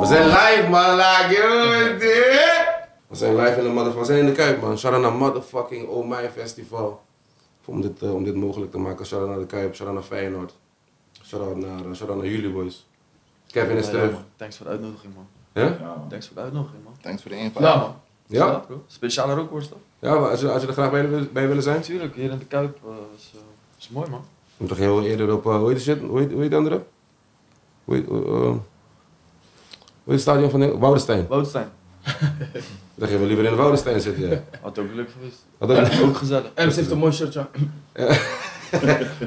We zijn live, man. Like, yo, dit. we zijn live in de motherfucking... We zijn in de Kuip, man. Shout-out naar motherfucking Oh My Festival. Om dit, eh, om dit mogelijk te maken. Shout-out naar de Kuip. Shout-out naar Feyenoord. Shout-out naar, eh, shout-out naar jullie, boys. Kevin is Ja, terug. man. Thanks voor de uitnodiging, man. Ja? Thanks voor de uitnodiging, man. Thanks voor de invite. Nou. Ja, man. Ja? bro. Speciale rookworst, toch? Ja, maar als je, als je er graag bij, wil- bij willen zijn? Natuurlijk, hier in de Kuip. eh, is, eh, is mooi, man. Je moet toch heel eerder op... eh, hoe heet die shit? Hoe heet, hoe heet die andere? Hoe heet... eh, eh, hoe heet het stadion van... de- Woudenstein. Woudstein. Dan gaan we liever in de Woudenstein zitten, ja. Had ook leuk geweest. Wat dan? Ook gezellig. Ems heeft een mooi shirtje aan.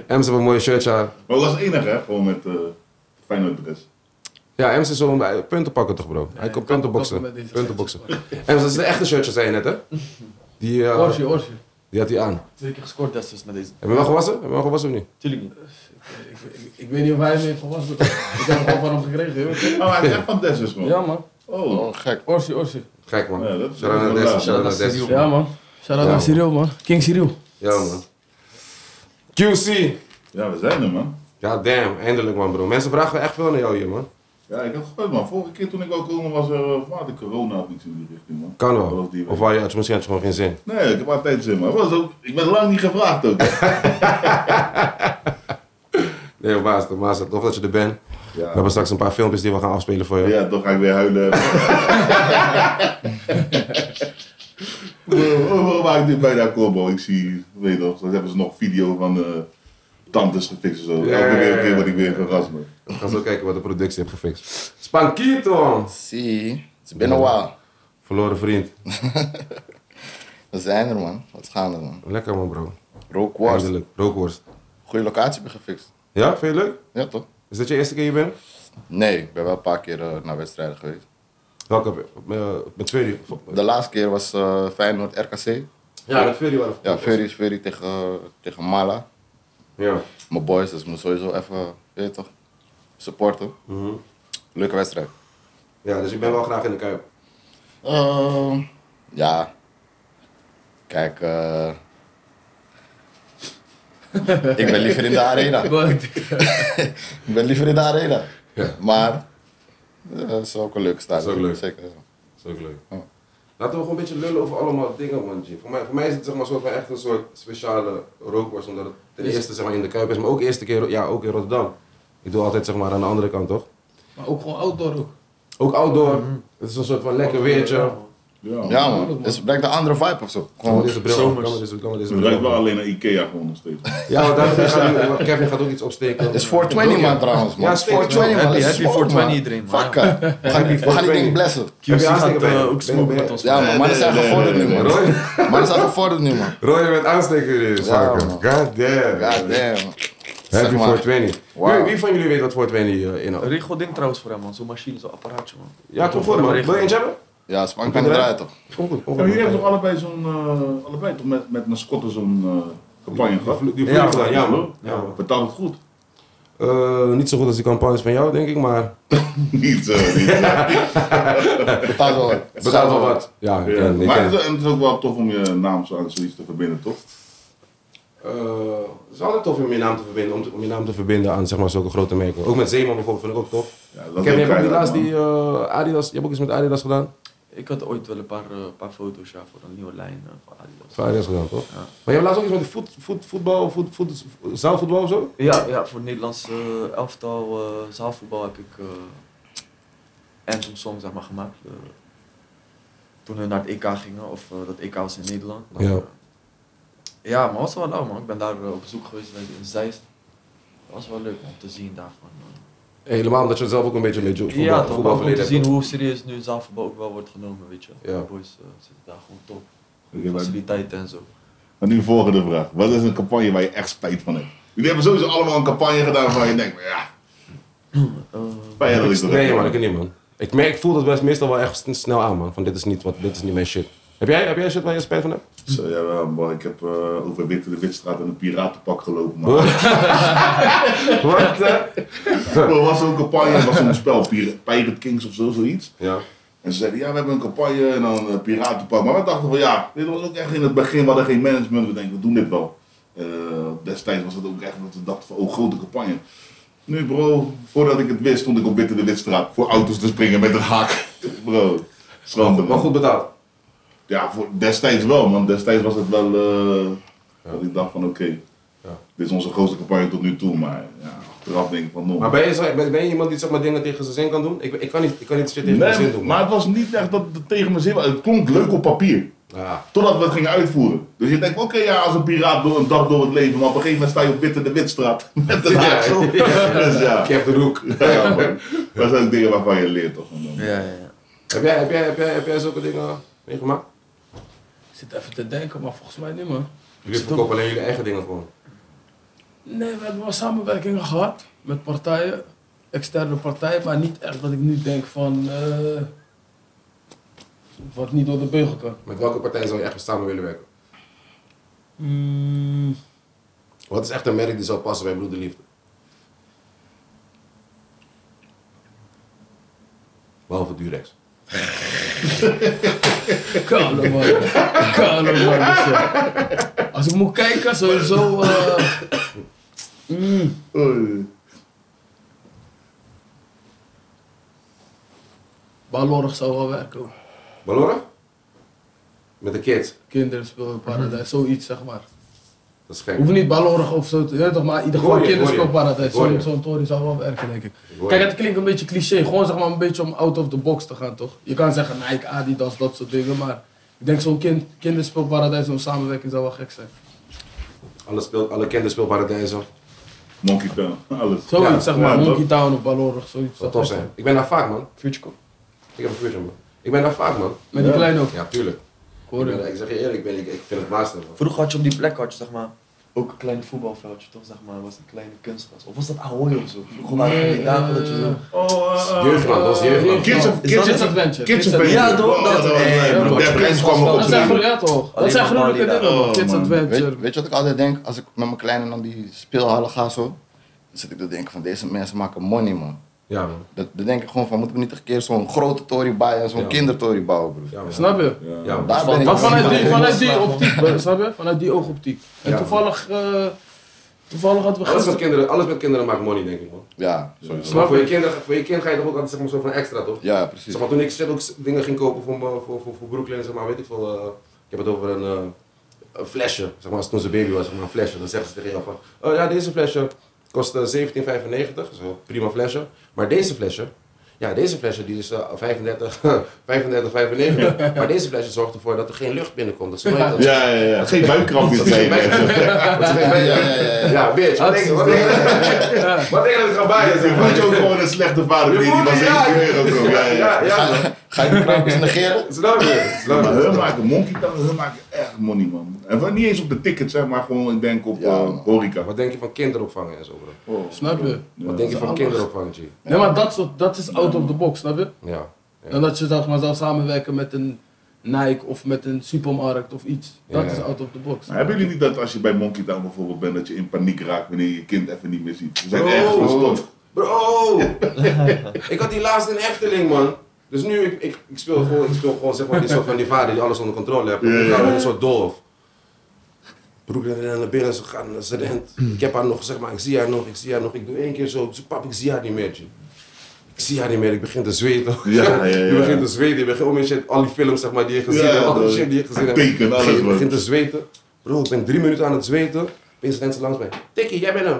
Ems heeft een mooie shirtje aan. Maar dat was enig hè, gewoon met eh Feyenoord Bres. Ja, Ems is om eh, punten pakken toch, bro? Hij je komt kan punten knokken boksen. met deze Punten boksen. shirtjes. Ems, dat is de echte shirtje, zei je net, hè? Die, eh, Orsje, Orsje. die had hij aan. Heb Twee keer gescoord destijds met deze. je hem wel gewassen? Heb je hem wel gewassen of niet? Tuurlijk niet. Ik, ik, ik weet niet of hij hem heeft gewassen. Ik heb hem gewoon van hem gekregen, joh. Oh, hij is echt van Des dus gewoon. Ja, man. Oh, Oh, gek. Orsje, Orsje. Gek, man. Ja, dat- Shout-out naar dat- Dessa, dat- shout-out naar dat- Dessa. dat- Ja, man. Ja, Shout-out man. naar Cyril, man. King Cyril. Ja, man. QC. ja, we zijn er man. Ja, damn. Eindelijk, man, bro. Mensen vragen echt veel naar jou hier, man. Ja, ik heb gehoord man. Vorige keer toen ik wou komen was er eh, voor de corona of iets in die richting man. Kan Dat wel. was die Of week. waar je had je misschien had je gewoon geen zin. Nee, ik heb altijd zin man. Was ook, ik ben lang niet gevraagd ook. Nee, op baas, op baas. Tof dat je er bent. We ja. hebben straks een paar filmpjes die we gaan afspelen voor je. ja, toch ga ik weer huilen. Waarom- Waarom maak ik dit bijna combo? Ik zie, weet je nog, dan hebben ze nog video van eh tantes gefixt en zo. Ja, Elke ja, ja, keer- keer ja. word ik weer verrast man. We gaan zo kijken wat de productie heeft gefixt. Spankito! See, it's been a while. Verloren vriend. We zijn er, man. Wat gaande, man. Lekker man, bro. Rookworst. Eindelijk. Rookworst. Goede locatie heb je gefixt. Ja, vind je het leuk? Ja, toch? Is dat je eerste keer hier bent? Nee, ik ben wel een paar keer eh, naar wedstrijden geweest. Welke? heb je? Eh, Met Ferry? De laatste keer was eh, Feyenoord RKC. Ja, met Ferry wel. Ja, Ferry is Ferry tegen, tegen Mala. Ja. Mijn boys, dus ik moet sowieso even, weet je toch, supporten. Mhm. Leuke wedstrijd. ja, dus ik ben wel graag in de Kuip. Ehm, ja. Kijk, eh, ik ben liever in de arena. Ik ben liever in de arena. Ja. Maar eh, het is ook een leuke stadion. Is ook leuk. Zeker. Dat is ook leuk. Ja. Laten we gewoon een beetje lullen over allemaal dingen, man. G. Voor mij, voor mij is het zeg maar, soort van echt een soort speciale rookworst. Omdat het ten eerste zeg maar, in de Kuip is, maar ook eerste keer ja, ook in Rotterdam. Ik doe altijd zeg maar, aan de andere kant, toch? Maar ook gewoon outdoor ook. Ook outdoor. Mhm. Het is een soort van lekker weertje. Ja man, het brengt een andere vibe of zo. Kan maar Gewoon, deze bril op. Kan maar deze- kan maar deze Het ruikt bril wel op. alleen naar Ikea gewoon nog steeds. Ja, want daar- daar gaat nu- Kevin gaat ook iets opsteken. het is 420 man trouwens man. Ja, Het is 420 man. Happy- Het is happy smoke, 420 man. iedereen, man. Fuck eh. We gaan, die- we gaan die ding blessen. QC je gaat aansteker bij eh, je? ook Ben- smoken ben- met ons. Ja man, maar dat zijn gevorderd nu man. Roy, Maar dat zijn gevorderd nu man. Roy met aansteken in Ja, zaken. man. God damn. God damn. Happy Zeg maar. 420. Wauw. Wie, wie van jullie weet wat 420 eh, inhoudt? Een regel ding trouwens voor hem, man. Zo'n machine, zo'n apparaatje, man. Ja, kom voor man. Wil je eentje hebben? Ja, Spank kan niet draaien toch? Kom goed, kom Ja, goed. maar jullie Oh, hebben Die toch allebei zo'n, eh, allebei toch met, met mascotten zo'n eh, campagne gehad? vlo- die Ja, vloeit man. gedaan, ja man. Ja, man. Betaalt het goed? Eh, niet zo goed als die campagnes van jou, denk ik, maar niet, eh, niet. Betaalt wel wat. betaalt wel wat. Ja, ik Ja, ken- ik maar ken. het is, en het is ook wel tof om je naam zo aan zoiets te verbinden, toch? Eh, Het is altijd tof om je naam te verbinden, om, te- om je naam te verbinden aan zeg maar, zulke grote merken. Ook met Zeeman bijvoorbeeld vind ik ook tof. Ja, Kevin, je hebt ook die laatst man. die eh, Adidas, je hebt ook iets met Adidas gedaan? Ik had ooit wel een paar, eh, paar foto's ja, voor een nieuwe lijn eh, van Adidas. Van Adidas gedaan, toch? Ja. Maar je hebt laatst ook iets met voet, voet, voetbal, voet, voet, zaalvoetbal of zo? Ja, ja voor het Nederlands eh, elftal eh, zaalvoetbal heb ik eh Anthem Song zeg maar, gemaakt. Eh, toen we naar het EK gingen, of eh, dat EK was in Nederland. Dan, Ja. eh, ja, maar was wel leuk man. Ik ben daar eh, op bezoek geweest bij in Zeist. Dat was wel leuk om te zien daarvan. man. Helemaal omdat je het zelf ook een beetje leuk voetbal, ja, toch voetbal ook om te verleden zien hebt. hoe serieus nu zaalvoetbal ook wel wordt genomen, weet je. Ja. De boys eh, zitten daar gewoon top. Oké, maar- Faciliteiten en zo. maar nu de volgende vraag. Wat is een campagne waar je echt spijt van hebt? Jullie hebben sowieso allemaal een campagne gedaan waar je denkt, maar ja, Eh, spijt dat ik dat Nee heb. man, ik niet man. Ik, merk, ik voel dat best meestal wel echt sn- snel aan man, van dit is niet, wat, dit is niet mijn shit. Heb jij, heb jij shit waar je spijt van hebt? Zo, ja, man, ik heb eh, over Witte de Witstraat in een piratenpak gelopen, man. Wat? Er was zo'n campagne, er was zo'n spel, Pir- Pirate Kings of zo, zoiets. Ja. En ze zeiden, ja, we hebben een campagne en dan een piratenpak. Maar we dachten van, ja, dit was ook echt in het begin, we hadden geen management. We denken, we doen dit wel. Eh, destijds was het ook echt dat we dachten van, oh, grote campagne. Nu bro, voordat ik het wist stond ik op Witte de Witstraat voor auto's te springen met een haak. Bro, schande Maar man. goed betaald. Ja, voor, destijds wel man. Destijds was het wel eh, dat ik dacht van oké, Ja. dit is onze grootste campagne tot nu toe. Maar ja, achteraf denk ik van nog. Maar ben je, zo- ben, ben je iemand die zeg maar, dingen tegen zijn zin kan doen? Ik, ik, kan, niet, ik kan niet shit tegen Nee, mijn zin doen. maar het was niet echt dat het tegen mijn zin was. Het klonk leuk op papier. Ja. Totdat we het gingen uitvoeren. Dus je denkt, oké, ja, als een piraat door een dag door het leven, maar op een gegeven moment sta je op Witte de Witstraat. Met een haak zo. Dus ja. Ik heb de roek. Ja, man. Dat zijn ook dingen waarvan je leert, toch? man? Ja, ja, ja. Heb jij, heb, jij, heb, jij, heb jij zulke dingen meegemaakt? Ik zit even te denken, maar volgens mij niet, man. Jullie verkopen alleen jullie eigen dingen gewoon. Nee, we hebben wel samenwerkingen gehad met partijen, externe partijen, maar niet echt dat ik nu denk van eh, wat niet door de beugel kan. Met welke partij zou je echt samen willen werken? Mm, Wat is echt een merk die zou passen bij Broederliefde? Behalve Durex. kalm man, kalm man. dus, eh, Als ik moet kijken, sowieso. eh mm, Oei. Balorg zou wel werken. hoor. Ballora? Met de kids. Kinderen speelparadijs, zoiets zeg maar. Dat is gek. Hoeft niet balorg of zo, te, je weet toch, maar in ieder Hoor geval je, kinderspeelparadijs. hoor je. Zo'n zo'n tory zou wel werken, denk ik. Hoor je. Kijk, het klinkt een beetje cliché. Gewoon zeg maar een beetje om out of the box te gaan, toch? Je kan zeggen Nike, Adidas, dat soort dingen. Maar ik denk zo'n kind, kinderspeelparadijs, zo'n samenwerking zou wel gek zijn. Alle, speel, alle kinderspeelparadijzen. Monkey Town, alles. Zoiets Ja, zeg maar, ja, Monkey Town of Balorg, zoiets. Zou tof zijn. Ik ben daar vaak, man. Future Cop. Ik heb een future, man. Ik ben daar vaak, man. Met die kleine ook. Ja, tuurlijk. Ik Ik, hoor ben, het. ik zeg je eerlijk, ik, ben, ik, ik vind het master, man. Vroeger had je op die plek had je, zeg maar, ook een klein voetbalveldje, toch? Zeg maar, was een kleine kunstgras. Of was dat Ahoy of zo? Vroeger waren er die dagen dat eh, je zo... Oh, Jeugdland, dat is ah, jeugdland. Is Kids of dat Kids Kids of Adventure. Kids of Adventure. Ja, Adventure. toch? Oh, Dat- dat was eh, leuk, bro. dat- Ja, Prins kwam op dat Dat zijn de Alleen groeien toch? maar Dat zijn gruwelijke Bali dingen. daar. man. Kids Oh, man. Weet, Adventure. weet je wat ik altijd denk? Als ik met mijn kleine naar die speelhallen ga zo, dan zit ik te denken van deze mensen maken money man. Ja, man. Dat, dan denk ik gewoon van moeten we niet een keer zo'n grote tory bouwen en zo'n Ja. kindertory bouwen broer. Ja, man. Snap je? Ja, man. Daar ben Maar ik wel vanuit die, mee. vanuit die optiek, eh, snap je? Vanuit die oogoptiek. En Ja. toevallig, eh, toevallig hadden we Alles met, gisteren... kinderen, alles met kinderen maakt money, denk ik, man. Ja, sowieso. Maar voor je, kinderen, voor je kind ga je toch ook altijd zeg maar, zo van extra, toch? Ja, precies. Zeg maar, toen ik zelf ook s- dingen ging kopen voor, me- voor, voor, voor Brooklyn, zeg maar, weet ik veel. eh, ik heb het over een, eh, een flesje. Zeg maar, als toen ze baby was, zeg maar, een flesje. Dan zeggen ze tegen jou van, oh ja, deze flesje kost eh, 17,95. Zo, prima flesje. Maar deze flesje, ja, deze flesje die is eh, 35, 35,95. maar deze flesje zorgt ervoor dat er geen lucht binnenkomt. Dat ze nooit- dat ze- Ja, ja, ja. Geen buikkrampjes dat ze geen zijn. buik- dat ze geen buik- Ja, bitch. Wat denk je wat denk je- wat denk je dat ik ga bijen? Je zeg maar? voelt je ook gewoon een slechte vader Je die die voelt was het, ja. 17 euro koop. Ja, ja. Ja, ja. man. Ga je de krampjes negeren? Snap je? Snap Maar je? hun maken Monkey Town, hun maken echt money man. En van niet eens op de tickets, zeg maar gewoon, ik denk op Ja, eh, man. horeca. Wat denk je van kinderopvangen en zo, bro? Oh, Snap je? Ja. Wat denk je dat van is kinderopvang, G? Nee, maar dat, soort, dat is out of the box, snap je? Ja. En dat je zeg maar, zou samenwerken met een Nike of met een supermarkt of iets. Dat Ja. is out of the box. Maar hebben jullie niet dat als je bij Monkey Town bijvoorbeeld bent, dat je in paniek raakt wanneer je je kind even niet meer ziet? Ze zijn Oh. ergens verstopt. Bro! ik had die laatst in Efteling, man. Dus nu, ik, ik, ik speel gewoon, ik speel gewoon zeg maar, die soort van die vader die alles onder controle heeft. Ja, Ik ja. ga met een soort dolf. Broek rennen naar binnen, ze gaan, ze rent. Ik heb haar nog, zeg maar, ik zie haar nog, ik zie haar nog. Ik doe één keer zo, ik zeg, pap, ik zie haar niet meer, G. Ik zie haar niet meer, ik begin te zweten. Ja, ja, ja. Je begint te zweten, je begint om je shit, al die films zeg maar, die je gezien Ja, hebt, al die dat- shit die je gezien hebt. teken, alles, Je man. begint te zweten. Bro, ik ben drie minuten aan het zweten. Opeens rent ze langs mij. Tikkie, jij bent hem.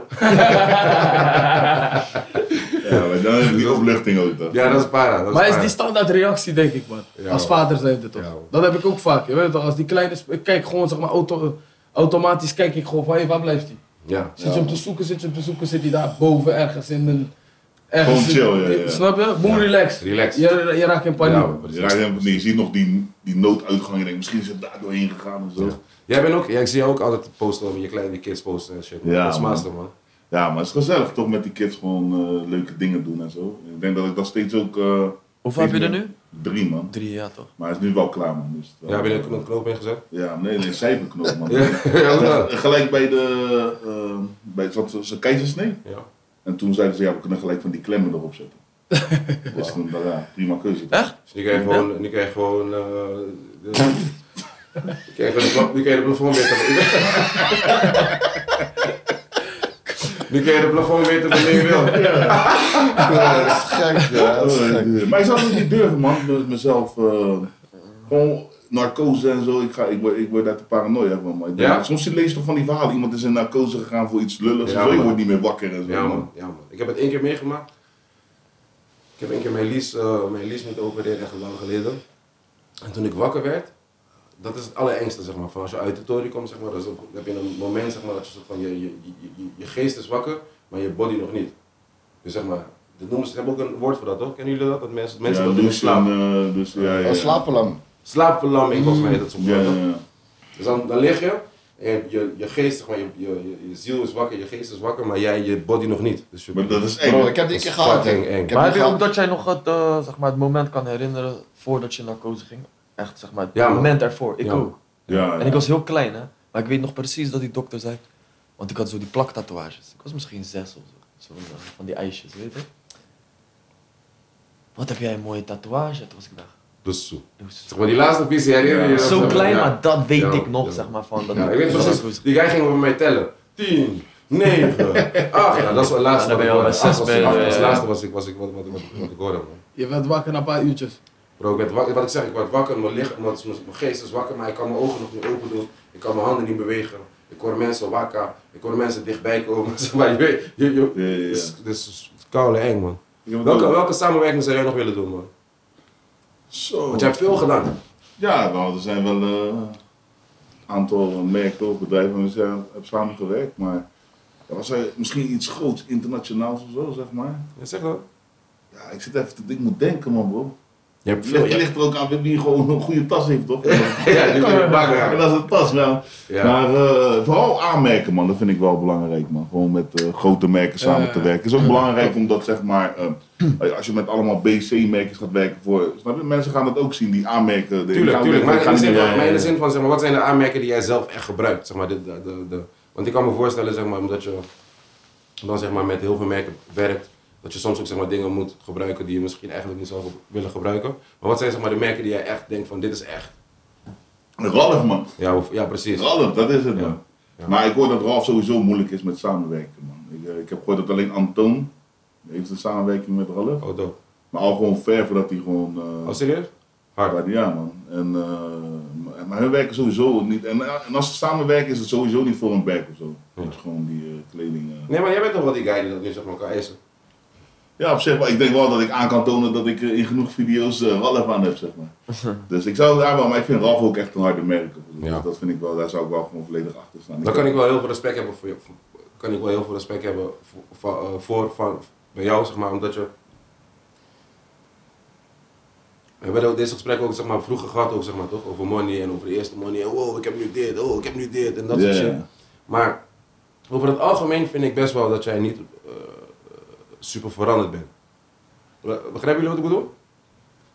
Ja, maar dan heb je die opluchting ook toch? Ja, dat is para. Dat is Maar is para. die standaard reactie, denk ik, man. Ja, als man. vader zijn dit toch? Ja, man. dat heb ik ook vaak. Je weet toch, als die kleine. sp- Ik kijk gewoon, zeg maar, auto, automatisch kijk ik gewoon van hé, waar blijft hij? Ja. Zit je hem te zoeken, zit je hem te zoeken, zit hij daar boven ergens in een. Ergens Gewoon in- chill, ja, ja. Snap je? Boom, Ja, relax. relaxed. Je, je raakt in paniek. Ja, Je, raakt helemaal- nee, je ziet nog die, die nooduitgang en denkt misschien is het daar doorheen gegaan of zo. Ja. Jij bent ook, ja, ik zie jou ook altijd posten over je kleine kids posten en shit. man. Ja, dat is man. master, man. Ja, maar het is gezellig toch met die kids gewoon eh, leuke dingen doen en zo. Ik denk dat ik dat steeds ook. eh, Hoeveel heb je er steeds nu? meer- Drie man. Drie, ja toch? Maar hij is nu wel klaar man. Dus het wel- Ja, heb je er ook een knoop in gezet? Ja, nee, nee, cijferknop man. Ja, hoe dan? eh, Gelijk bij de. eh, bij zat ze- ze keizersnee. Ja. En toen zeiden ze ja, we kunnen gelijk van die klemmen erop zetten. Dus toen dacht ik, ja, prima keuze. Echt? Dus nu krijg je gewoon, nu krijg je gewoon, eh de, nu krijg je de, pla- nu krijg je de plafond weer terug. Nu kun je de plafond weten wanneer je wil. Ja, dat is gek, ja, dat is gek. eh, Maar ik zou het niet durven, man. Met mezelf. eh, gewoon narcose en zo. Ik, ga, ik, word, ik word uit de paranoia van. Maar ik denk- Ja? Soms je leest toch van die verhalen. Iemand is in narcose gegaan voor iets lulligs. Ja, en zo. Je man. wordt niet meer wakker en zo. Ja man, ja man. Ik heb het één keer meegemaakt. Ik heb één keer mijn lies, eh, mijn lies moeten opereren, echt lang geleden. En toen ik wakker werd, dat is het allerengste zeg maar. Van als je uit de toren komt, zeg maar, dat is ook- dan heb je een moment zeg maar, dat je, soort van, je, je, je, je, je geest is wakker, maar je body nog niet. Dus zeg maar, dat noemen ze, ze hebben ook een woord voor dat toch? Kennen jullie dat? Dat mensen, mensen ja, dat in dus, slaap. eh, dus, ja, ja. Oh, slapen lang. Slaapverlamming volgens mij heet dat soms. Ja, wel, ja, toch? ja. Dus dan, dan lig je, en je, je, je geest, zeg maar, je, je, je- je ziel is wakker, je geest is wakker, maar jij, je body nog niet. Dus je, Maar dat is eng. Bro, ik heb die Dat keer is gehad. hè. fucking eng. Ik heb heb maar heb die je ook gehad. dat jij nog het, eh, zeg maar, het moment kan herinneren voordat je narcose ging? Echt, zeg maar, het Ja, man. moment ervoor. Ik Ja, ook. man. Ja, En ik was heel klein, hè. Maar ik weet nog precies dat die dokter zei... Want ik had zo die plaktatoeages. Ik was misschien zes of zo. Zo eh, van die ijsjes, weet je. Wat heb jij een mooie tatoeage? Toen was ik daar. Dus zo. Dus Zeg maar die laatste piece die herinner je je nog, zo zeg klein, ja. maar dat weet Ja, ik nog, ja. zeg maar. Van, dat Ja, ik weet dat precies, narcose- die guy ging over mij tellen. 10, 9, 8. Ja, dat is het laatste. Ja, dan ben je al bij zes Acht was- bij, acht was eh, het laatste was ik, was ik wat, wat, wat, wat ik hoorde, man. Je werd wakker na een paar uurtjes. Bro, ik werd wakker, wat ik zeg, ik werd wakker, mijn, lichaam, mijn, mijn mijn geest is wakker, maar ik kan mijn ogen nog niet open doen. Ik kan mijn handen niet bewegen. Ik hoor mensen wakker, ik hoor mensen dichtbij komen. Zeg maar, je weet, je, je, Ja, ja, ja. Dus, dus koude eng, man. Ik heb het Welke, ook. welke samenwerking zou jij nog willen doen, man? Zo. Want jij hebt veel gedaan. Ja, wel, er zijn wel eh, een aantal merken of bedrijven waarmee ik heb samengewerkt, maar ja, was er misschien iets groots, internationaals of zo, zeg maar. Ja, zeg dan. Ja, ik zit even te, ik moet denken man bro. Je hebt Het veel, ligt, ja. ligt er ook aan wie gewoon een goede tas heeft, toch? Ja, die kun je bakken, Ja, ja. dat is een tas, wel. Ja. Maar eh, vooral aanmerken, man, dat vind ik wel belangrijk, man. Gewoon met eh, grote merken samen Eh. te werken. is ook belangrijk omdat, zeg maar, eh, als je met allemaal BC-merkers gaat werken voor. Snap je? Mensen gaan dat ook zien, die aanmerken. die Tuurlijk, gaan tuurlijk. werken, Maar in de gaan zin niet- van, maar in de zin van zeg maar, wat zijn de aanmerkingen die jij zelf echt gebruikt? Zeg maar, de, de, de, de- want ik kan me voorstellen, zeg maar, omdat je dan zeg maar, met heel veel merken werkt, dat je soms ook zeg maar, dingen moet gebruiken die je misschien eigenlijk niet zou ge- willen gebruiken. Maar wat zijn zeg maar, de merken die jij echt denkt van dit is echt? Ralf, man. Ja, of- ja precies. Ralf, dat is het, Ja. man. Ja. Maar ik hoor dat Ralf sowieso moeilijk is met samenwerken, man. Ik, eh, ik heb gehoord dat alleen Anton heeft een samenwerking met Ralf. Oh, dope. Maar al gewoon ver voordat hij gewoon... eh, Oh, serieus? Hard. Ja, man. En, eh, maar- maar hun werken sowieso niet. En, eh, en als ze samenwerken, is het sowieso niet voor een werk of zo. Ja. Het is gewoon die eh, kleding. eh. Nee, maar jij bent toch wel die guy die dat nu zeg maar kan eisen? Ja, op zich wel. Ik denk wel dat ik aan kan tonen dat ik eh, in genoeg video's eh Ralph aan heb, zeg maar. dus ik zou daar wel, maar ik vind Ralph ook echt een harde merk. Dus Ja. Dat vind ik wel, daar zou ik wel gewoon volledig achter staan. Dan kan ik wel heel veel respect hebben voor je. voor- Kan ik wel heel veel respect hebben voor, van, eh, voor van, bij jou, zeg maar, omdat je. We hebben ook deze gesprekken ook zeg maar, vroeger gehad, ook, zeg maar, toch? Over money en over de eerste money. En wow, ik heb nu dit, oh, ik heb nu dit en dat Ja, soort shit. ja. Maar over het algemeen vind ik best wel dat jij niet eh, super veranderd bent. Be- Begrijpen jullie wat ik bedoel?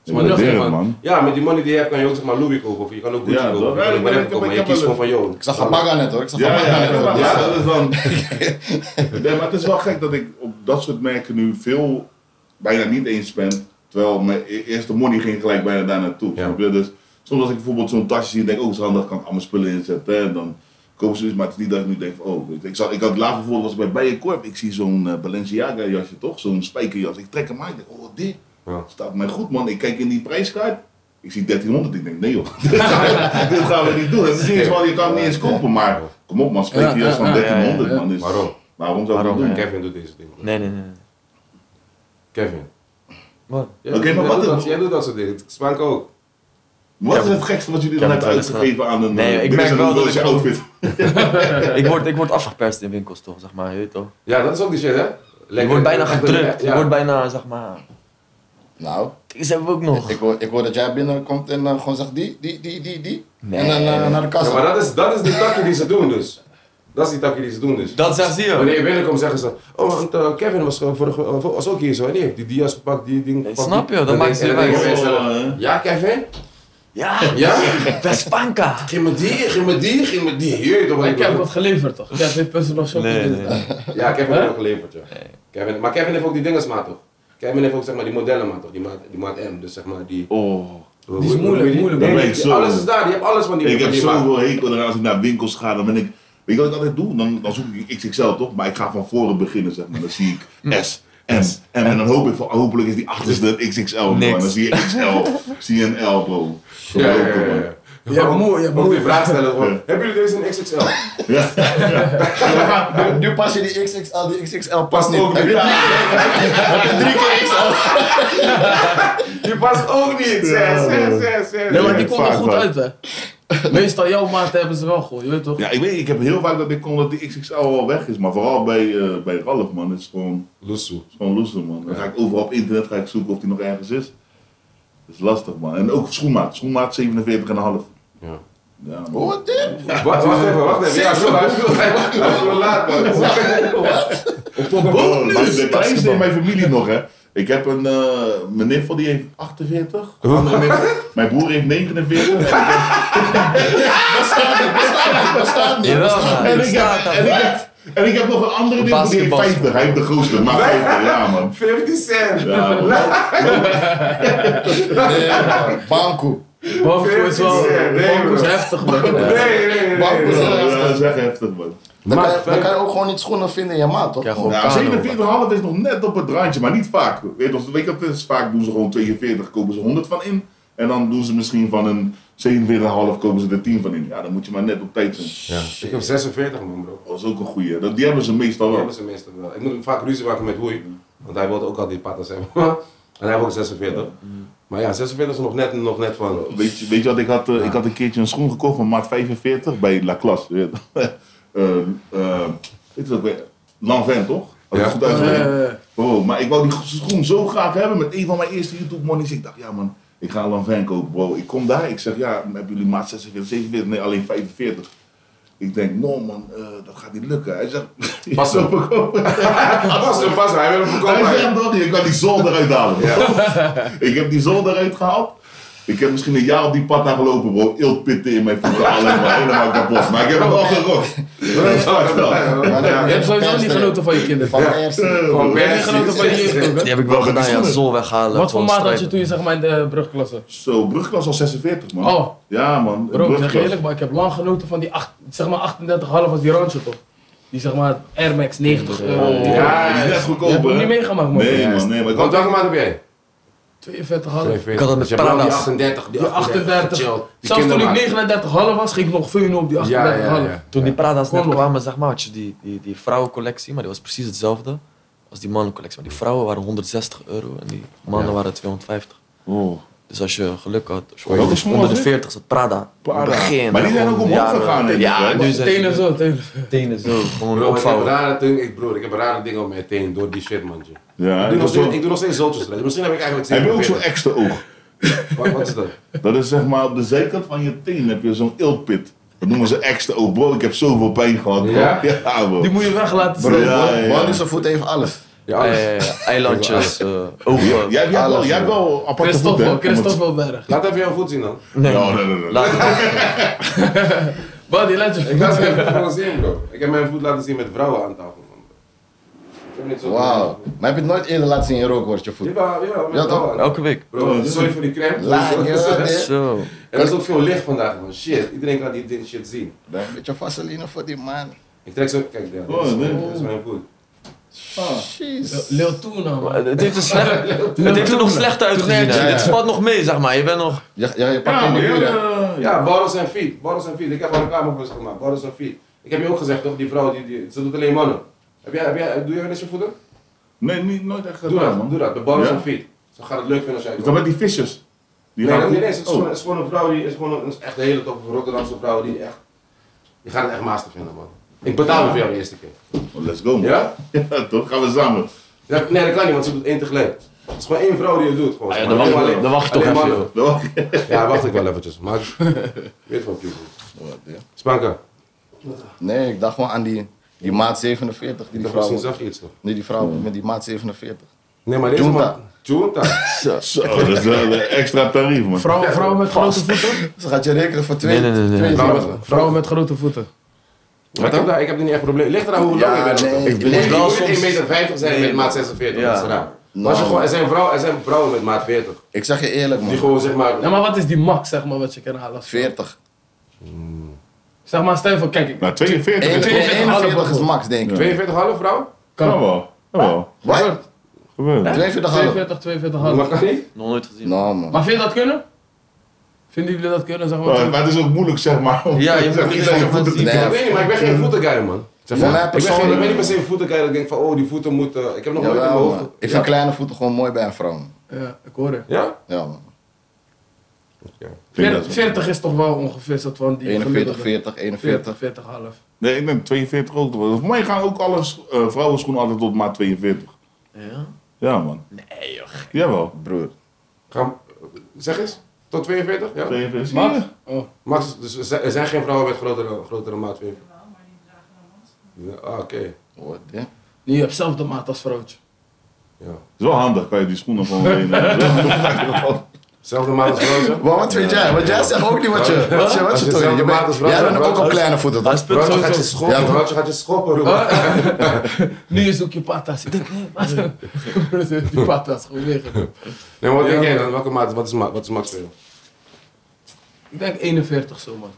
Zeg maar, Ik dat zeg waardeer maar- het, man. Ja, met die money die je hebt kan je ook zeg maar Louis kopen of je kan ook Gucci Ja, kopen. dat- of je kan ja, ik- whatever ik- kopen, maar je ik heb kiest wel- gewoon van joh. Ik zag Amaga net hoor. Ik zag Ja, ja, Amaga ja, net hoor. Dus, eh, ja, Ja. dat is dan. nee, maar het is wel gek dat ik op dat soort merken nu veel bijna niet eens ben. Terwijl mijn e- eerste money ging gelijk bijna daar naartoe. Ja. snap je? Dus soms als ik bijvoorbeeld zo'n tasje zie, denk ik, oh, het is handig, kan ik allemaal spullen inzetten. hè, En dan koop ze iets, maar het is niet dat ik nu denk, van, oh, ik, ik, zag, ik had laatst bijvoorbeeld, was ik bij Bijenkorp, ik zie zo'n eh, Balenciaga jasje toch, zo'n spijkerjas. Ik trek hem aan, ik denk, oh, dit Ja. staat mij goed man. Ik kijk in die prijskaart, ik zie 1300, ik denk, nee joh, dit gaan we, dit gaan we niet doen. Het is iets van, je kan het niet eens kopen, maar kom op man, spreek je Ja, juist van ja, ja, ja, 1300 ja. man. Dus Waarom? Waarom zou ik dat Waarom, doen? ja. Kevin doet deze dingen. Nee, nee, nee. nee. Kevin. Man, Jij- Oké, maar jij wat doet is- dat- Jij doet dat soort dingen. Spank ook. Wat is het gekste wat jullie Ja, dan hebben dat is uitgegeven aan een... Nee, eh, ik dit is merk een- wel dit dat is ik je gewoon- outfit. ik, word, ik word afgeperst in winkels toch, zeg maar. Je weet toch? Ja, dat is ook die shit, hè? Je Lekker- wordt bijna echt- gedrukt. Je ja. wordt bijna, zeg maar... Nou, Deze hebben we ook nog. ik hoor, ik hoor dat jij binnenkomt en eh, gewoon zegt die, die, die, die, die. Nee. En dan eh, naar de kassa. Ja, maar dat is, dat is die takje die ze doen, dus. Dat is die takje die ze doen, dus. Dat zegt je. Wanneer je binnenkomt zeggen ze, oh, want eh, Kevin was, eh, vorige, eh, was ook hier zo, en die heeft die dia's gepakt, die ding Nee, gepakt, snap je, die- dat en maakt en ze dan wijs. denken mensen, Oh, hè? Ja, Kevin? Ja, Ja? Vespanka. Geef me die, geef me die, geef me die. Je weet toch wat ik Ik heb bedoel? wat geleverd toch? Kev heeft personal shopping. Nee, dit- nee. Ja, Kevin heeft ook geleverd, ja. Kevin, maar Kevin heeft ook die dingensmaat, toch? Kevin heeft ook, zeg maar, die modellenmaat, toch? Die maat, die maat M, dus zeg maar, die... Oh, Die moeilijk, moeilijk. Dat weet ik zo. Alles is daar, je hebt alles van die ik van heb die maat. zoveel hekel eraan als ik naar winkels ga, dan ben ik... Weet je wat ik altijd doe? Dan, dan zoek ik XXL toch? Maar ik ga van voren beginnen, zeg maar. Dan zie ik S. M, M, en dan hoop ik van, hopelijk is die achterste een XXL. bro. En dan Niks. zie je XL, zie je een L, bro. Ja, ja, ja, ja. Je hebt moe- je hebt moe- Goeie vraag stellen hoor. Hebben jullie deze in XXL? Nu, nu pas je die XXL, die XXL past niet. ook Heb je niet. heb je drie keer XL? Die past ook niet. Zes, zes, zes, zes. Nee, maar die Ja, komt er vaak goed wel. uit, hè. Meestal jouw maat hebben ze wel gewoon, je weet toch? Ja, ik weet, ik heb heel vaak dat ik kon dat die XXL al weg is. Maar vooral bij, eh, bij Ralf, man. Het is gewoon, Lusso. het is gewoon loser, man. Dan ga ik overal op internet ga ik zoeken of die nog ergens is. Dat is lastig, man. En ook schoenmaat. Schoenmaat 47,5. Ja. Ja, man. Hoor dit? Wacht, wacht even, wacht even. Ja, bro, hij is veel- hij is veel laat, man. Oh, maar de Dat is kleinste in man. mijn familie nog, hè. Ik heb een, eh mijn niffel die heeft 48. Andere niffel- mijn broer heeft 49. En ik heb- Bestaat niet, bestaat niet, bestaat niet. Jawel, man. En Ik ik, heb, sta en, ik heb, en ik heb nog een andere ding, die heeft Basketbal. 50. Hij heeft de grootste, maar 50, ja man. 50 cent. Ja, man. Nee, man. Banco. Banco is wel, Nee, nee, Banco is bro. heftig, man. Nee, nee, nee, nee. Banco. nee. Ja, dat is echt heftig man. Dan kan, je, Maar- dan kan je ook gewoon niet schoenen vinden in je maat, toch? Ja, gewoon Ja, kano. 47,5 is nog net op het randje, maar niet vaak. Weet je, weet je wat het is? Vaak doen ze gewoon 42, kopen ze 100 van in. En dan doen ze misschien van een 47,5 kopen ze er 10 van in. Ja, dan moet je maar net op tijd zijn. Ik heb 46 man, bro. Dat is ook een goeie. Dat, die hebben ze meestal Die wel. hebben ze meestal wel. Ik moet hem vaak ruzie maken met Hoei, want hij wilde ook al die patas hebben. en hij heeft ook 46. Maar ja, 46 is nog net, nog net van. Weet je, weet je wat, ik had, eh, ik had een keertje een schoen gekocht van maat 45 bij La Classe. Weet je Eh, eh, weet je ook weer? Lanvin, toch? Als ik Ja. het goed uitspreek. Eh, Wow, maar ik wou die schoen zo graag hebben met een van mijn eerste YouTube monies. Ik dacht, ja man, ik ga een Lanvin kopen. Wow, ik kom daar, ik zeg, ja, hebben jullie maat 46, 47? Nee, alleen 45. Ik denk, no man, eh, dat gaat niet lukken. Hij zegt, Pas zo op. verkopen. Pas hem, pas hem, hij wil hem Hij verkopen. zegt dat niet, ik kan die zolder eruit halen. Ik heb die zolder eruit gehaald. Ik heb misschien een jaar op die pad gelopen, bro. Eeltpitten in mijn voeten, alleen maar helemaal kapot. Maar ik heb het wel gerokt. Dat is hard wel. Maar dan- Ja. Je hebt sowieso niet genoten van je kinderen. Van de eerste. Gewoon Je hebt niet Messi. genoten van je jeugd ook, hè? Die heb ik wel Welke gedaan, ja. schoenen? Zol weghalen. Wat voor gewoon maat had je strijpen. toen je zeg maar in de brugklasse? Zo, brugklas al 46, man. Oh. Ja, man. Bro, ik zeg je brugklas. eerlijk, maar ik heb lang genoten van die acht, zeg maar 38,5 was die randje toch? Die zeg maar Air Max 90 euro. Oh, Die- ja, die is Ja, net die heb ik goedkoper. niet hè? meegemaakt man. Nee, man, nee, maar ik Want had welke maat heb jij? 42,5. Ik had dat met Je hebt nou die Prada's. 38, die Die 38. chill. Die Zelfs toen ik kindermaat. 39,5 was, ging ik nog veel op die 38,5. Ja, ja, ja. Toen die Prada's net Kom nog. kwamen, zeg maar, had je die, die, die vrouwencollectie, maar die was precies hetzelfde als die mannencollectie. Maar die vrouwen waren 160 euro en die mannen Ja. waren 250. Oh, Dus als je geluk had, als je Welke onder, schoen onder was de dit? 40 zat Prada. Prada. Begin, Maar die zijn ook gewoon omhoog jaren- gegaan, denk ik, Ja, dus- hè? nu zijn Tenen ze zo, tenen. tenen zo, Bro, gewoon ik heb opvouwen. rare dingen, ik, broer, ik heb rare dingen op mijn teen door die shit, man. tje. ja. Ik dat doe nog is wel- steeds- ik doe nog steeds zultjes. Misschien heb ik eigenlijk Heb je ook zo'n 47. extra oog? Wat, wat is dat? Dat is zeg maar op de zijkant van je teen heb je zo'n eeltpit. Dat noemen ze extra oog. Bro, ik heb zoveel pijn gehad, bro. Ja? bro. Die moet je weg laten Bro, staan. ja, ja, ja. Man is zijn voet even alles. Ja, Eh, alles. eilandjes, eh, Ah, ogen. Jij, jij, hebt wel, jij hebt wel aparte Christoffel, voeten, hè? Om het- Christoffel Berg. Laat even jouw voet zien dan. Nee, Ja, nee, nee, nee. Laat- Buddy, laat je Ik laat mijn voet gewoon zien, bro. Ik heb mijn voet laten zien met vrouwen aan tafel, man. Ik heb niet zo. Wauw. Maar heb je het nooit eerder laten zien in rook, wordt je voet? Ja, ja, met Ja, toch? vrouwen. elke week. Bro, sorry voor die crème. Laat je En dit. Zo. er is ook veel licht vandaag, man. Shit, iedereen kan die dit shit zien. Een beetje vaseline voor die man. Ik trek zo, kijk daar. Oh, Dit is- nee. dit is mijn voet. Ah. Jeez. Lil Tuna man. Het heeft er, slecht, het heeft er nog slecht uitgezien. Ja, hè. ja. Dit valt nog mee, zeg maar. Je bent nog... Ja, ja, je pakt Ja, in de maar buurt. hè? ja, ja. Ja, Boris en Fiet. Boris en Fiet. Ik heb al reclame voor ze gemaakt. Boris en Fiet. Ik heb je ook gezegd, toch? Die vrouw, die, die, ze doet alleen mannen. Heb jij, heb jij, doe jij wel eens je voeten? Nee, niet, nooit echt Doe gedaan, dat, doe man. dat. Bij Boris Ja? en Fiet. Ze gaat het leuk vinden als jij Is komt. dat met die vissers? Die nee, gaan- nee, nee, nee, het is, Oh. gewoon, het is gewoon een vrouw die is gewoon een, is echt een hele toffe Rotterdamse vrouw die echt. Je gaat het echt master vinden, man. Ik betaal me voor jou de eerste keer. Oh, Let's go, man. Ja? Ja, toch? Gaan we samen. Ja, Nee, dat kan niet, want ze doet één tegelijk. Het is gewoon één vrouw die het doet. Gewoon. Ah ja, dan wacht- Alleen- dan wacht je toch alleen even, mannen. Ja, wacht ik wel eventjes. Maar ik weet van Pupil. Spanka. Nee, ik dacht gewoon aan die, die maat 47. Die, Ik die dacht, misschien vrouw. zag je iets toch? Nee, die vrouw met die maat 47. Nee, maar deze Junta. man. Junta. Zo, dat is wel een extra tarief, man. Vrouwen, vrouwen met grote voeten? Ze gaat je rekenen voor twee. Nee, nee, nee, nee. twee Vrouwen- vrouwen. Vrouwen met grote voeten. Maar ik, heb daar, ik heb er niet echt probleem. Ligt eraan hoe lang Ja, je bent. nee, ik je weet moet, het je wel moet soms. 1,50 meter zijn Nee, met maat 46. ja. Dat is raar. Maar als je gewoon, er, zijn vrouwen, er zijn vrouwen met maat 40. Ik zeg je eerlijk, Die man. gewoon zeg maar. Ja, maar wat is die max zeg maar wat je kan halen? 40. Zeg maar, stel je voor, kijk, ik, Nou, 42 is Eén- toch? 41 is max, denk ik. 42,5 vrouw? Kan wel. Kan wel. Wat? Gebeurt. 42 half. 42, 42 Mag half. dat niet? Nog nooit gezien. Nou man. Maar vind je dat kunnen? Vinden jullie dat kunnen, zeg Maar maar? maar het is ook moeilijk, zeg maar. om- Ja, je moet zeg, iets iedereen van voelt het zien. Ik Nee. weet niet, maar ik ben geen voetenguy, man. Zeg Voor maar, mij ik, ben geen, ik persoonlijk- ben niet per se een voetenguy dat ik denk van, oh, die voeten moeten... Ik heb nog nooit in mijn Jawel, hoofd... man. ja? Ik vind kleine voeten gewoon mooi bij een vrouw. man. Ja, ik hoor het. Ja? Ja man. Ik denk dat 40, zo. is toch wel ongeveer dat van die 41, gemiddelde. 40, 41. 40, half. Nee, ik denk 42 ook. Voor mij gaan ook alle sch- eh, vrouwenschoenen altijd tot maat 42. Ja? Ja, man. Nee joh. Jawel. Broer. Ga, zeg eens. Tot 42? Ja? 42. Max? Ja. Oh, Max, dus er zijn- er zijn geen vrouwen met grotere, grotere maat 42? Ja, ah, oké. Wat, hè? nu heb zelf de maat als vrouwtje. Ja. is wel handig, kan je die schoenen gewoon lenen. Dat is wel handig. Zelfde maat als vrouwen? Maar wat vind jij? Want jij zegt ook niet wat je. Wat je, wat Als je je toont. zelf Je de maat bent- als vrouw Jij bent, bent ook bro. op kleine voeten. Hij toch? speelt Vrouwtje gaat je sowieso. schoppen, Ja, vrouwtje gaat je schoppen, broer. Nu zoek je patas. Ik denk, nee, maar die patas gewoon liggen. Nee, maar wat denk Ja. jij dan? Welke maat? Wat is, ma- wat is Max voor jou? Ik denk 41 zo, man.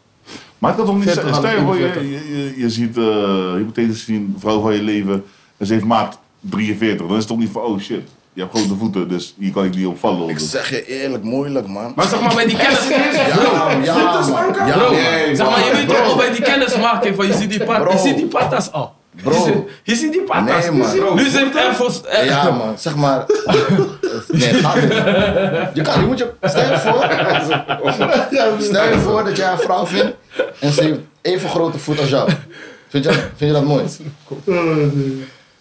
Maar het kan toch niet 40 zijn. Stel je aan de voor, je, 41. je, je- je ziet eh hypothetisch gezien een vrouw van je leven en ze heeft maat 43. Dan is het toch niet van, oh shit, je hebt grote voeten, dus hier kan ik niet opvallen. dus Ik zeg je eerlijk, moeilijk man. Maar zeg maar bij die kennis. Ja, man. Ja, man. Ja, Bro, nee, zeg maar, je man. weet toch wel bij die kennismaking van je ziet die, pat, Bro. je ziet die patas al. Je Bro. ziet, je ziet die patas. Nee, man. Je ziet- Nu zit er voor. eh, Ja, man, zeg maar. Nee, gaat niet. man. Je kan, je moet je. Stel je voor. Stel je voor dat jij een vrouw vindt en ze heeft even grote voet als jou. Vind je, vind je dat mooi? Het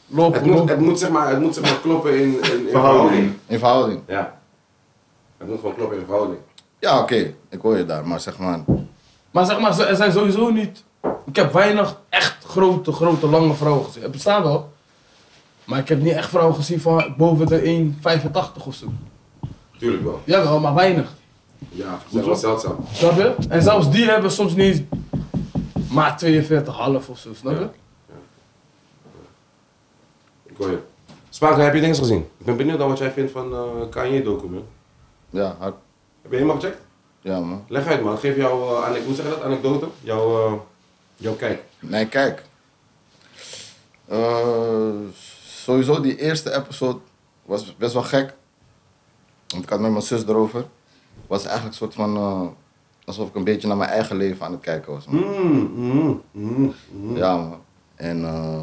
Lopen, moet, lopen. het moet, zeg maar, het moet zeg maar kloppen in, in, in verhouding. Verhouding. In verhouding. Ja. Het moet gewoon kloppen in verhouding. Ja, oké, ik hoor je daar, maar zeg maar. Maar zeg maar, ze- er zijn sowieso niet. Ik heb weinig echt grote, grote, lange vrouwen gezien. Er bestaan wel. Maar ik heb niet echt vrouwen gezien van boven de 1,85 of zo. Tuurlijk wel. Jawel, maar weinig. Ja, ze zijn wel zeldzaam. Snap je? En zelfs die hebben soms niet eens maar 42,5 of zo, snap je? Ja. Ik hoor je. Spaak, heb je dingen gezien? Ik ben benieuwd naar wat jij vindt van eh Kanye-docu, man. Ja, hard. Heb je helemaal gecheckt? Ja, man. Leg uit, man. Geef jouw, eh, ane- hoe zeg je dat, anekdote? Jouw, eh, jouw kijk. Nee, kijk. Eh, sowieso, die eerste episode was best wel gek. Want ik had met mijn zus erover. Was eigenlijk een soort van. eh, alsof ik een beetje naar mijn eigen leven aan het kijken was. man. Mm, mm, mm, Mhm. mm. Ja, man. En eh,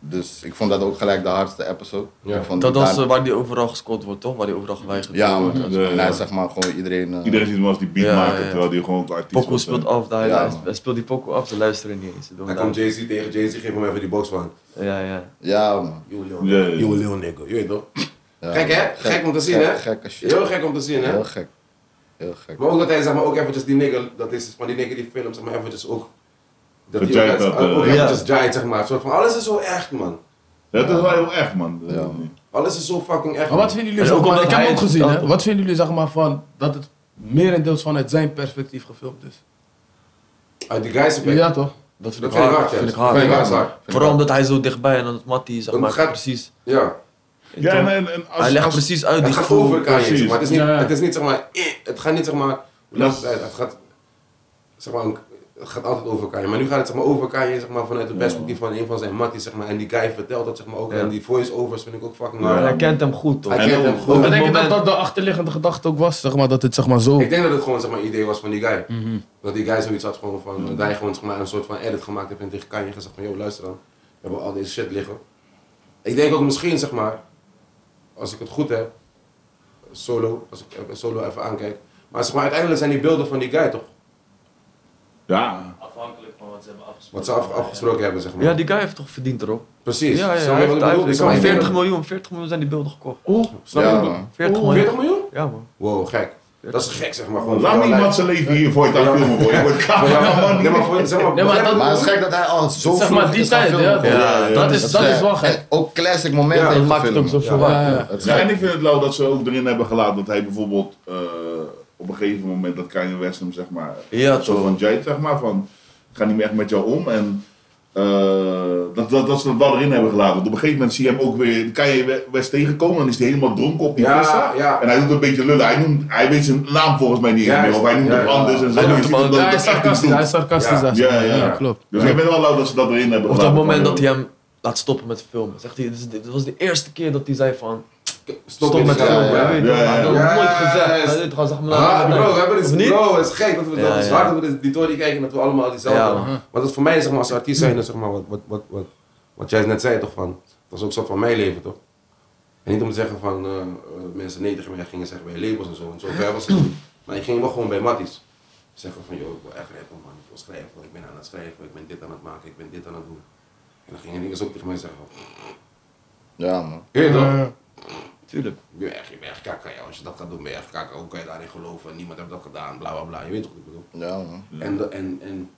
dus ik vond dat ook gelijk de hardste episode. Ja. Ik vond Dat daar- was eh, waar die overal gescot wordt, toch? Waar die overal geweigerd Ja, man. wordt. Ja, En ja. hij zeg maar gewoon iedereen. eh, Iedereen ziet hem als die beat Ja, maken, ja. terwijl die gewoon ook artiest eh. Poco was, speelt hè. af, daar, Ja, hij- man. hij speelt die Poco af, ze luisteren niet eens. Ze doen Dan daar- komt Jay-Z tegen Jay-Z, geef hem even die box van. Ja, ja. Ja, man. You little, Ja, ja, ja. you little nigga. Je weet toch? Ja, Gek, hè? man. Gek om te zien, gek, hè? Gek als shit. Heel gek om te zien, hè? Heel gek. Heel gek. Maar ook dat hij zeg maar ook eventjes die nigger, dat is van die nigger die film, zeg maar eventjes ook. Dat Dat die ook, jive dat, ook eh, eventjes jive, zeg maar. Een soort van, alles is zo echt, man. Dat is wel heel echt, man. Ja. Alles is zo fucking echt. Maar wat man. vinden jullie, En zeg ook maar, omdat ik heb hij hem ook het gezien, hè? vertelt. Wat vinden jullie, zeg maar, van dat het merendeels vanuit zijn perspectief gefilmd is? Uit die guys Ja, ja, toch? Dat Dat vind ik vind ik hard, hard. ja. vind ik Dat vind ik hard. hard. Vooral omdat hij zo dichtbij en dat Mattie, zeg Dat maar, gaat- precies. ja. Ja, en, en, en als, hij legt als- precies uit Het die gaat gevoel. over elkaar heen, precies. zeg maar. Het is niet, Ja, ja. het is niet zeg maar, eh, het gaat niet zeg maar, hoe laat het Dat- uit, het gaat, zeg maar, een- het gaat altijd over elkaar heen. Maar nu gaat het zeg maar over elkaar heen, zeg maar, vanuit het perspectief van een van zijn matties, zeg maar. En die guy vertelt dat, zeg maar, ook. Ja. En die voice-overs vind ik ook fucking Maar hard. hij kent hem goed, toch? Hij En kent ook- hem goed. Op Maar het denk je dat moment- dat de achterliggende gedachte ook was, zeg maar, dat het zeg maar zo... Ik denk dat het gewoon zeg maar, een idee was van die guy. Mhm. Dat die guy zoiets had gewoon van, dat hij gewoon zeg maar, een soort van edit gemaakt heeft en tegen Kanye gezegd van, yo luister dan, we hebben al deze shit liggen. Ik denk ook misschien zeg maar, als ik het goed heb, solo, als ik even- solo even aankijk. Maar zeg maar, uiteindelijk zijn die beelden van die guy toch, Ja, Afhankelijk van wat ze hebben afgesproken. wat ze af- afgesproken hebben zeg maar. Ja, die guy heeft toch verdiend erop? Precies. Ja, ja, Snap je hij wat heeft, ik hij bedoel? heeft Ik kan me 40 voorstellen. miljoen, 40 miljoen zijn die beelden gekocht. Oh, Snap je wat Ja, ik bedoel? man. 40 miljoen. 40 miljoen? Ja, man. Wow, gek. Dat is gek zeg maar. Gewoon laat voor me jouw iemand lijf. zijn leven hier voor je aan filmen, boy. Je wordt Voor kamer. jou- Nee, maar voor- zeg maar, Nee, maar dat- Maar het is gek dat hij al zo Zeg maar, vroeg die is gaan tijd, filmen. ja, Ja, toch? dat is, dat is wel gek. En Ook classic momenten Ja, in dat de maakt het film. ook zo Ja. verwacht. Ja, ja. Het is Ja, en gek. ik vind het lauw dat ze ook erin hebben gelaten dat hij bijvoorbeeld eh, op een gegeven moment dat Kanye West hem zeg maar Ja, zo toch. van Jade zeg maar van ga niet meer echt met jou om en eh, dat, dat, dat ze het wel erin hebben gelaten. Want op een gegeven moment zie je hem ook weer, kan je West tegenkomen, dan is hij helemaal dronken op die Ja, vissen. ja. En hij doet een beetje lullen. Hij, noemt, hij weet zijn naam volgens mij niet eens Ja, meer. Of hij noemt ja, hem ja. anders en zo. Hij Je noemt ziet hem hem anders. dat hij het is echt iets sarcastisch, doet. hij is sarcastisch. Ja. daar. Ja, ja. klopt. Dus ik ben wel lauw dat ze dat erin hebben Of dat gelaten. moment Van, dat hij hem laat stoppen met filmen. Zegt hij, dit, is- dit was de eerste keer dat hij zei van, Stop, stop met met filmen. jou. ja, Ja, weet je, ja, ja. maar dat Ja, had ik nooit ja, gezegd. ja, ja. Hij deed gewoon, zeg maar, Ah, nou, bro, we nou, hebben of dit, niet? bro, het is gek dat we Ja, dat is ja. hard dat we dit- die toren kijken dat we allemaal diezelfde. Ja, hebben. Want dat voor mij zeg maar als artiest zijn, zeg maar wat, wat, wat, wat, wat jij net zei toch van, dat was ook een soort van mijn leven toch? En niet om te zeggen van eh, eh, mensen nee tegen mij gingen zeggen bij labels en zo, en zo ver was het niet. Maar ik ging wel gewoon bij Matties. Zeggen van joh, ik wil echt rappen man, ik wil schrijven, ik ben aan het schrijven, ik ben dit aan het maken, ik ben dit aan het doen. En dan gingen dingen ook tegen mij zeggen van, Ja, man. "Hé, toch? Ja. Tuurlijk. Je bent echt, je bent echt kakker, ja. Als je dat gaat doen, ben je echt kakker. Hoe kan je daarin geloven? Niemand heeft dat gedaan, bla bla bla. Je weet toch wat ik bedoel? Ja, man. En, de- en, en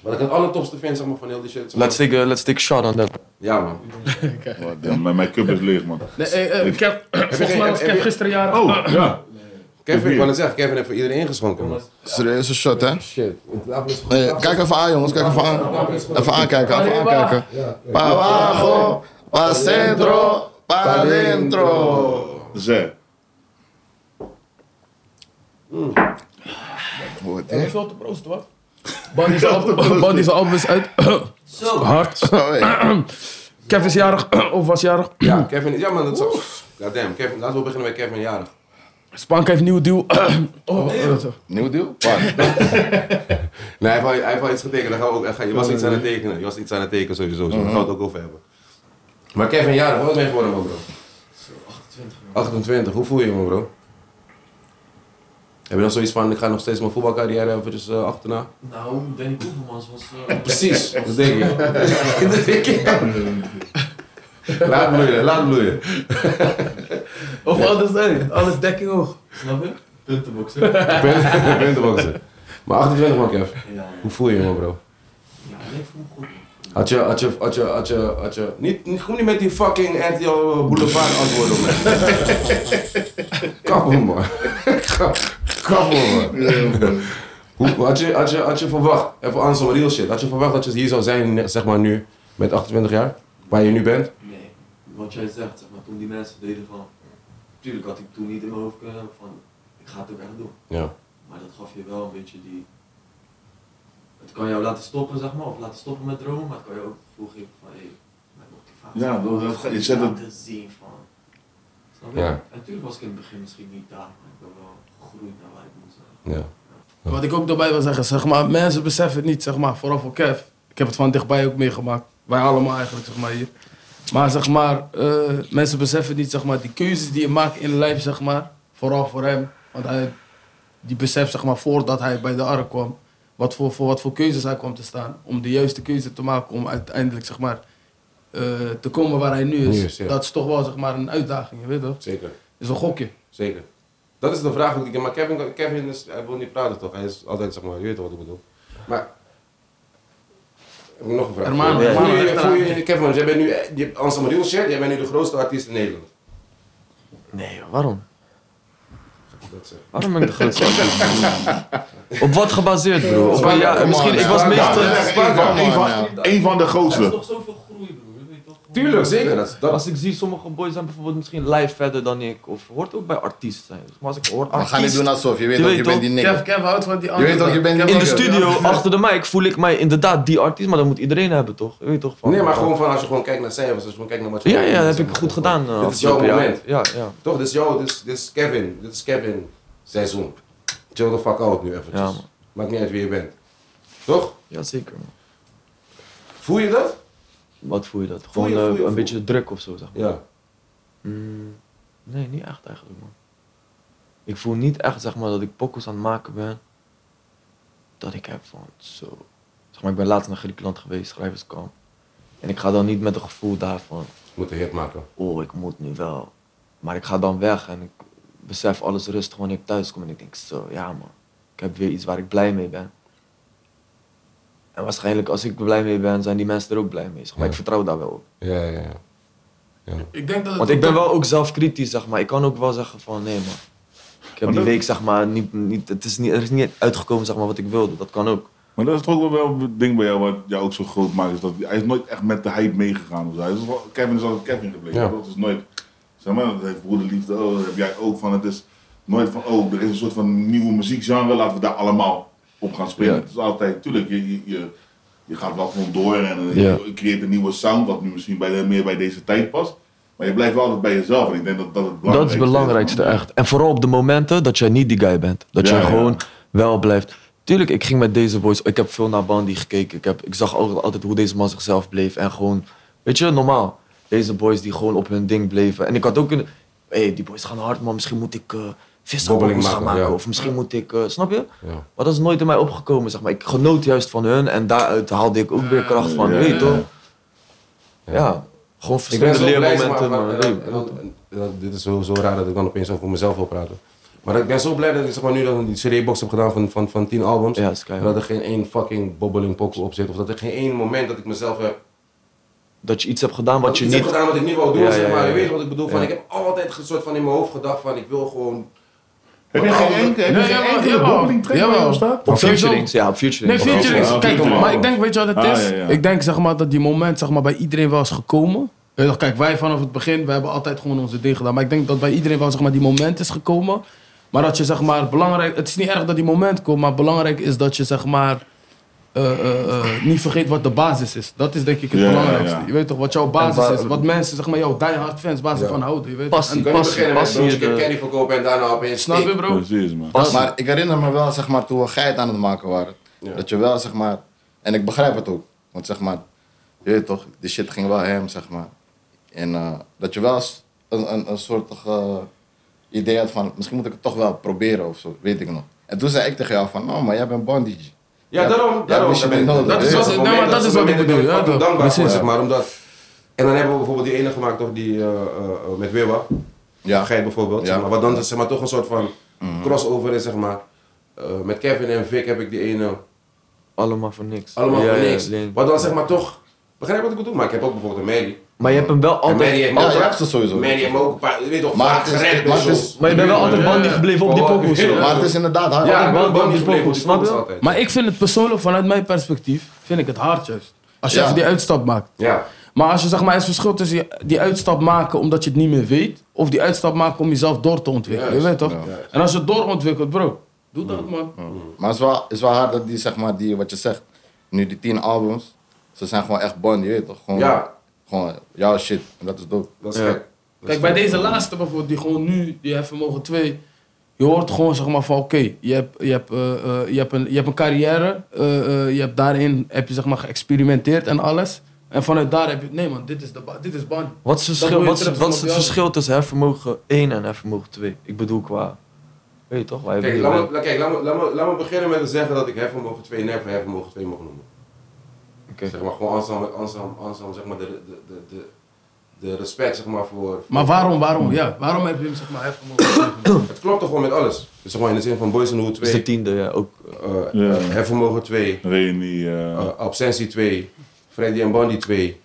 wat ik het allertofste vind zeg maar, van heel die shit. zeg maar- Let's take, a- let's take a shot on that. Ja, man. Wat Ja, dan? Oh, mijn, mijn cup is leeg, man. Nee, eh, eh, ik heb, volgens geen- mij was heb ik je- gisteren jaren. Oh, ja. Kevin, ik wou net zeggen, Kevin heeft voor iedereen ingeschonken. Man. Serieuze shot, hè? Shit. Eh, Het tafel is goed. Nee, kijk even aan, jongens. Kijk even aan. Even aankijken, even aankijken. Ja, ja. Pawago, pa centro, pa dentro. Zeg. Hoort Dat is dit? wel te proosten, hoor. Body's album Body's album is uit. Hard. Zo, hé. Kev is jarig, of was jarig. Ja, Kevin is... Ja, man, dat is God damn, Kevin. Laten we beginnen bij Kevin jarig. Spank heeft nieuw deal. Oh, eh, zo. Nieuw deal? Waar? Nee, hij heeft, al- hij heeft al iets getekend. Dan gaan we ook, echt- je was iets aan het tekenen. Je was iets aan het tekenen sowieso. Dus Daar gaan we het ook over hebben. Maar Kevin jarig, hoe oud ben je geworden, man, bro? 28, hoe voel je je, man, bro? Heb je dan zoiets van, ik ga nog steeds mijn voetbalcarrière eventjes eh, achterna? Nou, Danny Koevermans was... eh, Precies, dat denk ik. dat denk ik. Laat bloeien, laat bloeien. Of alles, nee, alles dekking hoog. Snap je? Puntenboxer. Punt- Puntenboxen. Maar 28 man, Kev. Ja, Hoe voel je je, man, bro? ik voel me goed. Had je, had je, had je, had je, had je... Niet, niet, gewoon niet met die fucking RTL Boulevard antwoorden op mij. Kappen, man. Kappen, man. Hoe, had, je, had, je, had je verwacht, even anders dan real shit, had je verwacht dat je hier zou zijn, zeg maar nu, met 28 jaar, waar je nu bent? Nee, wat jij zegt, zeg maar, toen die mensen deden van... Tuurlijk had ik toen niet in mijn hoofd kunnen hebben van... Ik ga het ook echt doen. Ja. Maar dat gaf je wel een beetje die... Het kan jou laten stoppen, zeg maar, of laten stoppen met dromen, maar het kan je ook gevoel geven van, hé, hey, mijn motivatie. Ja, dat- dat- Gewoon je zet het- laten zien van... Snap je? Ja. En natuurlijk was ik in het begin misschien niet daar, maar ik ben wel gegroeid naar waar ik moet zijn. Ja. Wat ik ook daarbij wil zeggen, zeg maar, mensen beseffen het niet, zeg maar, vooral voor Kev. Ik heb het van dichtbij ook meegemaakt. Wij allemaal eigenlijk, zeg maar, hier. Maar zeg maar, eh, mensen beseffen niet, zeg maar, die keuzes die je maakt in het lijf, zeg maar. Vooral voor hem. Want hij, die beseft, zeg maar, voordat hij bij de ark kwam, wat voor, voor wat voor keuzes hij kwam te staan. Om de juiste keuze te maken om uiteindelijk, zeg maar, eh, te komen waar hij nu is. Nu is, ja. Dat is toch wel, zeg maar, een uitdaging, je weet toch? Zeker, is een gokje. zeker. Dat is de vraag ook die ik... Maar Kevin, Kevin is, hij wil niet praten toch? Hij is altijd, zeg maar, je weet toch wat ik bedoel. Maar... Heb ik nog een vraag? Hermano, Voel je- Hermano, voel je- echt voel je- Kevin, want jij bent nu, eh, je, Anselm Riel shit, jij bent nu de grootste artiest in Nederland. Nee, waarom? Dat zeg. Waarom ben ik de grootste? Op wat gebaseerd, bro? Op een jaar- Come on, misschien, ik man. was Ja, meestal... ja, ja. Eén van- man, één van- ja. één van de Er is grootste. nog zoveel groei, broer. Je weet toch? Tuurlijk, zeker. Dat, dat, Als ik zie, sommige boys zijn bijvoorbeeld misschien live verder dan ik. Of hoort ook bij artiest zijn. Dus maar als ik hoor We artiest... gaan niet doen alsof je weet Je dat weet je bent toch? die Kev, nigger. Kev houdt van die Je andere. weet toch, je bent die In de nigger. studio, achter de mic, voel ik mij inderdaad die artiest. Maar dat moet iedereen hebben, toch? Je weet toch? Van, Nee, maar gewoon van als je gewoon kijkt naar cijfers, als je gewoon kijkt naar wat je... Ja, ja, dat heb ik goed gedaan. eh, dit is jouw afgelopen jaar. moment. Ja, ja. Toch, dit is jou, dit is, dit is Kevin, dit is Kevin seizoen. Chill the fuck out nu eventjes. Ja, man. Maakt niet uit wie je bent. Toch? Ja, zeker. Man. Voel je dat? Wat voel je dat? Voel Gewoon je- eh, voel je- een voel- beetje druk of zo, zeg maar. Ja. Mm, nee, niet echt eigenlijk, man. Ik voel niet echt, zeg maar, dat ik pokkels aan het maken ben. Dat ik heb van, zo. Zeg maar, ik ben laatst naar Griekenland geweest, schrijverskamp. En ik ga dan niet met een gevoel daarvan, Ik moet een hit maken. oh, ik moet nu wel. Maar ik ga dan weg en ik besef alles rustig wanneer ik thuis kom. En ik denk, zo, ja man, ik heb weer iets waar ik blij mee ben. En waarschijnlijk, als ik er blij mee ben, zijn die mensen er ook blij mee. Zeg maar Ja. ik vertrouw daar wel op. Ja, ja, ja. Ik denk dat het Want ik ben wel ook zelfkritisch, zeg maar. Ik kan ook wel zeggen van, nee man. Ik heb die week, zeg maar, niet, niet, het is niet, er is niet uitgekomen, zeg maar, wat ik wilde. Dat kan ook. Maar dat is toch ook wel een ding bij jou wat jou ook zo groot maakt. Is dat hij is nooit echt met de hype meegegaan. Of zo. Hij is wel- Kevin is altijd Kevin gebleven. Ja. Dat is nooit, zeg maar, dat heeft broederliefde, oh, dat heb jij ook van. Het is nooit van, oh, er is een soort van nieuwe muziekgenre, laten we daar allemaal op gaan spelen. Ja. Het is altijd, tuurlijk, je, je, je, je gaat wel gewoon door en eh, Ja. je creëert een nieuwe sound, wat nu misschien bij de, meer bij deze tijd past. Maar je blijft wel altijd bij jezelf en ik denk dat dat het belangrijkste Dat is het belangrijkste, echt. En vooral op de momenten dat jij niet die guy bent. Dat Ja, jij ja. gewoon wel blijft. Tuurlijk, ik ging met deze boys. Ik heb veel naar Bandy gekeken. Ik, heb, ik zag al- altijd hoe deze man zichzelf bleef. En gewoon, weet je, normaal. Deze boys die gewoon op hun ding bleven. En ik had ook kunnen. Hé, hey, die boys gaan hard, maar misschien moet ik eh vissenbobbels Bobbeling gaan maken, maken. ja. Of misschien moet ik. eh, snap je? Ja. Maar dat is nooit in mij opgekomen, zeg maar. Ik genoot juist van hun en daaruit haalde ik ook weer kracht van. Ja, weet je ja, toch? Ah, ja. Ja. gewoon Ik ben verschillende zo blij, zeg maar, leermomenten. van- maar, en hey, dan- en dan- en dan- Dit is zo, zo raar dat ik dan opeens over mezelf wil praten. Maar ik ben zo blij dat ik zeg maar, nu dan die CD-box heb gedaan van, van, van 10 albums. Ja, dat is keihard. en dat er geen één fucking bobbeling pokkel op zit. Of dat er geen één moment dat ik mezelf heb. dat je iets hebt gedaan dat wat ik je iets heb niet gedaan wat ik niet wou doen. Ja, zeg ja, maar. Je ja, ja. weet wat ik bedoel. Van, Ja. ik heb altijd een soort van in mijn hoofd gedacht: van ik wil gewoon. Heb je geen enkele, heb je Nee, geen jawel, enkele jawel. bobbeling track Jawel. bij jou staat? Op Sowieso- featurings, ja, op featurings. Nee, featurings. ja, Kijk, featuring. maar ik denk, weet je wat het Ah, is? ja, ja. Ik denk zeg maar, dat die moment zeg maar, bij iedereen wel is gekomen. Weet je toch, Kijk, wij vanaf het begin, we hebben altijd gewoon onze ding gedaan. Maar ik denk dat bij iedereen wel zeg maar, die moment is gekomen. Maar dat je zeg maar, belangrijk... Het is niet erg dat die moment komt, maar belangrijk is dat je zeg maar... eh, eh, eh, niet vergeet wat de basis is. Dat is denk ik het Ja, ja, belangrijkste. ja. Je weet toch, wat jouw basis En wa- is. Wat mensen, zeg maar, jouw diehard fans, waar ze Ja. van houden. Je weet Passie. Ik toch? kan niet Passie, beginnen met passie, eh, broodje kip de- candy verkopen en daarna opeens. En, snap je, ik- bro? Precies, man. Pas- Maar ik herinner me wel, zeg maar, toen we geit aan het maken waren. Ja. Dat je wel, zeg maar, en ik begrijp het ook. Want zeg maar, je weet toch, die shit ging wel hem, zeg maar. En eh, dat je wel eens een, een, een soort eh, idee had van, misschien moet ik het toch wel proberen of zo, weet ik nog. En toen zei ik tegen jou van, oh, maar jij bent Bondi. Ja, daarom. Ja, daarom. wist je niet nodig. dat is Ja, wat, ja. nou, Nee, maar dat is wat ik bedoel, ja, fucking toch. dankbaar voor, Precies. zeg maar. Omdat, en dan hebben we bijvoorbeeld die ene gemaakt, toch, die eh, eh, eh, met Wewa. Ja, Geit bijvoorbeeld. Ja. Mhm. Zeg maar, wat dan zeg maar, toch een soort van crossover is, zeg maar. Eh, met Kevin en Vic heb ik die ene. Allemaal voor niks. Allemaal Ja, voor ja, niks. alleen- wat dan zeg maar toch. Begrijp je wat ik bedoel? Maar ik heb ook bijvoorbeeld een Mary. Maar je hebt hem wel En Mary altijd. heeft me Ah, Ja, ook- je hebt ze sowieso. Mary heeft me ook een paar. Je weet toch, Maar vaak het is- gered maar bij het is- shows. Maar je bent wel altijd Ja, ja, bandy ja. gebleven op die eh. Oh, poko's. ja. joh. maar het is inderdaad hard. Ja, altijd Bandy Bandy gebleven, snap je? die altijd. Maar ik vind het persoonlijk, vanuit mijn perspectief, vind ik het hard juist. Als je Ja. even die uitstap maakt. Ja. Maar als je zeg maar, er is verschil tussen die, die uitstap maken omdat je het niet meer weet, of die uitstap maken om jezelf door te ontwikkelen. Juist, je weet toch? ja. En als je het doorontwikkelt, bro, doe dat man. Maar het is wel, het is wel hard dat die, zeg maar, die, wat je zegt, nu die tien albums, ze zijn gewoon echt Bondi, je weet toch? Gewoon, Ja. gewoon jouw shit, en dat is dope. Dat is Ja. gek. Dat is Kijk, bij gek. deze laatste bijvoorbeeld, die gewoon nu, die heeft vermogen twee. Je hoort gewoon zeg maar van oké, je, hebt, je, hebt, eh, eh, je, hebt een- je hebt een carrière, eh, eh, je hebt daarin heb je zeg maar geëxperimenteerd en alles. En vanuit daar heb je, nee man, dit is, de, ba- dit is Bondi. Wat is het Dat verschil, moet je wat is, terugkomen wat is op het jou. verschil tussen hefvermogen 1 en hefvermogen 2? Ik bedoel qua. Weet je toch? Wij hebben Kijk, hier laat wel- me, kijk laat, me, laat, me, laat me beginnen met te zeggen dat ik hefvermogen 2 en hefvermogen 2 mag noemen. Oké. Zeg maar gewoon Ansam, Ansam, Ansam zeg maar de, de, de, de, de respect zeg maar voor... Maar waarom, Hmm. waarom, ja, waarom heb je hem zeg maar even mogen Het klopt toch gewoon met alles. Dus zeg maar in de zin van Boys in the Hood Dus de 2, tiende, ja, ook. eh Ja. hefvermogen 2, Reni, eh, eh, absentie 2, Freddy en Bandy 2.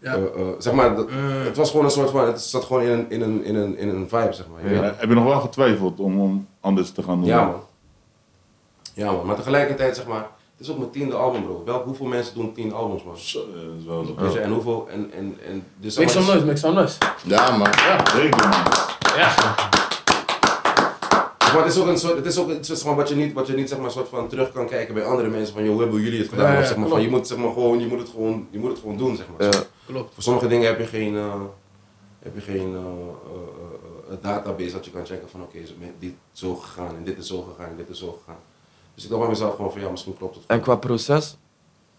Ja. Eh, eh, zeg maar, dat- het was gewoon een soort van, het zat gewoon in een, in een, in een, in een vibe zeg maar. Je weet eh, heb je nog wel getwijfeld om, om anders te gaan doen? Ja, man. Ja, man. Maar tegelijkertijd, zeg maar, het is ook mijn tiende album, bro. Wel, hoeveel mensen doen tien albums, man? Zo, eh, dat is wel zo. Weet je, Dus en hoeveel, en, en, en... Dus, zeg Make maar, some noise, make some noise. Ja, man. Zeker, man. Maar het is ook een soort, het is ook iets zeg maar, wat je niet, wat je niet zeg maar, soort van terug kan kijken bij andere mensen. Van, joh, hoe hebben jullie het gedaan? Ja, ja, of, zeg maar, van, klopt. je moet, zeg maar, gewoon, je moet het gewoon, je moet het gewoon doen, zeg maar. Ja. Klopt. Voor sommige dingen heb je geen, eh, heb je geen eh, eh, eh, eh, database dat je kan checken van, oké, is het met dit zo gegaan, en dit is zo gegaan, en dit is zo gegaan. Dus ik dacht bij mezelf gewoon van, ja, misschien klopt het. En qua proces,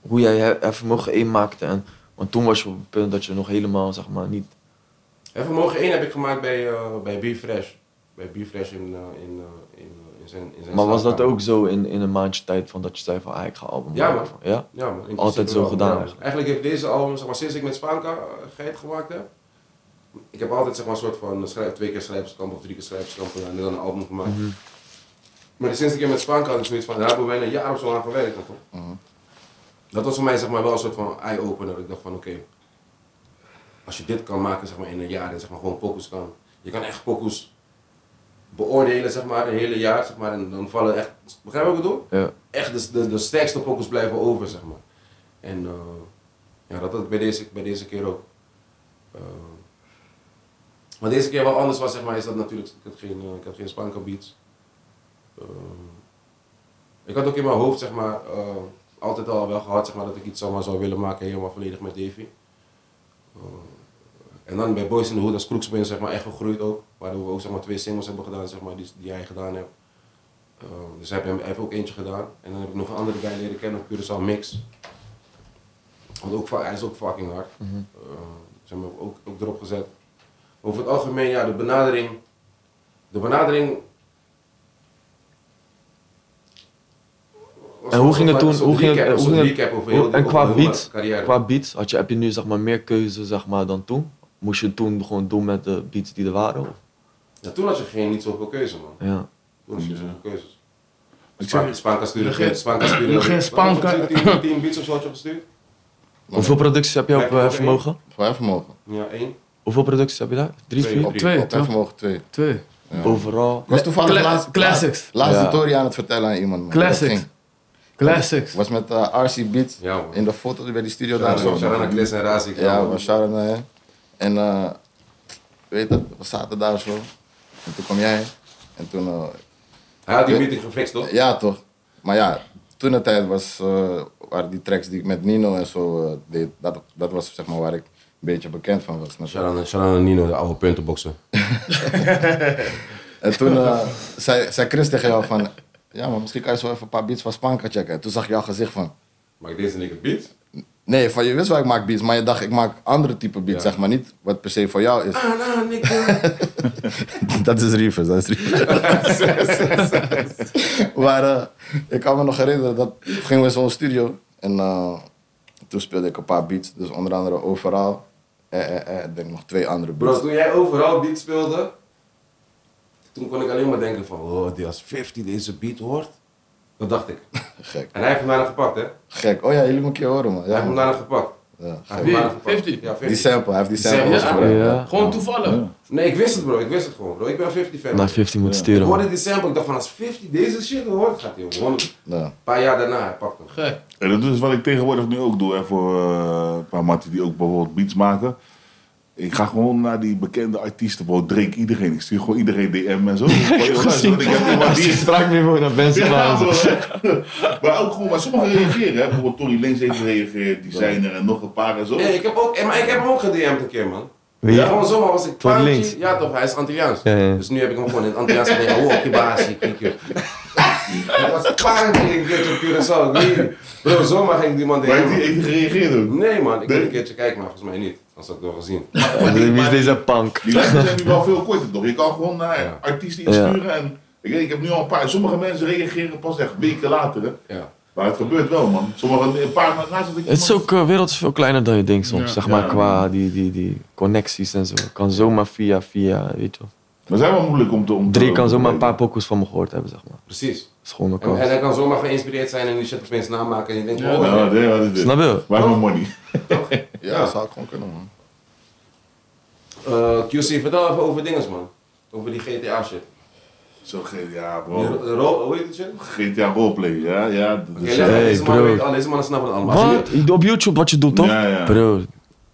hoe jij he- hefvermogen 1 maakte. En, want toen was je op het punt dat je nog helemaal, zeg maar, niet. En vermogen 1 heb ik gemaakt bij, eh, bij B-Fresh. Bij B-Fresh in, eh, in, eh, in, eh, in zijn, in zijn Maar was dat slaapkamer. ook zo in, in een maandje tijd van dat je zei van ah, ik ga album Ja, maken? man. Ja? Ja, man, in Altijd principe zo wel, gedaan ja. eigenlijk. heeft deze album, zeg maar, sinds ik met Spaanka eh, Geit gemaakt heb, ik heb altijd zeg maar, een soort van schrijf, twee keer schrijverskamp of drie keer schrijverskamp gedaan en dan een album gemaakt. Mhm. Maar sinds ik hier met Spaanka had ik zoiets van, daar hebben wij een jaar of zo aan gewerkt. Toch? Mhm. Dat was voor mij zeg maar, wel een soort van eye-opener. Ik dacht van oké, als je dit kan maken zeg maar, in een jaar en zeg maar, gewoon pokus kan. Je kan echt pokus beoordelen, zeg maar, een hele jaar, zeg maar, en dan vallen echt, begrijp je wat ik bedoel? Ja. Echt de, de, de sterkste pokus blijven over, zeg maar. En eh, ja, dat had ik bij deze, bij deze keer ook. Eh, wat deze keer wel anders was, zeg maar, is dat natuurlijk, ik had geen, eh, ik had geen Spanka beats. Eh, ik had ook in mijn hoofd, zeg maar, eh, altijd al wel gehad, zeg maar, dat ik iets zomaar zou willen maken, helemaal volledig met Davy. Eh, en dan bij Boys in the Hood als Kroeks ben je zeg maar, echt gegroeid ook. Waardoor we ook zeg maar, twee singles hebben gedaan zeg maar, die, die hij gedaan heeft. Eh, dus hij heeft, hem- hij heeft ook eentje gedaan. En dan heb ik nog een andere guy leren kennen op Curaçao Mix. Want ook, fa- hij is ook fucking hard. Mhm. Eh, zeg maar, ook, ook erop gezet. Over het algemeen, ja, de benadering. De benadering. was En hoe ging het een toen- soort hoe ging het- recap, een hoe soort ging het- recap over hoe- heel- en over qua heel mijn beats? carrière. Qua beats, had je, heb je nu zeg maar, meer keuze zeg maar, dan toen? Moest je toen gewoon doen met de beats die er waren? Of? Ja, toen had je geen, niet zoveel keuze, man. Ja. Toen had je niet Ja. zoveel keuzes. Ik Span- zeg, Spanka stuurde Nog geen- geen Spanka stuurde. nog geen Wat Spanka. was het, 10 10 beats of zo had je gestuurd? Hoeveel producties heb je op Heb je ook eh, één? vermogen? Voor mijn vermogen. Ja, één. Hoeveel producties heb je daar? Drie, Twee. vier? Op, Twee, op mijn toch? vermogen twee. Twee. Ja. Overal. Ik was toevallig Cla- laatst, classics. laatst Ja. een story aan het vertellen aan iemand. man. Classics. Dat ging. Classics. was met eh, RC Beats Ja, man. in de foto die bij die studio daar. zo. Sharana Kles en Razik. Ja, man. we Sharon en hij. En eh, weet het, we zaten daar zo. En toen kwam jij. En toen, eh, Hij had die meeting gefixt, toch? ja toch. Maar ja, toen de tijd was, eh, waren die tracks die ik met Nino en zo eh, deed, dat, dat was zeg maar waar ik een beetje bekend van was. natuurlijk. Sharana, Sharana Nino, de oude puntenboxer. En toen eh, zei, zei Chris tegen jou van, ja maar misschien kan je zo even een paar beats van Spanka checken. En toen zag ik jouw gezicht van, Maak deze niet een beat? nee, van je wist wel ik maak beats, maar je dacht ik maak andere type beats, Ja. zeg maar niet wat per se voor jou is. Ah, nou, niks. Dat is Reefers, dat is Reefers. maar eh, ik kan me nog herinneren, dat gingen we in zo'n studio. En eh, toen speelde ik een paar beats, dus onder andere Overal. Eh, eh, eh, ik denk nog twee andere beats. Bro, toen jij overal beat speelde, toen kon ik alleen maar denken van, oh, die als 50 deze beat hoort. Dat dacht ik. Gek, En hij heeft hem daarna gepakt, hè? gek. Oh ja, jullie moeten een keer horen, man. Hij Ja, heeft hem man. daarna gepakt. Ja, Hij heeft gek. hem Wie? daarna gepakt. 50? Ja, Die 50. sample, hij heeft die Die sample, sample ja. gebruikt. Ja. Gewoon toevallig. ja. Nee, ik wist het, bro. Ik wist het gewoon, bro. Ik ben 50 fan. Naar 15 moet Ja. Ik sturen. man. hoorde die sample, ik dacht van als 50 deze shit hoort, gaat hij hem 100. Ja. Een paar jaar daarna, hij pakt hem. Gek. En dat is wat ik tegenwoordig nu ook doe hè, voor eh, een paar matten die ook bijvoorbeeld beats maken. Ik ga gewoon naar die bekende artiesten, bijvoorbeeld Drake, iedereen. Ik stuur gewoon iedereen DM en zo. Ik heb gezien. Ik heb iemand Als je die strak nu gewoon naar mensen Ja, gaan. zo, hè. maar ook gewoon, maar sommigen reageren. Hè. Bijvoorbeeld Tony Lins heeft gereageerd, die zijn er en nog een paar en zo. Nee, ik heb, ook, eh, maar ik heb hem ook gedM'd een keer, man. Wie? Ja? Gewoon zomaar was ik Van paantje. links? Ja toch, hij is Antilliaans. Ja, ja. Dus nu heb ik hem gewoon in het Antilliaans gedaan. Oh, kibasi, kikje. Hij was paantje een keertje op Curaçao. ik weet niet. Bro, zomaar ging die man Maar heeft die DM'en. heeft die gereageerd ook? Nee man, ik wil Nee. een keertje kijken, maar volgens mij niet. Anders had ik wel gezien. Ja, Wie is deze punk? Die lijsten zijn nu wel veel korter toch? Je kan gewoon naar Ja. artiesten insturen en ik, weet, ik heb nu al een paar. Sommige mensen reageren pas echt weken later. Hè. Ja. Maar het gebeurt wel man. Sommige een paar maanden naast dat ik. Het is ook, eh, wereld is veel kleiner dan je denkt soms, Ja. zeg maar, Ja. qua die, die, die connecties en zo. kan zomaar via, via, weet je wel. Maar zijn wel moeilijk om te om te- Drie kan zomaar een paar pokoes van me gehoord hebben, zeg maar. Precies. Dat is gewoon een En, en kans. hij kan zomaar geïnspireerd zijn en die shit opeens namaken. En je denkt, Ja, nou, oh, ja, ja, dat is dit. Snap je? Waar is mijn money? ja, dat zou ik gewoon kunnen, man. eh, QC, vertel even over dinges man. Over die GTA shit. Zo GTA Die bro. ro- ro- Hoe heet het shit? GTA roleplay, ja, ja. dat Oké, is- leg uit, deze Hey, mannen bro. weten al, deze mannen snappen het allemaal. Wat? Je- Op YouTube wat je doet, toch? Ja, ja. Bro,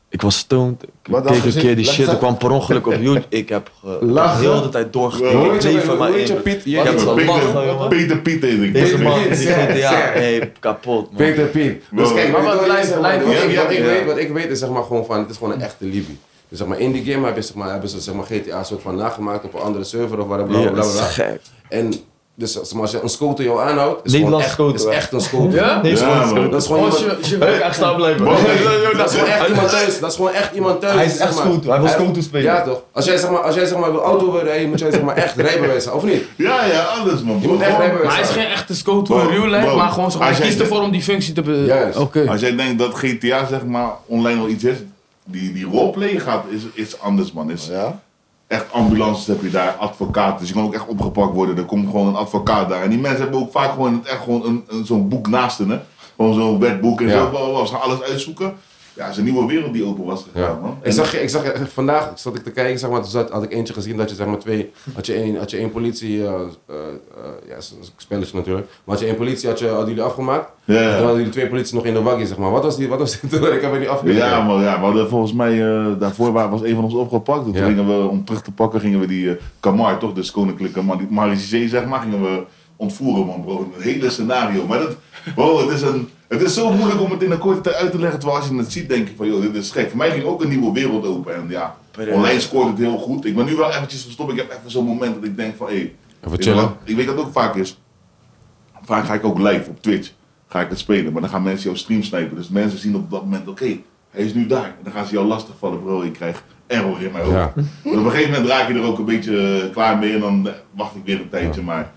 ik was stoned. Ik Wat dan keek een gezien? keer die Leg shit, eens ik kwam per ongeluk op YouTube. Ik heb ge- Lachen. heel de tijd Hoe doorgekeken. Ik heet je- leef er maar hoe heet je in. Piet? Ik heb Wat? zo'n Peter- lachen, jongen. Peter Piet heet ik. Deze man, Piet, die zeg, GTA, zeg. hey, kapot, man. Peter Piet. Wow. Dus kijk, maar Maar wat, wat- luister, lijn- wat, Ja, ik- wat, ja, ik ja. weet, wat ik weet is zeg maar gewoon van, het is gewoon een echte Libby. Dus zeg maar in die game hebben, ze, zeg maar, hebben ze zeg maar, GTA soort van nagemaakt op een andere server of waar bla bla Ja, bla. dat is bla. gek. En dus zeg maar, als je een scoter jou aanhoudt, is gewoon Nederlandse echt, scoter, is hè? echt een scoter. Ja? Nee, Ja, is gewoon man. Dat is gewoon Als iemand, je, als je werk aan staan blijven. Wow. dat is gewoon echt iemand thuis. Dat is gewoon echt iemand thuis. Hij is echt zeg maar. scoter, hij wil scoter spelen. Ja toch? Als jij zeg maar, als jij, zeg maar wil auto willen rijden, moet jij zeg maar echt rijbewijs hebben, of niet? Ja, ja, alles man. Je moet echt Gewoon- rijbewijs Maar hij is hebben. geen echte scout voor Wow. real life, Wow. maar gewoon zo. Hij Als jij- kiest ervoor om die functie te be... Juist. Oké. Als jij denkt dat GTA zeg maar online al iets is, die, die roleplay gaat, is, is anders man. Is Ja? echt ambulances heb je daar, advocaten, dus je kan ook echt opgepakt worden. Er komt gewoon een advocaat daar. En die mensen hebben ook vaak gewoon, in het echt gewoon een, een, zo'n boek naast hen, hè. Gewoon zo'n wetboek en Ja. zo, bla, bla, bla. ze gaan alles uitzoeken. Ja, het is een nieuwe wereld die open was gegaan, Ja. man. Ik zag, ik zag echt vandaag, zat ik te kijken, zeg maar, toen zat, had ik eentje gezien dat je zeg maar twee, had je één, had je één politie, eh, eh, eh, ja, is een spelletje natuurlijk, maar had je één politie, had je, hadden jullie afgemaakt, Ja, en ja. dan hadden jullie twee politie nog in de waggie, zeg maar. Wat was die, wat was die, ik heb het niet afgekeken. Ja, maar ja, we hadden volgens mij, eh, daarvoor wa- was een van ons opgepakt. Toen Ja. gingen we, om terug te pakken, gingen we die eh, Kamar, toch? Dus koninklijke Mar- die Marisé, zeg maar, gingen we ontvoeren, man, bro. Een hele scenario. Maar dat, bro, het is, een, het is zo moeilijk om het in een korte tijd uit te leggen. Terwijl als je het ziet, denk je van, joh, dit is gek. Voor mij ging ook een nieuwe wereld open. En ja, online scoort het heel goed. Ik ben nu wel eventjes gestopt. Ik heb even zo'n moment dat ik denk van, hé. Hey, Even weet je chillen. wat? Ik weet dat het ook vaak is. Vaak ga ik ook live op Twitch. Ga ik het spelen. Maar dan gaan mensen jouw stream snipen. Dus mensen zien op dat moment, oké, hij is nu daar. En dan gaan ze jou lastigvallen, bro. Ik krijg error in mijn hoofd. Ja. Maar op een gegeven moment raak je er ook een beetje eh, klaar mee. En dan eh, wacht ik weer een tijdje. Maar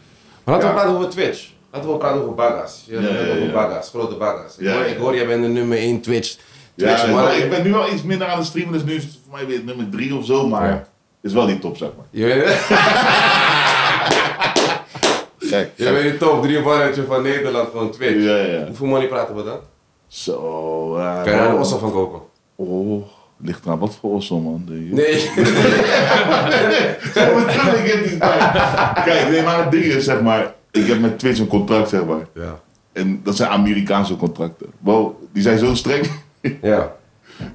Maar laten we Ja. praten over Twitch. Laten we praten over bagas. Je Ja, hebt het ja, over ja. bagas, grote bagas. Ik, Ja, hoor, ja. ik hoor, jij bent de nummer 1 Twitch. Twitch, ja, man. maar ik ben nu wel iets minder aan het streamen. Dus nu is het voor mij weer nummer drie of zo. Maar Ja. is wel die top, zeg maar. Je bent, Gek. je bent de top 3 mannetje van Nederland van Twitch. Ja, ja. Hoeveel money praten we dan? Zo. eh, Kan je daar een ossel van kopen? Oh, ligt eraan wat voor ossel, man. Die- Nee. Ja, maar tuurlijk heb je die tijd. Kijk, nee, maar het ding is, zeg maar, ik heb met Twitch een contract, zeg maar. Ja. En dat zijn Amerikaanse contracten. Wow, die zijn zo streng. ja.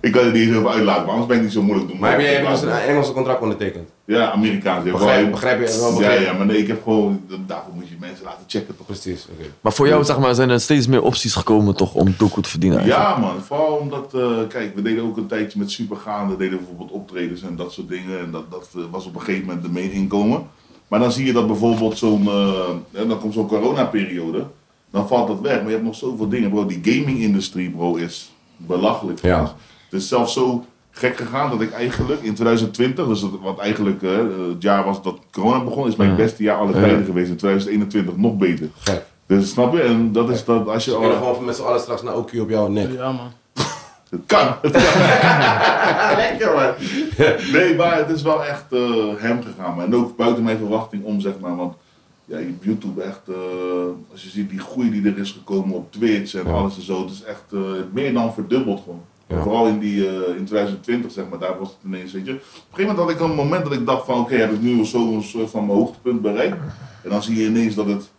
Ik kan het niet eens over uitlaten, maar anders ben ik niet zo moeilijk te doen. Maar heb jij heb je dus een Engelse contract ondertekend? Ja, Amerikaans. Ja, Begrijp, wel- begrijp je? Wel ja, begrijp. ja, maar nee, ik heb gewoon... Daarvoor moet je mensen laten checken, toch? Precies, oké. Maar voor jou zeg maar, zijn er steeds meer opties gekomen toch om doekoe te verdienen. Ja, man. Vooral omdat, eh, kijk, we deden ook een tijdje met supergaande, deden we bijvoorbeeld optredens en dat soort dingen. En dat, dat eh, was op een gegeven moment de main inkomen. Maar dan zie je dat bijvoorbeeld zo'n, eh, hè, dan komt zo'n coronaperiode, dan valt dat weg. Maar je hebt nog zoveel dingen, bro. Die gaming-industrie, bro, is belachelijk. Ja. gast. Het is zelfs zo gek gegaan dat ik eigenlijk in 2020, dus dat- wat eigenlijk eh, het jaar was dat corona begon, is mijn Ja. beste jaar alle Mm. Ja. tijden geweest. In 2021 nog beter. Gek. Dus snap je? En dat is dat als je We al... Dus kunnen gewoon met z'n allen straks naar OQ op jouw nek. Ja, man. Het kan. Het kan. Lekker man. Nee, maar het is wel echt eh, hem gegaan. man. En ook buiten mijn verwachting om, zeg maar. Want ja, YouTube echt, eh, als je ziet die groei die er is gekomen op Twitch en Ja. alles en zo. Het is echt eh, meer dan verdubbeld gewoon. Ja. Vooral in, die, eh, in 2020, zeg maar, daar was het ineens, weet je. Op een gegeven moment had ik een moment dat ik dacht van, oké, heb ik nu zo'n soort van mijn hoogtepunt bereikt? En dan zie je ineens dat het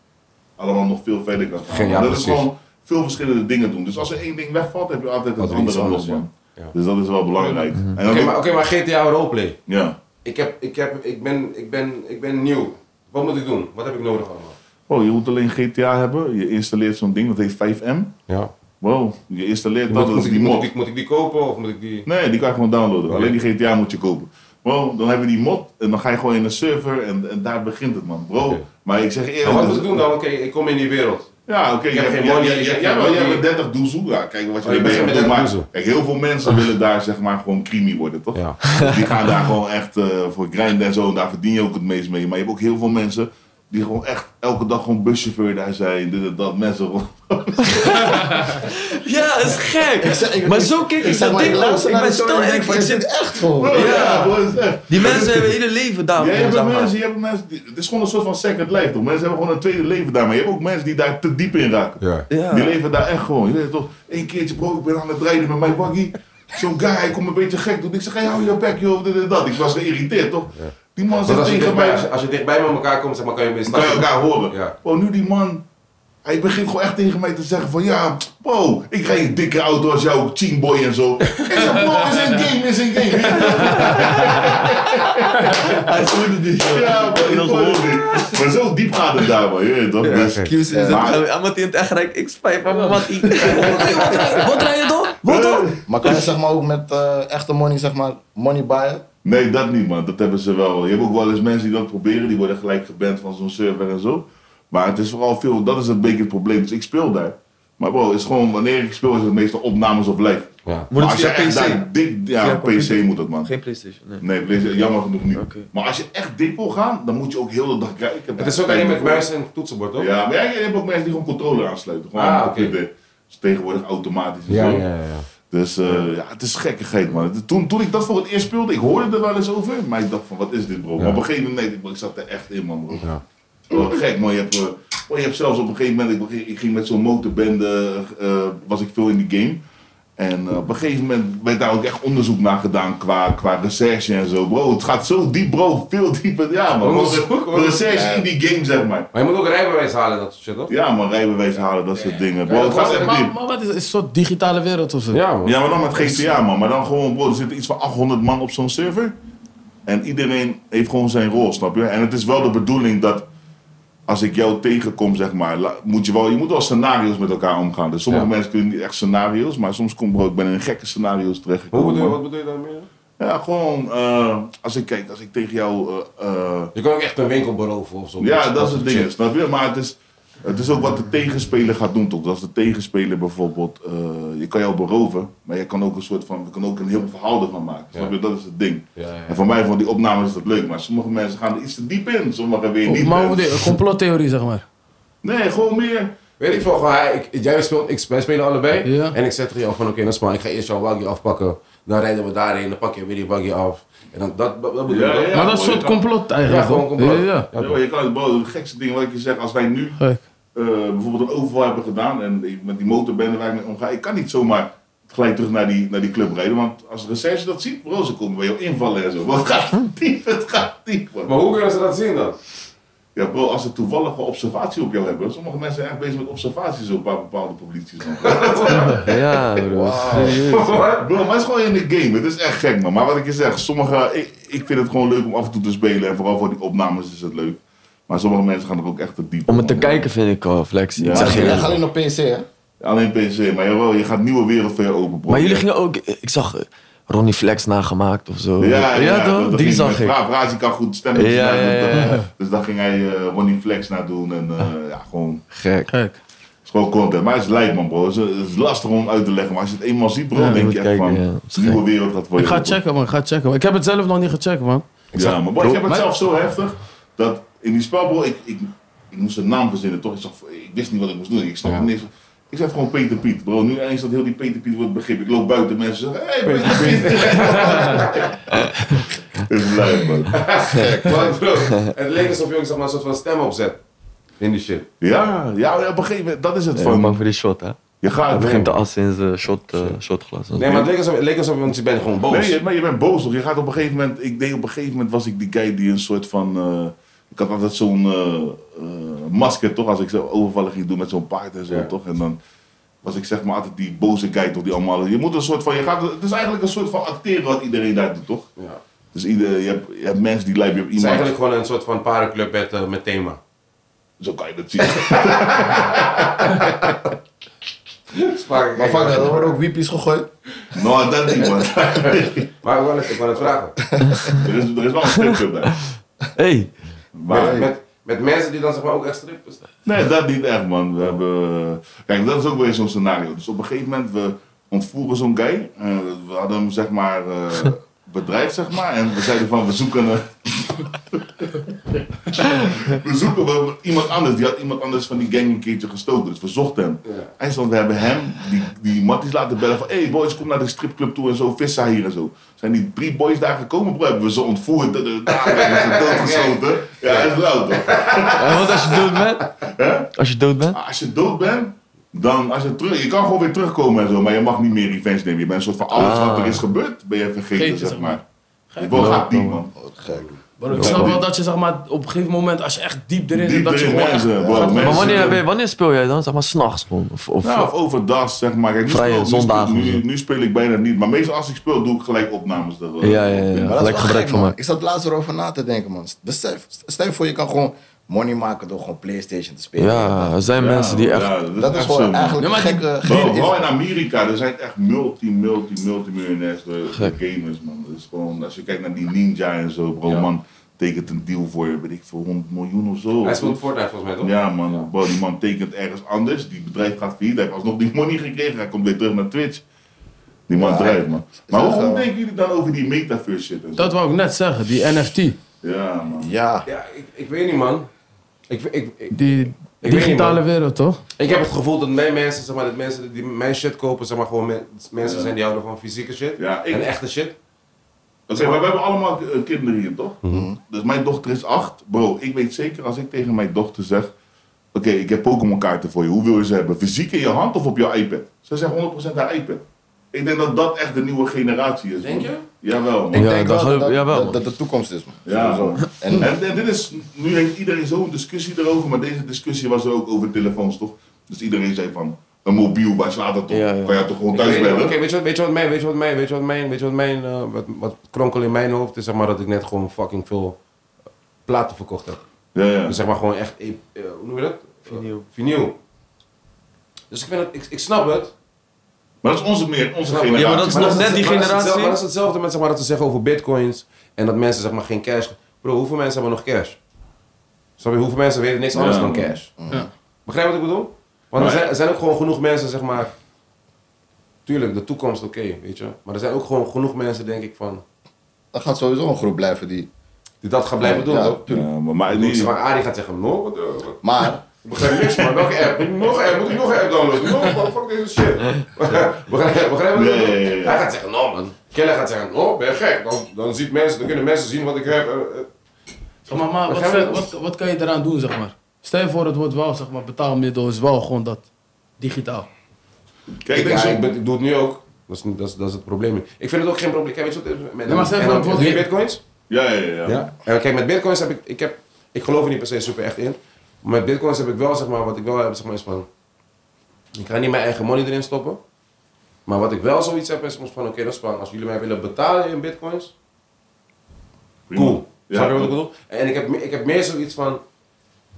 allemaal nog veel verder kan gaan. Geen- ja, Maar dat is precies. gewoon veel verschillende dingen doen. Dus als er één ding wegvalt, heb je altijd Dat het er andere iets los, anders, man. ja. Ja. Dus dat is wel belangrijk. En dan Oké, ook- maar, oké, maar GTA roleplay. ja. Ik, heb, ik, heb, ik, ben, ik, ben, ik ben nieuw. Wat moet ik doen? Wat heb ik nodig allemaal? Oh, je moet alleen GTA hebben. Je installeert zo'n ding, dat heet 5M. Ja. Wow, je installeert dat, Moet, dat moet, is ik, die moet, ik, mod. die- moet ik die kopen of moet ik die... Nee, die kan je gewoon downloaden. Oké. Alleen die GTA moet je kopen. Wow, dan heb je die mod en dan ga je gewoon in een server en, en daar begint het, man. Bro, Oké. maar ik zeg je En eerlijk... wat dus- moet ik doen dan? Oké, ik kom in die wereld. Ja, oké. Ik heb jij- geen jij- money, jij- ik heb jij- geen wel- Jij money. bent 30 doezoe. Ja, kijk wat je Oh, je bent geen bent. 30 Maar doezoe. Kijk, heel veel mensen willen daar zeg maar gewoon creamy worden, toch? Ja. Die gaan daar gewoon echt eh, voor grinden en zo. En daar verdien je ook het meest mee. Maar je hebt ook heel veel mensen die gewoon echt elke dag gewoon buschauffeur daar zijn. Dit en dat. Mensen gewoon... Ja, dat is gek. Ik zeg- ik- maar ik- zo kijk ik zeg dat maar, ding langs. luister Ik naar ben die story stil en ik en ik van, je zit... zit echt gewoon. Bro, Ja. bro, is echt. Die mensen hebben hun hele leven daarvoor. Jij hebt zeg ook maar. mensen, je hebt mensen die- het is gewoon een soort van second life toch? Mensen hebben gewoon een tweede leven daar, maar je hebt ook mensen die daar te diep in raken. Ja. Ja. Die leven daar echt gewoon. Je weet toch, één keertje bro, ik ben aan het rijden met mijn waggie. Zo'n guy, hij komt een beetje gek doen. Ik zeg, hey, hou je bek joh, dit en dat. Ik was geïrriteerd toch? Die man Want zegt als je, tegen dichtbij, mij, als, je, als je dichtbij met elkaar komt, zeg maar, kan je dan kan je meestal... elkaar horen. Ja. Bro, nu die man, hij begint gewoon echt tegen mij te zeggen van ja, bro, ik rijd een dikke auto als jouw teamboy en zo. Ik zeg, bro, is een game, is een game. Hij voelde niet. Ja, bro, ik Dat hoor hoor het niet. Maar zo diep gaat het daar, man. Je weet toch? Dus- gek. Excuse is Maar- dat Amat in het echt rijk X5 aan Matty. Wat rij je dan? Wat dan? Maar kan je zeg maar ook met eh, echte money, zeg maar, money buyen? Nee, dat niet, man. Dat hebben ze wel. Je hebt ook wel eens mensen die dat proberen. Die worden gelijk geband van zo'n server en zo. Maar het is vooral veel... Dat is een beetje het probleem. Dus ik speel daar. Maar bro, het is gewoon... Wanneer ik speel is het meestal opnames of live. Ja. Moet het Maar als je via echt PC? daar dik... Ja, Via op computer? PC moet dat, man. Geen PlayStation, nee. Nee, PlayStation, jammer genoeg niet. Oké. Maar als je echt dik wil gaan, dan moet je ook heel de dag kijken. Het is ook alleen met muis en toetsenbord, toch? Ja, maar ja, je hebt ook mensen die gewoon controller aansluiten. Gewoon Ah, op oké. de- Dus tegenwoordig automatisch en zo. ja. Dus eh, ja, het is gekkigheid, man. Het- Toen, toen ik dat voor het eerst speelde, ik hoorde er wel eens over, maar ik dacht van, wat is dit, bro? Maar op een gegeven moment, ik, ik zat er echt in, man, bro. Ja. Oh, gek, man. Je hebt, eh, oh, je hebt zelfs op een gegeven moment, ik, beg- ik ging met zo'n motorbende, eh, was ik veel in die game. En eh, op een gegeven moment werd daar ook echt onderzoek naar gedaan qua, qua recherche en zo. Bro, het gaat zo diep, bro. Veel dieper. Ja, man. Onderzoek, Gewoon de Recherche in die game, zeg maar. Maar je moet ook rijbewijs halen, dat soort shit, toch? Ja, man. Rijbewijs halen, dat soort dingen. Bro, Ja, het gaat maar- echt Maar, diep. maar wat is is het? Een soort digitale wereld of zo? Ja, man. Ja, maar dan met GTA, man. Maar dan gewoon, bro, er zitten iets van 800 man op zo'n server. En iedereen heeft gewoon zijn rol, snap je? En het is wel de bedoeling dat als ik jou tegenkom, zeg maar, la- moet je wel, je moet wel scenario's met elkaar omgaan. Dus sommige Ja. mensen kunnen niet echt scenario's, maar soms kom bro, ik ben in gekke scenario's terechtgekomen. Hoe bedoel, man. wat bedoel je daarmee? Ja, gewoon, eh, als ik kijk, als ik tegen jou eh, eh, Je kan ook echt een winkel beroven of zo. ja, dat is het ding, shit. snap je? Maar het is, het is ook wat de tegenspeler gaat doen, toch? Als de tegenspeler bijvoorbeeld, eh, je kan jou beroven, maar je kan ook een soort van, we kunnen ook een heel verhaal ervan maken. Snap je? Dat is het ding. Ja, ja. En voor mij, voor die opnames is dat leuk, maar sommige mensen gaan er iets te diep in, sommigen weer niet. Oh, maar hoe En- bedoel je? Een complottheorie, zeg maar. Nee, gewoon meer. Weet ik veel, gewoon, hij- ik, jij speelt, ik, wij spelen allebei. Ja. En ik zeg tegen jou van, oké, dat is maar, ik ga eerst jouw waggie afpakken. Dan rijden we daarheen, dan pak je weer die waggie af. En dan, dat, dat, dat bedoel Ja, ik. ja. maar dat is mooi, een soort ja. complot eigenlijk. Ja, gewoon hoor. complot. Ja, ja. Ja, Ja, maar je kan het bro, het gekste ding wat ik je zeg, als wij nu Gek. eh, bijvoorbeeld een overval hebben gedaan en die- met die motorbende waar ik mee omga, ik kan niet zomaar gelijk terug naar die, naar die club rijden, want als de recherche dat ziet, bro, ze komen bij jou invallen en zo. Wat gaat diep, het gaat diep, man. Maar hoe kunnen ze dat zien dan? Ja, bro, als ze toevallige observatie op jou hebben, sommige mensen zijn echt bezig met observaties op bij bepaalde politie. Ja, bro. Serieus. Bro, maar het is gewoon in de game. Het is echt gek, man. Maar wat ik je zeg, sommige... Ik, ik vind het gewoon leuk om af en toe te spelen. En vooral voor die opnames is het leuk. Maar sommige mensen gaan er ook echt te diep Om in, het te man. kijken vind ik al flex. Ja. Ik zeg je Jij eerlijk. gaat alleen op PC, hè? Alleen PC, maar jawel, je gaat nieuwe wereld voor je open, bro. Maar jullie gingen ook, ik zag eh, Ronnie Flex nagemaakt of zo. Ja, ja, toch? dat- dat Die ging zag met ik. Raaf. Raaf, die kan goed stemmen. Ja, ja, ja, ja. Dus daar ging hij eh, Ronnie Flex naar doen. En eh, ja, gewoon... Gek. Gek. Het is gewoon content. Maar het is lijp, man, bro. Het is, het is lastig om uit te leggen. Maar als je het eenmaal ziet, bro, Ja, je denk moet je echt kijken, van... ja. de nieuwe wereld gaat voor je Ik ga open. het checken, man. Ik ga het checken. man. Ik heb het zelf nog niet gecheckt, man. Ja, maar boy, ik heb het Maar- zelf zo heftig dat in die spel, bro, ik, ik, ik moest een naam verzinnen, toch? Ik, zag, ik wist niet wat ik moest doen, ik snapte Ja. niks. Ik zeg gewoon Peter Piet, bro. Nu eens dat heel die Peter Piet wordt begrip. Ik loop buiten, mensen zeggen, hey, Peter Piet. Dat is leuk, man. Maar bro, het leek alsof je ook zeg maar, een soort van stem opzet. In die shit. Ja, ja, op een gegeven moment, dat is het Ik ben van. bang voor die shot, hè? Je gaat, Hij nee, begint te assen in zijn shot, eh, shotglas. Nee, maar het leek alsof, het leek alsof want je bent gewoon boos. Nee, je- maar je bent boos toch? Je gaat op een gegeven moment. Ik deed op een gegeven moment was ik die guy die een soort van. eh, ik had altijd zo'n eh, eh, masker toch? Als ik zo overvallen ging doen met zo'n paard en zo Ja. toch? En dan was ik zeg maar altijd die boze guy toch? Die allemaal. Je moet een soort van. Je gaat, het is eigenlijk een soort van acteren wat iedereen daar doet toch? Ja. Dus ieder, je, hebt, je hebt mensen die lijpen je hebt Het is iemand. eigenlijk gewoon een soort van parenclub met, eh, met thema. Zo kan je dat zien. Maar vaak er worden ook wiepies gegooid. nou, dat niet man. Maar ik wou het, ik wou het vragen. er, is, er is wel een stripclub bij. Hey, Maar- met, met, met mensen die dan zeg maar ook echt strippers zijn. Nee, dat niet echt, man. We hebben... Kijk, dat is ook weer zo'n scenario. Dus op een gegeven moment, we ontvoeren zo'n guy. Eh, we hadden hem, zeg maar, eh, bedreigd, zeg maar. En we zeiden van, we zoeken... een- we zoeken wel iemand anders. Die had iemand anders van die gang een keertje gestoken. Dus we zochten hem. Ja. Eindstand, we hebben hem, die, die matties laten bellen van... hey boys, kom naar de stripclub toe en zo, vissa hier en zo. Zijn die drie boys daar gekomen, bro? Hebben we ze ontvoerd, eh, daar hebben we ze doodgeschoten. Ja, dat is wel toch? en wat als je dood bent? Als je dood bent? Ah, Als je dood bent, dan als je terug, je kan gewoon weer terugkomen en zo, maar je mag niet meer revenge nemen. Je bent een soort van alles Ah. wat er is gebeurd, ben je vergeten, Vergeten, zeg zeg maar. Ik wil gaat diep, man. Maar ik snap wel dat je zeg maar, op een gegeven moment, als je echt diep erin zit, Diep dat je erin gewoon echt- mensen, bro, mensen. Maar wanneer, ben- wanneer speel jij dan? Zeg maar s'nachts gewoon? Of, of, Ja, of overdag, zeg maar. Kijk, nu Vrije speel- nu zondagen speel- Nu, of nu, speel ik bijna niet, maar meestal als ik speel, doe ik gelijk opnames. Er, eh, Ja, ja, ja, op. ja. Maar dat is Gelijk wel gebruik gek, van man. maken. Ik zat laatst erover na te denken, man. Besef, stel je voor, je kan gewoon money maken door gewoon PlayStation te spelen. ja, er zijn Ja, mensen die echt... ja, Dat is echt gewoon zo, man. eigenlijk Ja, een maar die- gekke... Bro, geen- vooral in Amerika, er zijn echt multi, multi, multimiljonairs eh, Gek. gamers, man. Dat is gewoon, als je kijkt naar die ninja en zo, bro, Ja. man, tekent een deal voor, weet ik veel, 100 miljoen of zo. Hij speelt Fortnite volgens mij toch? Ja, man. Bro, die man tekent ergens anders. Die bedrijf gaat failliet. Hij heeft alsnog die money gekregen. Hij komt weer terug naar Twitch. Die man Ja, drijft, man. Maar dat hoe wel- goed denken jullie dan over die metaverse shit? en zo? Dat wou ik net zeggen, die NFT. Ja, man. Ja, Ja, ik, ik weet niet man. Ik, ik, ik, Die niet, digitale man. wereld, toch? ik heb het gevoel dat mijn mensen, zeg maar, dat mensen die mijn shit kopen, zeg maar, gewoon men- mensen zijn die houden van fysieke shit. Ja, ik- En echte shit. Oké, maar we hebben allemaal eh, kinderen hier, toch? Dus mijn dochter is acht. Bro, ik weet zeker als ik tegen mijn dochter zeg... Oké, ik heb Pokémon kaarten voor je. Hoe wil je ze hebben? Fysiek in je hand of op jouw iPad? Ze zegt 100% haar iPad. Ik denk dat dat echt de nieuwe generatie is. Denk man. je? Jawel, man. Ik Ja, denk dat wel dat geloof- dat, jawel, dat, man. dat de toekomst is, man. Ja. Sowieso. En, En, en dit is, nu heeft iedereen zo'n discussie erover, maar deze discussie was er ook over telefoons, toch? Dus iedereen zei van, een mobiel, waar slaat dat op? Ja, ja. Kan je toch gewoon Ik thuis weet- bellen? Oké, weet je wat- weet je wat mijn, weet je wat mijn, weet je wat mijn, weet je wat mijn, eh, wat, wat kronkel in mijn hoofd is, zeg maar dat ik net gewoon fucking veel eh, platen verkocht heb. Ja, ja. Dus zeg maar gewoon echt, eh, eh, hoe noem je dat? Vinyl. Vinyl. Dus ik vind het, ik, ik snap het. Maar dat is onze, meer, onze Snap- generatie. Ja, maar dat is nog net die maar dat is generatie. hetzelfde- Maar dat is hetzelfde met zeg maar dat ze zeggen over bitcoins en dat mensen zeg maar geen cash. Bro, hoeveel mensen hebben nog cash? Snap je, hoeveel mensen weten niks anders Ja. dan cash? Ja. Begrijp je wat ik bedoel? Want er Maar- zijn, er zijn ook gewoon genoeg mensen, zeg maar. Tuurlijk, de toekomst, oké, weet je. Maar er zijn ook gewoon genoeg mensen, denk ik, van. dan gaat sowieso een groep blijven die... die dat gaan blijven doen. Ja, toch? tuurlijk. Ja, maar, maar, Ik bedoel, die- zeg maar, Arie gaat zeggen: No, wat. eh, wat- Maar, Ik begrijp niks, maar welke app? Moet ik nog een app? Moet ik nog een app downloaden? No, man, fuck deze shit. begrijp je? Begrijp je? Ja, ja, ja, ja. Hij gaat zeggen: No, man. Keller gaat zeggen: No, ben je gek. Dan, dan, ziet mensen, dan kunnen mensen zien wat ik heb. eh, eh. Zeg maar, maar wat, Begrijp je? wat, wat kan je eraan doen, zeg maar? Stel je voor, het wordt wel, zeg maar, betaalmiddel is wel gewoon dat. Digitaal. kijk, ik Ik, denk ja, zo, ik, ben- ik doe het nu ook. Dat is, dat, is, dat is het probleem. Ik vind het ook geen probleem. Kijk, weet je wat? eh, Met, Ja, maar zeg en maar, dan- het wordt doe je geen- bitcoins? ja, ja, ja. ja. Ja. En kijk, met bitcoins heb ik, ik heb, ik geloof er niet per se super echt in. Maar met bitcoins heb ik wel, zeg maar, wat ik wel heb, zeg maar, is van, ik ga niet mijn eigen money erin stoppen. Maar wat ik wel zoiets heb, is soms van, oké, dat is van, als jullie mij willen betalen in bitcoins, Prima. cool. Ja, Snap je wat ik klopt. bedoel? En ik heb, me- ik heb meer zoiets van,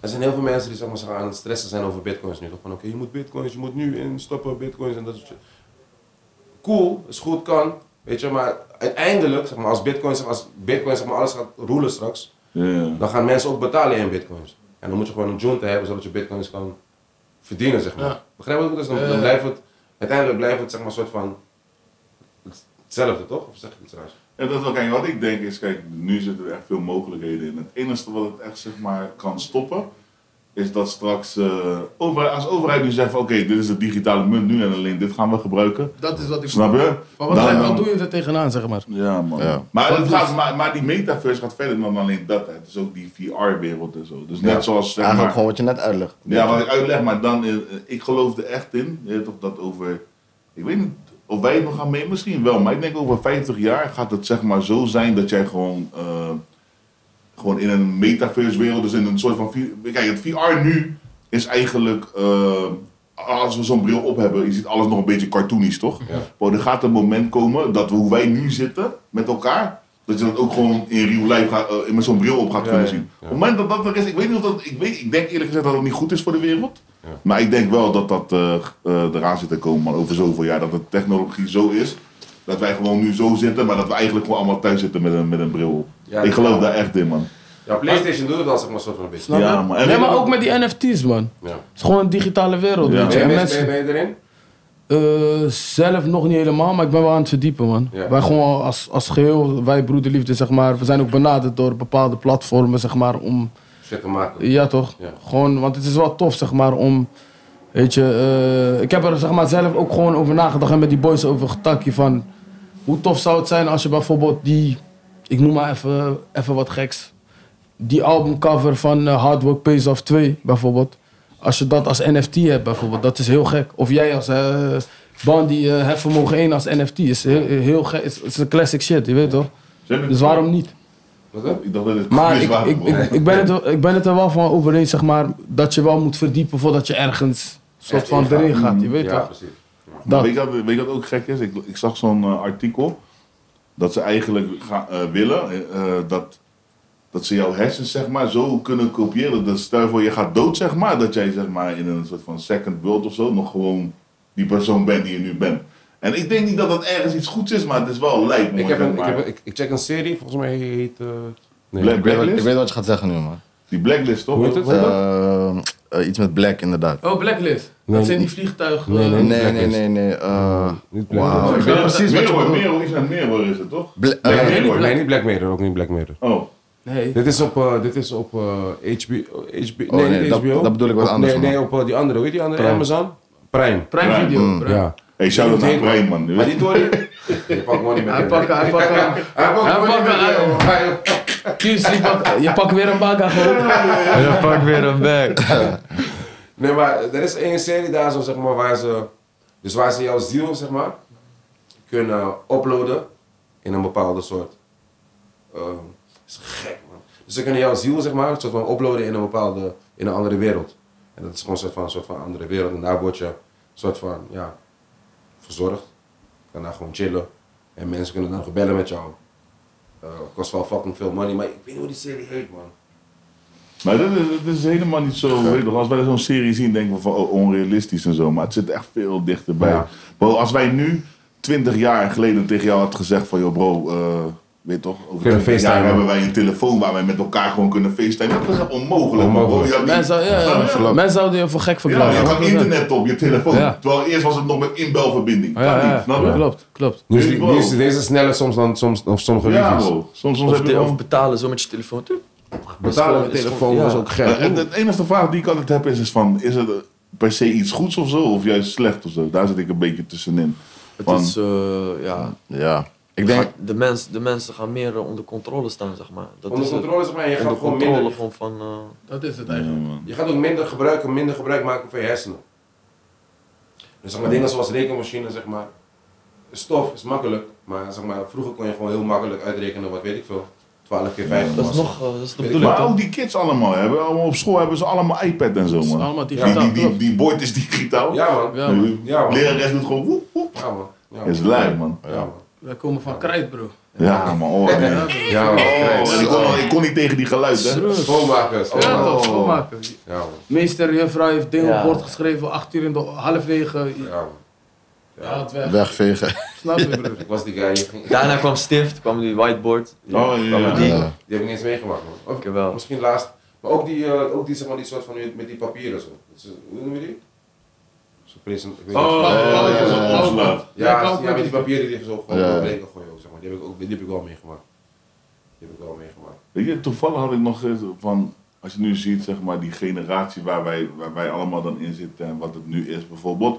er zijn heel veel mensen die, zeg maar, zich aan het stressen zijn over bitcoins nu. Toch van, oké, je moet bitcoins, je moet nu instappen, bitcoins en dat soort shit. Cool, is goed, kan. Weet je, maar uiteindelijk, zeg maar, als bitcoin, zeg maar, als bitcoin zeg maar, alles gaat roelen straks, Ja, ja. dan gaan mensen ook betalen in bitcoins. En dan moet je gewoon een junta hebben zodat je bitcoins kan verdienen, zeg maar. Ja. Eh. Begrijp je wat ik bedoel? Dus dan, Ja, ja. dan blijft het, uiteindelijk blijft het zeg maar een soort van hetzelfde, toch? Of zeg ik iets raars? En dat is ook, kijk, wat ik denk is, kijk, nu zitten er echt veel mogelijkheden in. Het enige wat het echt, zeg maar, kan stoppen, is dat straks, eh, over, als overheid nu zegt van, oké, dit is de digitale munt nu en alleen dit gaan we gebruiken. Dat is wat ik... Snap je? Maar wat, Dan- ga- wat doe je er tegenaan, zeg maar? Ja, man. Ja. Maar, Dat het is- gaat, maar, maar die metaverse gaat verder dan alleen dat. Hè. Het is ook die VR-wereld en zo. Dus Ja. net zoals. Zeg eigenlijk maar, gewoon wat je net uitlegt. Ja, wat ik uitleg, maar dan. eh, eh, Ik geloof er echt in. Je weet toch dat over. Ik weet niet of wij het nog gaan mee. Misschien wel, maar ik denk over 50 jaar gaat het zeg maar zo zijn dat jij gewoon. eh, gewoon in een metaverse wereld, dus in een soort van. vi- Kijk, het VR nu is eigenlijk. eh, als we zo'n bril op hebben, je ziet alles nog een beetje cartoonisch, toch? Ja. Maar er gaat een moment komen dat we, hoe wij nu zitten met elkaar, dat je dat ook gewoon in real life gaat, eh, met zo'n bril op gaat Ja, kunnen ja, zien. ja. Op het moment dat dat er is, ik weet niet of dat, ik, weet, ik denk eerlijk gezegd dat het niet goed is voor de wereld. Ja. Maar ik denk wel dat dat eh, eh, eraan zit te komen, man, over zoveel jaar. Dat de technologie zo is, dat wij gewoon nu zo zitten, maar dat we eigenlijk gewoon allemaal thuis zitten met een, met een bril op. Ja, ik geloof ja. daar echt in, man. Ja, PlayStation doet het al zeg maar een soort van een beetje. Snap je? Ja, man. En- nee, maar ook met die NFT's, man. Ja. Het is gewoon een digitale wereld, Ja. weet Ben je. je, En mee- mensen... ben je- ben je erin? Eh, zelf nog niet helemaal, maar ik ben wel aan het verdiepen, man. Ja. Wij gewoon als, als geheel, wij broederliefde, zeg maar, we zijn ook benaderd door bepaalde platformen, zeg maar, om... Shit te maken. Ja, toch? Ja. Gewoon, want het is wel tof, zeg maar, om... Weet je, eh, ik heb er zeg maar, zelf ook gewoon over nagedacht en met die boys over getakje van... Hoe tof zou het zijn als je bijvoorbeeld die... Ik noem maar even, even wat geks. Die albumcover van eh, Hard Work Pays Off 2, bijvoorbeeld. Als je dat als NFT hebt, bijvoorbeeld. Dat is heel gek. Of jij als eh Bandy eh Hefvermogen 1 als NFT. Is heel, heel gek. Is, is een classic shit, je weet toch? Ze hebben- Dus waarom niet? Wat dan? Ik dacht dat het Maar is ik, waar- ik, ik, ik, ben het, wel- ik ben het er wel van over eens, zeg maar, dat je wel moet verdiepen voordat je ergens soort Echt van ingaat. erin gaat. Je weet Ja, toch? precies. Dat. Weet, je wat, weet je wat ook gek is? Ik, ik zag zo'n eh, artikel dat ze eigenlijk ga- eh, willen eh, eh, dat, dat ze jouw hersens zeg maar, zo kunnen kopiëren. Dat stel je voor je gaat dood, zeg maar, dat jij zeg maar, in een soort van second world of zo nog gewoon die persoon bent die je nu bent. En ik denk niet dat dat ergens iets goeds is, maar het is wel lijp. mooi, Ik, heb zeg een, ik, maar. heb, een- ik, ik check een serie, volgens mij heet. eh, nee. Black- Ik weet, wat, Blacklist? ik weet wat je gaat zeggen nu, man. Die blacklist toch? Hoe heet het? Eh, eh, iets met black, inderdaad. Oh, Blacklist. Nee. Dat zijn die vliegtuigen. Nee, Oh, Nee, nee. nee, nee, nee. nee. eh, Niet Black Wauw. Mirror. Ik weet precies wat je Mirror, bedoelt. Mirror, iets met Mirror is het toch? Bla- Black eh, Nee, niet Mirror. Black- nee, niet Black Mirror, ook niet Black Mirror. Oh, Nee. Dit is op, eh, dit is op eh, HBO. HBO Oh, nee, nee, niet dat- HBO. dat bedoel ik wat Op- anders, Nee, man. nee op eh, die andere, weet je die andere? Prime. Amazon? Prime. Prime Prime. Video. Mm. Prime. Ja. hey, shout-out naar Brian, man. Maar die Tory? Je pakt gewoon niet meer. Hij pakt hij pakt hem. Hij Hij pakt pakt hem, Kies, die pak- Je pakt weer een baga gewoon. En dan pak ik weer een bag. Nee, maar er is één serie daar zo, zeg maar, waar ze... Dus waar ze jouw ziel, zeg maar... kunnen uploaden in een bepaalde soort. ehm, is gek man. Dus ze kunnen jouw ziel zeg maar, soort van uploaden in een bepaalde, in een andere wereld. En dat is gewoon een soort van, soort van andere wereld. En daar word je soort van, ja, verzorgd. Je kan daar gewoon chillen. En mensen kunnen dan gebellen met jou. Eh, Het kost wel fucking veel money, maar ik weet niet hoe die serie heet man. Maar dat is, dat is helemaal niet zo. weet je wel, als wij zo'n serie zien, denken we van oh, onrealistisch en zo. Maar het zit echt veel dichterbij. Ja. Bro, als wij nu 20 jaar geleden tegen jou had gezegd van joh bro, eh, weet je toch, over Kunnen 20 jaar facetimen. hebben wij een telefoon waar wij met elkaar gewoon kunnen facetimen. Dat is echt onmogelijk. man. Onmogelijk. Bro, je had niet- Mensen zou- ja, ja, mensen zouden je voor gek Ja, verklaren. je kan internet op je telefoon. Ja. Terwijl eerst was het nog met inbelverbinding. Ja, kan ja, niet, snap je? ja, klopt, klopt. Nu is, Hey, die- bro. nu is die- deze sneller soms dan soms, of sommige Ja, reviews. bro. Soms, soms Of, heb je te- wel- of betalen zo met je telefoon. Tup. Betalen met Is gewoon- telefoon ja. was ook Ja, gek. en de eh, enige vraag die ik altijd heb is, is van, is het eh, per se iets goeds of zo? Of juist slecht of zo? Daar zit ik een beetje tussenin. Het Van- is, eh, ja, Ja. Ik denk, gaat- de, mens, de mensen gaan meer eh, onder controle staan, zeg maar. Dat Onder is het. controle zeg maar, en je gaat onder gewoon controle minder, gewoon van... eh, Dat is het Ja, eigenlijk. man. je gaat ook minder gebruiken, minder gebruik maken van je hersenen. Dus zeg maar, dingen zoals rekenmachine, zeg maar, stof is makkelijk, maar zeg maar, vroeger kon je gewoon heel makkelijk uitrekenen, wat weet ik veel, 12 keer 5 dat is nog, eh, dat is de Maar bedoeling Maar toch? ook die kids allemaal hebben, allemaal op school hebben ze allemaal iPad en zo, Het is man. allemaal Die, digitaal, die, die, klopt. die boord is digitaal. Ja man, Ja, man. Ja, man. Lerares doet gewoon woep, woep. ja man. Ja, Dat is man. lijp, man. Ja, man. Wij komen van krijt, bro. Ja, man. Oh, nee. Ja, Oh, bro. Ja, man. Oh. en ik, kon, al- ik kon niet tegen die geluiden. hè. Schoonmakers. Oh. Ja, Ja, man. toch, schoonmaken. Ja, man. Meester, juffrouw heeft dingen Ja. op bord geschreven, acht uur in de half negen. Ja, man. Ja, het weg. wegvegen. Snap je, broer? Ik was die guy, die ging- Daarna kwam Stift, kwam die whiteboard. Oh, ja, ja. Ja. die heb ik niet eens meegemaakt man. Of- Ik wel. Misschien laatst. Maar ook die, eh, ook die, zeg maar, die soort van met- met die papieren zo. Dus, eh, hoe noem je die? Zo'n present. ik weet niet. Oh, ja, ja, ja. zo'n omslag. ja, Ja, ja, ook met met die die- papieren die je zo gewoon Ja. ja. breken gooien ook, zeg maar. Die heb ik, ook, die heb ik wel meegemaakt. Die heb ik wel meegemaakt. Weet je, toevallig had ik nog eens van, als je nu ziet, zeg maar, die generatie waar wij, waar wij allemaal dan in zitten en wat het nu is, bijvoorbeeld,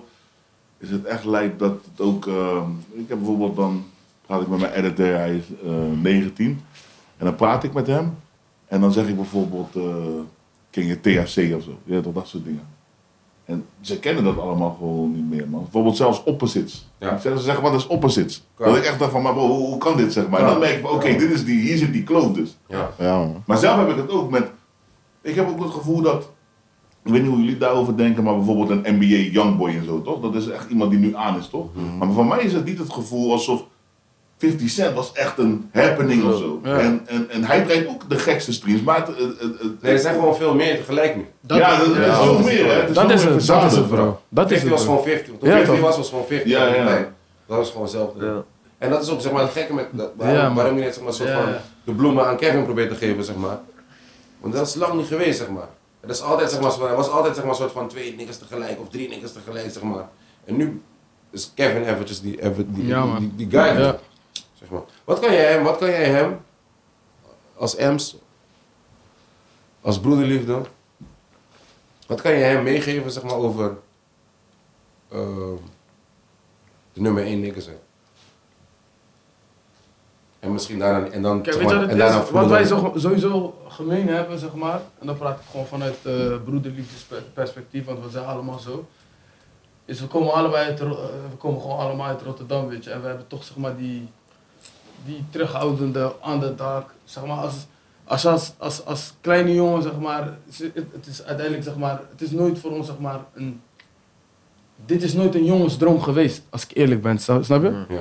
is het echt lijkt dat het ook, ehm, ik heb bijvoorbeeld dan, praat ik met mijn editor, hij is eh, 19, en dan praat ik met hem en dan zeg ik bijvoorbeeld, eh, ken je THC of zo, ja, toch, dat soort dingen. En ze kennen dat allemaal gewoon niet meer, man. Bijvoorbeeld zelfs opposites. Ja. Ze zeggen, wat is opposites? Kan. Dat ik echt dacht van, maar bro, hoe, hoe kan dit, zeg maar? Kan. En dan merk ik van, oké, Ja. dit is die, hier zit die kloof dus. Ja. Ja, man. Maar zelf heb ik het ook met. Ik heb ook het gevoel dat. Ik weet niet hoe jullie daarover denken, maar bijvoorbeeld een NBA Youngboy en zo, toch? Dat is echt iemand die nu aan is, toch? Maar voor mij is het niet het gevoel alsof 50 Cent was echt een happening of zo. Ja. En, en, en hij brengt ook de gekste streams, maar het, het, het- het- Nee, er zijn gewoon veel meer tegelijk nu. Dat ja, dat, is- dat is ja. veel meer, hè? veel Dat is meer het, dat is het, verzadigd. bro. Dat is 50 het, was bro. gewoon 50. Toen Ja, 50 toch? was, was gewoon 50. Ja, ja. Nee, dat was gewoon hetzelfde. Ja. En dat is ook zeg maar het gekke met dat, Ja, waarom, man. waarom je net zeg maar, soort Ja, van ja. de bloemen aan Kevin probeert te geven, zeg maar. Want dat is lang niet geweest, zeg maar. Het is altijd, zeg maar, zo- er was altijd zeg maar, soort van twee niggers tegelijk of drie niggers tegelijk, zeg maar. En nu is Kevin eventjes die, even, die, Ja, die, man. die- die guy. Ja. Zeg maar. wat, kan jij hem, wat kan jij hem als Ems, als broederliefde, wat kan je hem meegeven zeg maar, over ehm, de nummer 1 niggers? hè? En misschien daarna, en dan, Kijk, zeg weet je maar, wat en het daarna is? Wat voelen wij we- zo- sowieso gemeen hebben, zeg maar, en dan praat ik gewoon vanuit eh broederliefdesperspectief, want we zijn allemaal zo. Is we komen allebei uit, Ro- eh, we komen gewoon allemaal uit Rotterdam, weet je, en we hebben toch zeg maar die, die terughoudende underdog, zeg maar, als, als, als, als, als kleine jongen, zeg maar, is- het, het is uiteindelijk, zeg maar, het is nooit voor ons, zeg maar, een, dit is nooit een jongensdroom geweest, als ik eerlijk ben, snap snap je? Ja,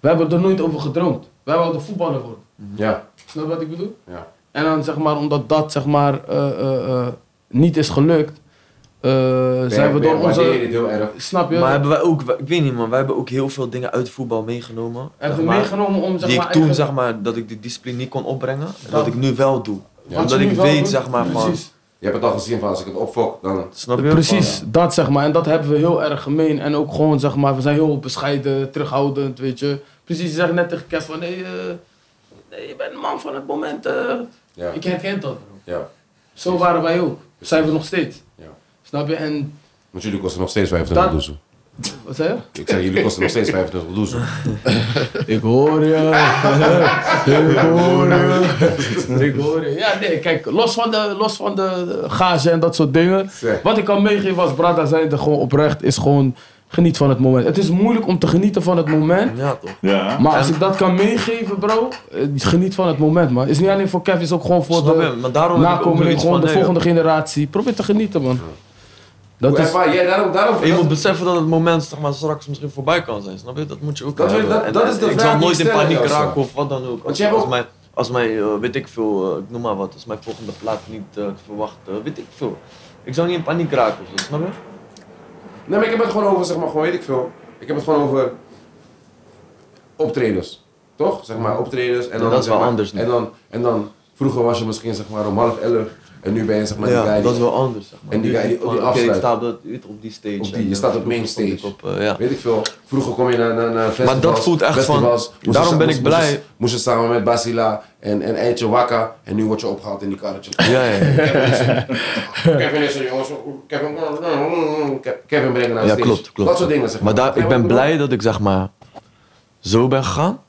We hebben er nooit over gedroomd, wij wilden voetballer worden. ja, Snap je wat ik bedoel? ja. En dan zeg maar, omdat dat zeg maar eh, eh, eh, niet is gelukt, eh, zijn we Ben- door ben- waardeer je onze. dit heel erg. Snap je? Maar hebben wij ook, ik weet niet man, wij hebben ook heel veel dingen uit voetbal meegenomen. zeg hebben we maar, meegenomen om zeg die maar. ik toen, eigen- zeg maar, dat ik die discipline niet kon opbrengen. Dat, Dat- ik nu wel doe. wat Omdat ze ik nu wel weet, doen. zeg maar, van... Precies, Je hebt het al gezien van als ik het opfok, dan... Snap je? precies dat zeg maar. En dat hebben we heel erg gemeen. En ook gewoon zeg maar, we zijn heel bescheiden, terughoudend, weet je. Precies, je zegt net tegen Kev van, nee, eh, nee, je bent een man van het moment. eh. Ja, Ik herken dat, bro. ja. Zo waren wij ook. Zijn we nog steeds. Ja. Snap je? En, Want jullie kosten nog steeds 25 Dat- doezel. wat zei je? Ik zeg, jullie kosten nog steeds 25 doezel. Ik hoor je. Ik hoor je. Ik hoor je. Ja, nee, kijk, los van de, los van de gage en dat soort dingen. Zeg. Wat ik kan meegeven als Brada zijn, gewoon oprecht, is gewoon Geniet van het moment. Het is moeilijk om te genieten van het moment. Ja, toch? Ja. Maar als ik dat kan meegeven, bro, eh, geniet van het moment, man. Is niet alleen voor Kev, is ook gewoon voor Snap de je? Maar daarom heb ik ook nakomelingen, zoiets gewoon van, de nee, volgende generatie. Probeer te genieten, man. Dat is, Ervaar- ja, daarom, daarom, Je moet dat, beseffen dat het moment zeg maar, straks misschien voorbij kan zijn, snap je? Dat moet je ook Dat is- hebben. dat- En, dat eh, is de ik vraag zal die nooit ik in stel aan paniek jou, raken of wat dan ook. Als, je hebt als ook- mijn, als mijn eh, weet ik veel, eh, ik noem maar wat, als mijn volgende plaat niet eh, te verwachten, weet ik veel. Ik zou niet in paniek raken of zo, snap je? Nee, maar ik heb het gewoon over, zeg maar, gewoon weet ik veel. Ik heb het gewoon over optredens. Toch? Zeg maar, optredens. En Ja, dan, dat is zeg wel maar, anders nu. En dan, en dan, vroeger was je misschien zeg maar om half elf. En nu ben je zeg maar die guy die- dat is wel anders, zeg maar. en die Nu guy is die- het die van, oké, afsluit. ik sta op, dat, weet je, op die stage. Op die, en, je eh, staat op main kom ik stage. Op, eh, ja. Weet ik veel. Vroeger kom je naar, naar, naar festivals. Maar dat voelt echt van- festivals, moest je daarom sa- ben moest- ik moest je- blij. Moest je samen met Basila en, en Eindje Wakka. En nu word je opgehaald in die karretje. Ja, ja, ja. Kevin is er jongens. Kevin, Kevin brengen naar Ja, stage. klopt, klopt. Dat soort dingen zeg Maar maar. daar, ik ben blij dat ik zeg maar zo ben gegaan.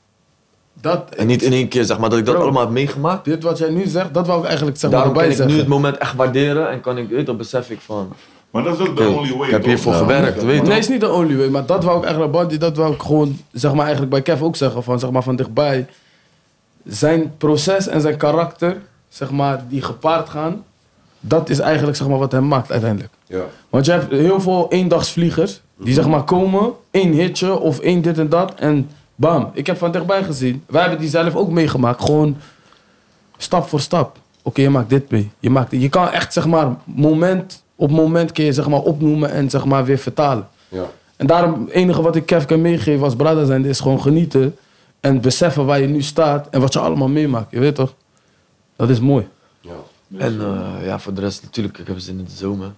dat, En niet in één keer zeg maar dat ik dat Bro. allemaal heb meegemaakt. dit wat jij nu zegt, dat wou ik eigenlijk zeg maar Daarom erbij kan ik nu zeggen. het moment echt waarderen en kan ik, weet, je, dan besef ik van, Maar dat is ook de Oké, only way. ik heb toch? hiervoor Ja. gewerkt, weet je Nee, toch? is niet de only way, maar dat wou ik eigenlijk, Bandy, dat wou ik gewoon zeg maar eigenlijk bij Kev ook zeggen. Van, zeg maar, van dichtbij. Zijn proces en zijn karakter, zeg maar, die gepaard gaan, dat is eigenlijk zeg maar, wat hem maakt uiteindelijk. Ja. Want je hebt heel veel eendagsvliegers die zeg maar komen, één hitje of één dit en dat en bam. Ik heb van dichtbij gezien. Wij hebben die zelf ook meegemaakt, gewoon stap voor stap. Oké, je maakt dit mee. Je, maakt, dit. je kan echt zeg maar moment op moment kun je zeg maar opnoemen en zeg maar weer vertalen. Ja. En daarom het enige wat ik Kev kan meegeven als brother zijn is gewoon genieten en beseffen waar je nu staat en wat je allemaal meemaakt. Je weet toch? Dat is mooi. ja. En eh, ja, voor de rest natuurlijk, ik heb zin in de zomer.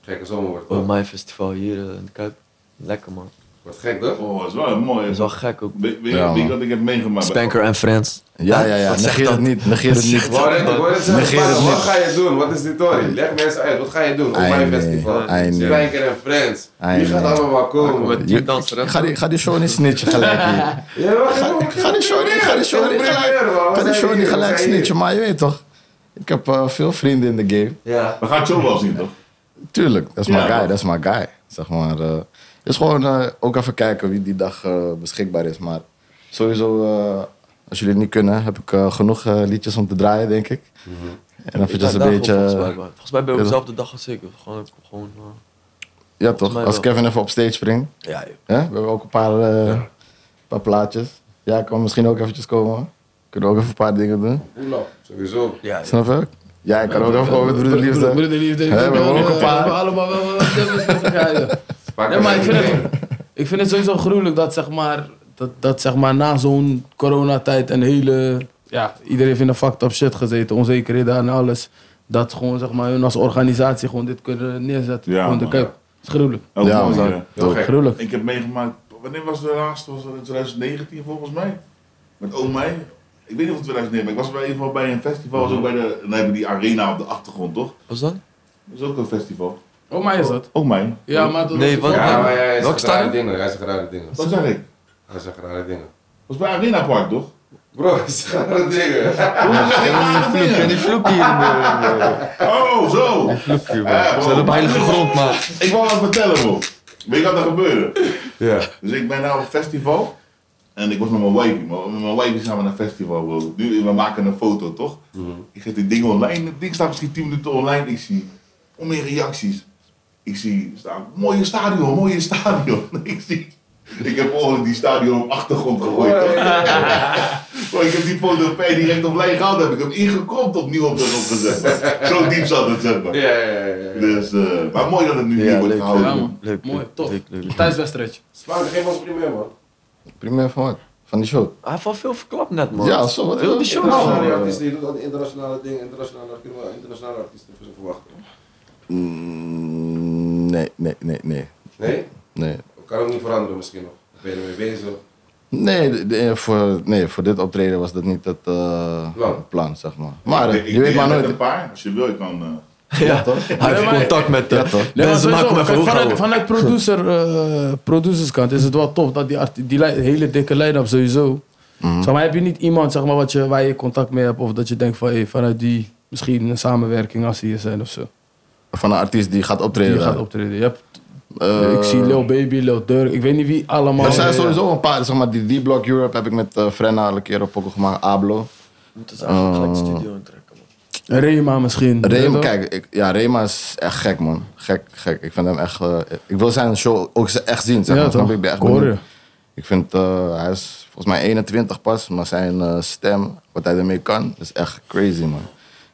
Gekke zomer wordt Op het. mijn festival hier eh, in de Kuip. Lekker man. Wordt gek toch? Oh, dat is wel mooi. Dat is wel gek ook. Weet weet Ja, je wie ik man. dat ik heb meegemaakt? Spanker en Friends. Ja, ja, ja. Wat zegt Negeer dat? het niet. Negeer het niet. Wou net- ik wou net zeggen, Negeer maar het wat niet. ga je doen? Wat is die story? Leg mensen uit, wat ga je doen op Ei, mijn nee. festival? Ei, nee. Spanker en Friends. Ei, Die gaat nee. allemaal komen. Met Je- tien dansen. Ga die, ga die show niet snitchen gelijk hier. Ja, maar ga, Ga die show niet, ga die show niet gelijk, ga die show niet gelijk snitchen. Maar je weet toch, ik heb eh, veel vrienden in de game. Ja. We gaan het zo wel zien, toch? Tuurlijk, dat is Ja. mijn guy, dat is mijn guy. Zeg maar, eh, is gewoon eh, ook even kijken wie die dag eh, beschikbaar is. Maar sowieso, eh, als jullie het niet kunnen, heb ik eh, genoeg eh, liedjes om te draaien, denk ik. En Ik eventjes ben een daar gewoon beetje... eh, Volgens mij, volgens mij ben je op Ja. dezelfde dag als ik. Gewoon, gewoon eh, ja volgens toch, mij als wel. Kevin even op stage springt. ja, joh. Hè? We hebben ook een paar, eh, paar plaatjes. Ja, ik kan misschien ook eventjes komen. Kunnen we ook even een paar dingen doen. Oela, Sowieso. Ja, joh. Snap je? Ja, ik kan ook even komen met broederliefde. Broederliefde. Hè, we hebben ook een paar. We hebben allemaal wel wel- wel- wel- wel- wel- wel- Spanker Nee, maar ik en vind Friends. het, ik vind het sowieso gruwelijk dat zeg maar, dat, dat, zeg maar na zo'n coronatijd en hele... Ja, iedereen heeft in een fucked up shit gezeten, onzekerheden en alles. Dat gewoon zeg maar hun als organisatie gewoon dit kunnen neerzetten. Ja, gewoon de man. cup. Het is gruwelijk. Ook Ja, mooi, man. ja. Heel gek. Gruwelijk. Ik heb meegemaakt, wanneer was de laatste? Was dat in 2019 volgens mij? Met oom mij. Ik weet niet of het 2019, maar ik was bij, in ieder geval bij een festival. Was ook bij de, dan hebben die arena op de achtergrond, toch? Wat is dat? Dat is ook een festival. Oh, maar is dat? Ook mij. Ja, maar dat Nee, wat- Ja, maar hij Welk zegt rare stadion? dingen. Hij zegt rare dingen. Wat zeg ik? Hij zegt rare dingen. Dat was bij Arena Park, toch? Bro, hij zegt rare dingen. Hoezo zeg ik rare dingen? die vloekie in de... Oh, zo! We zijn op heilige grond, man. Ik wou wat vertellen, bro. Weet je wat er gebeurde? Ja. Dus ik ben nou op festival. En ik was met mijn wifey. maar Met mijn wifey gaan we naar festival, bro. Nu, we maken een foto, toch? Ik zet die ding online. Het ding staat misschien 10 minuten online. Ik zie onmeer reacties. Ik zie, staan, mooie stadion, mooie stadion. ik zie... Ik heb ongeluk die stadion op achtergrond gegooid, toch? Maar ik heb die foto per direct online gehaald. Heb ik hem ingekromd opnieuw op de grond gezet. man. Zo diep zat het, zeg maar. Ja, ja, ja, ja. ja. Dus, eh, maar mooi dat het nu Ja, hier wordt leuk, ja, gehouden. man. Leuk, Mooi, leuk, tof. leuk, leuk. Thuiswedstrijdje. Spanker, geef ons primair man. Primair van wat? Van die show. Hij heeft al veel verklapt net, man. Ja, zo. Wat, Veel die show. Internationale artiesten, je doet al die internationale dingen. Internationale, kunnen we internationale artiesten verwachten? Mm, nee, nee, nee, nee. Nee? Nee, Kan ook niet veranderen misschien nog. Ben je ermee bezig? nee, de- de- voor, nee voor dit optreden was dat niet het eh, Plan. plan, zeg maar. Maar eh, Ik- ik je weet deed maar met nooit. Een paar. Als je wil, je kan. eh, Ja, hij heeft contact met de Ja, toch? Nee, maar mensen. sowieso, Maken hem even kijk, hoog vanuit, houden. vanuit producer, eh, producerskant is het wel tof dat die, art- die lei- hele dikke line-up sowieso. Mhm. Zeg maar, heb je niet iemand zeg maar, wat je, waar je contact mee hebt of dat je denkt van hey, vanuit die misschien een samenwerking als ze hier zijn of zo. Van een artiest die gaat Die optreden. gaat optreden. Je hebt Eh, ik zie Lil Baby, Lil Durk, ik weet niet wie allemaal. eh, Er zijn Ja, ja. sowieso een paar, zeg maar, eh, die D-Block Europe heb ik met eh, Frenna al een keer op pokken gemaakt, Ablo. Moet het eigenlijk Oh. gelijk de studio intrekken, man. Rema misschien. Rema, Weet kijk, ik, ja, Rema is echt gek, man. Gek, gek. Ik vind hem echt... eh, ik wil zijn show ook ze- echt zien, zeg Ja, maar. snap toch? je? Ik ben echt Ik hoor benieuwd. Ik vind, eh, hij is volgens mij 21 pas, maar zijn eh, stem, wat hij ermee kan, is echt crazy, man.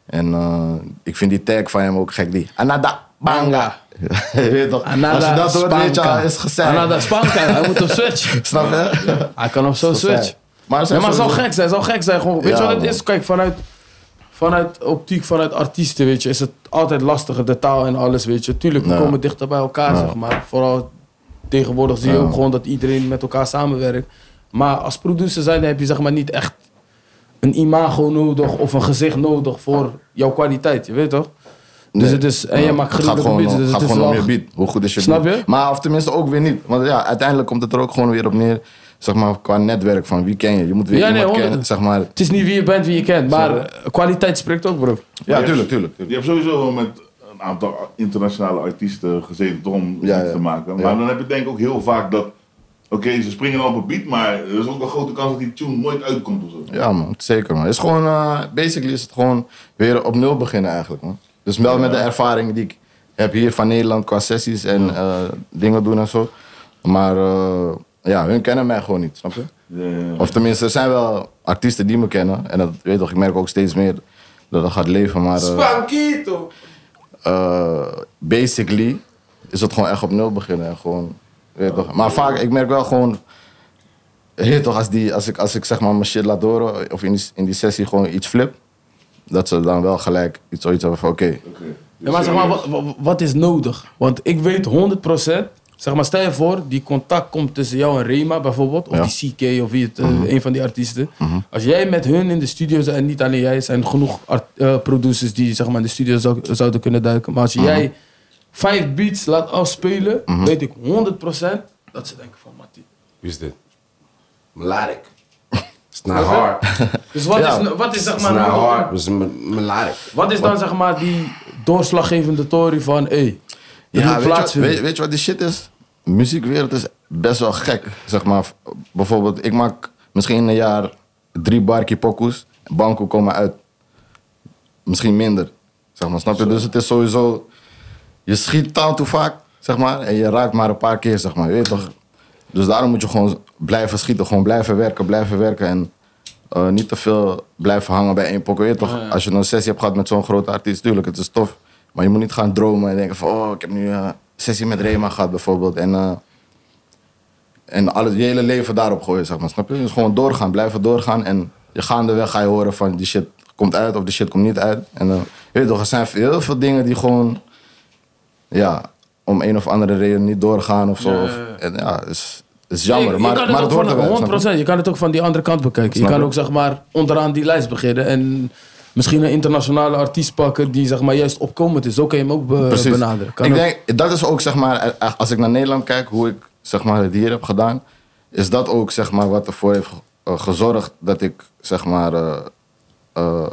En eh, ik vind die tag van hem ook gek, die Anada Banga. je weet toch? Anada Als je dat hoort, weet je, Spanka. al, is gezellig. Anada Spanka, hij moet op switch. Snap je? Hij kan op zo'n Dat is switch. hij. Maar, er Ja, zijn maar het zou sowieso- gek zijn, het zou gek zijn. Gewoon, weet Ja, je wat het man. is? Kijk, vanuit, vanuit optiek, vanuit artiesten, weet je, is het altijd lastiger, de taal en alles, weet je. Tuurlijk, we Ja. komen dichter bij elkaar, zeg maar. Vooral tegenwoordig zie je Ja. ook gewoon dat iedereen met elkaar samenwerkt. Maar als producer zijn heb je zeg maar niet echt een imago nodig of een gezicht nodig voor jouw kwaliteit, je weet toch? Dus Nee. het is, en Ja, je maakt het gruwelijke gaat beats, gewoon, dus gaat het is gewoon om wel- je beat. Hoe goed is je Snap beat? je? Maar of tenminste ook weer niet. Want ja, uiteindelijk komt het er ook gewoon weer op neer. Zeg maar qua netwerk van wie ken je. Je moet weer Ja, nee, iemand honderd. kennen. Zeg maar. Het is niet wie je bent, wie je kent, maar eh, kwaliteit spreekt ook, bro. Ja, je tuurlijk, hebt- tuurlijk. Je hebt sowieso wel met een aantal internationale artiesten gezeten om Ja, iets ja. te maken. Maar Ja. dan heb je denk ik ook heel vaak dat, oké, ze springen al op een beat, maar er is ook een grote kans dat die tune nooit uitkomt of zo. Ja man, zeker man. Het is gewoon, eh, basically is het gewoon weer op nul beginnen eigenlijk man. Dus wel met de ervaring die ik heb hier van Nederland qua sessies en eh, dingen doen en zo. Maar eh, ja, hun kennen mij gewoon niet, snap je? Eh, Of tenminste, er zijn wel artiesten die me kennen. En dat weet je toch, ik merk ook steeds meer dat dat gaat leven. Maar, eh, Spankito! eh, basically is het gewoon echt op nul beginnen. En gewoon, weet je toch. Maar vaak, ik merk wel gewoon, je weet toch, als, die, als, ik, als ik zeg maar mijn shit laat horen of in die, in die sessie gewoon iets flip, dat ze dan wel gelijk iets, zoiets hebben van oké. oké. Dus, eh, Ja, maar zeg maar, wat, wat- wat is nodig? Want ik weet 100%, zeg maar, stel je voor, die contact komt tussen jou en Rema bijvoorbeeld, of Ja. Mhm. die CK of wie het, eh, een van die artiesten. Als jij met hun in de studio zou- en niet alleen jij, zijn genoeg art- eh, producers die zeg maar, in de studio zou- zouden kunnen duiken. Maar als Mhm. jij vijf beats laat afspelen, weet ik 100% dat ze denken van Mattie. Wie is dit? Melodic. It's not hard. Dus wat, Ja. nou is, wat is zeg It's maar. not nodig? hard. It's m- melodic. Wat is dan zeg maar die doorslaggevende tory van, hé, hey, er moet Ja, weet je, wat, plaatsvinden? weet, weet je wat die shit is? De muziekwereld is best wel gek. Zeg maar, v- bijvoorbeeld, ik maak misschien in een jaar drie barkie pokoes. Banko komen uit. Misschien minder. Zeg maar, snap je? Dus het is sowieso... Je schiet taal toe vaak, zeg maar. En je raakt maar een paar keer, zeg maar. Je weet toch? Dus daarom moet je gewoon blijven schieten. Gewoon blijven werken, blijven werken. En eh, niet te veel blijven hangen bij één pokoe. Je weet toch? Als je een sessie hebt gehad met zo'n grote artiest, tuurlijk, het is tof. Maar je moet niet gaan dromen en denken van... Oh, ik heb nu eh, een sessie met Rema gehad, bijvoorbeeld. En... eh, en alles, je hele leven daarop gooien, zeg maar. Snap je? Dus gewoon doorgaan, blijven doorgaan. En je gaandeweg ga je horen van die shit komt uit of die shit komt niet uit. En dan, je weet toch, er zijn heel veel dingen die gewoon, ja, om een of andere reden niet doorgaan of zo. Ja, ja, Of, ja. en ja, is, is jammer. Je- je maar kan het maar ook het hoort van- erbij, snap je? 100%. Je kan het ook van die andere kant bekijken. Je Snap kan ik. ook zeg maar onderaan die lijst beginnen en misschien een internationale artiest pakken die zeg maar juist opkomend is. Zo kan je hem ook be- Precies. eh, benaderen. Kan ik ook. denk, dat is ook zeg maar, eh, als ik naar Nederland kijk, hoe ik zeg maar het hier heb gedaan, is dat ook zeg maar wat ervoor heeft eh, gezorgd dat ik zeg maar, eh, eh,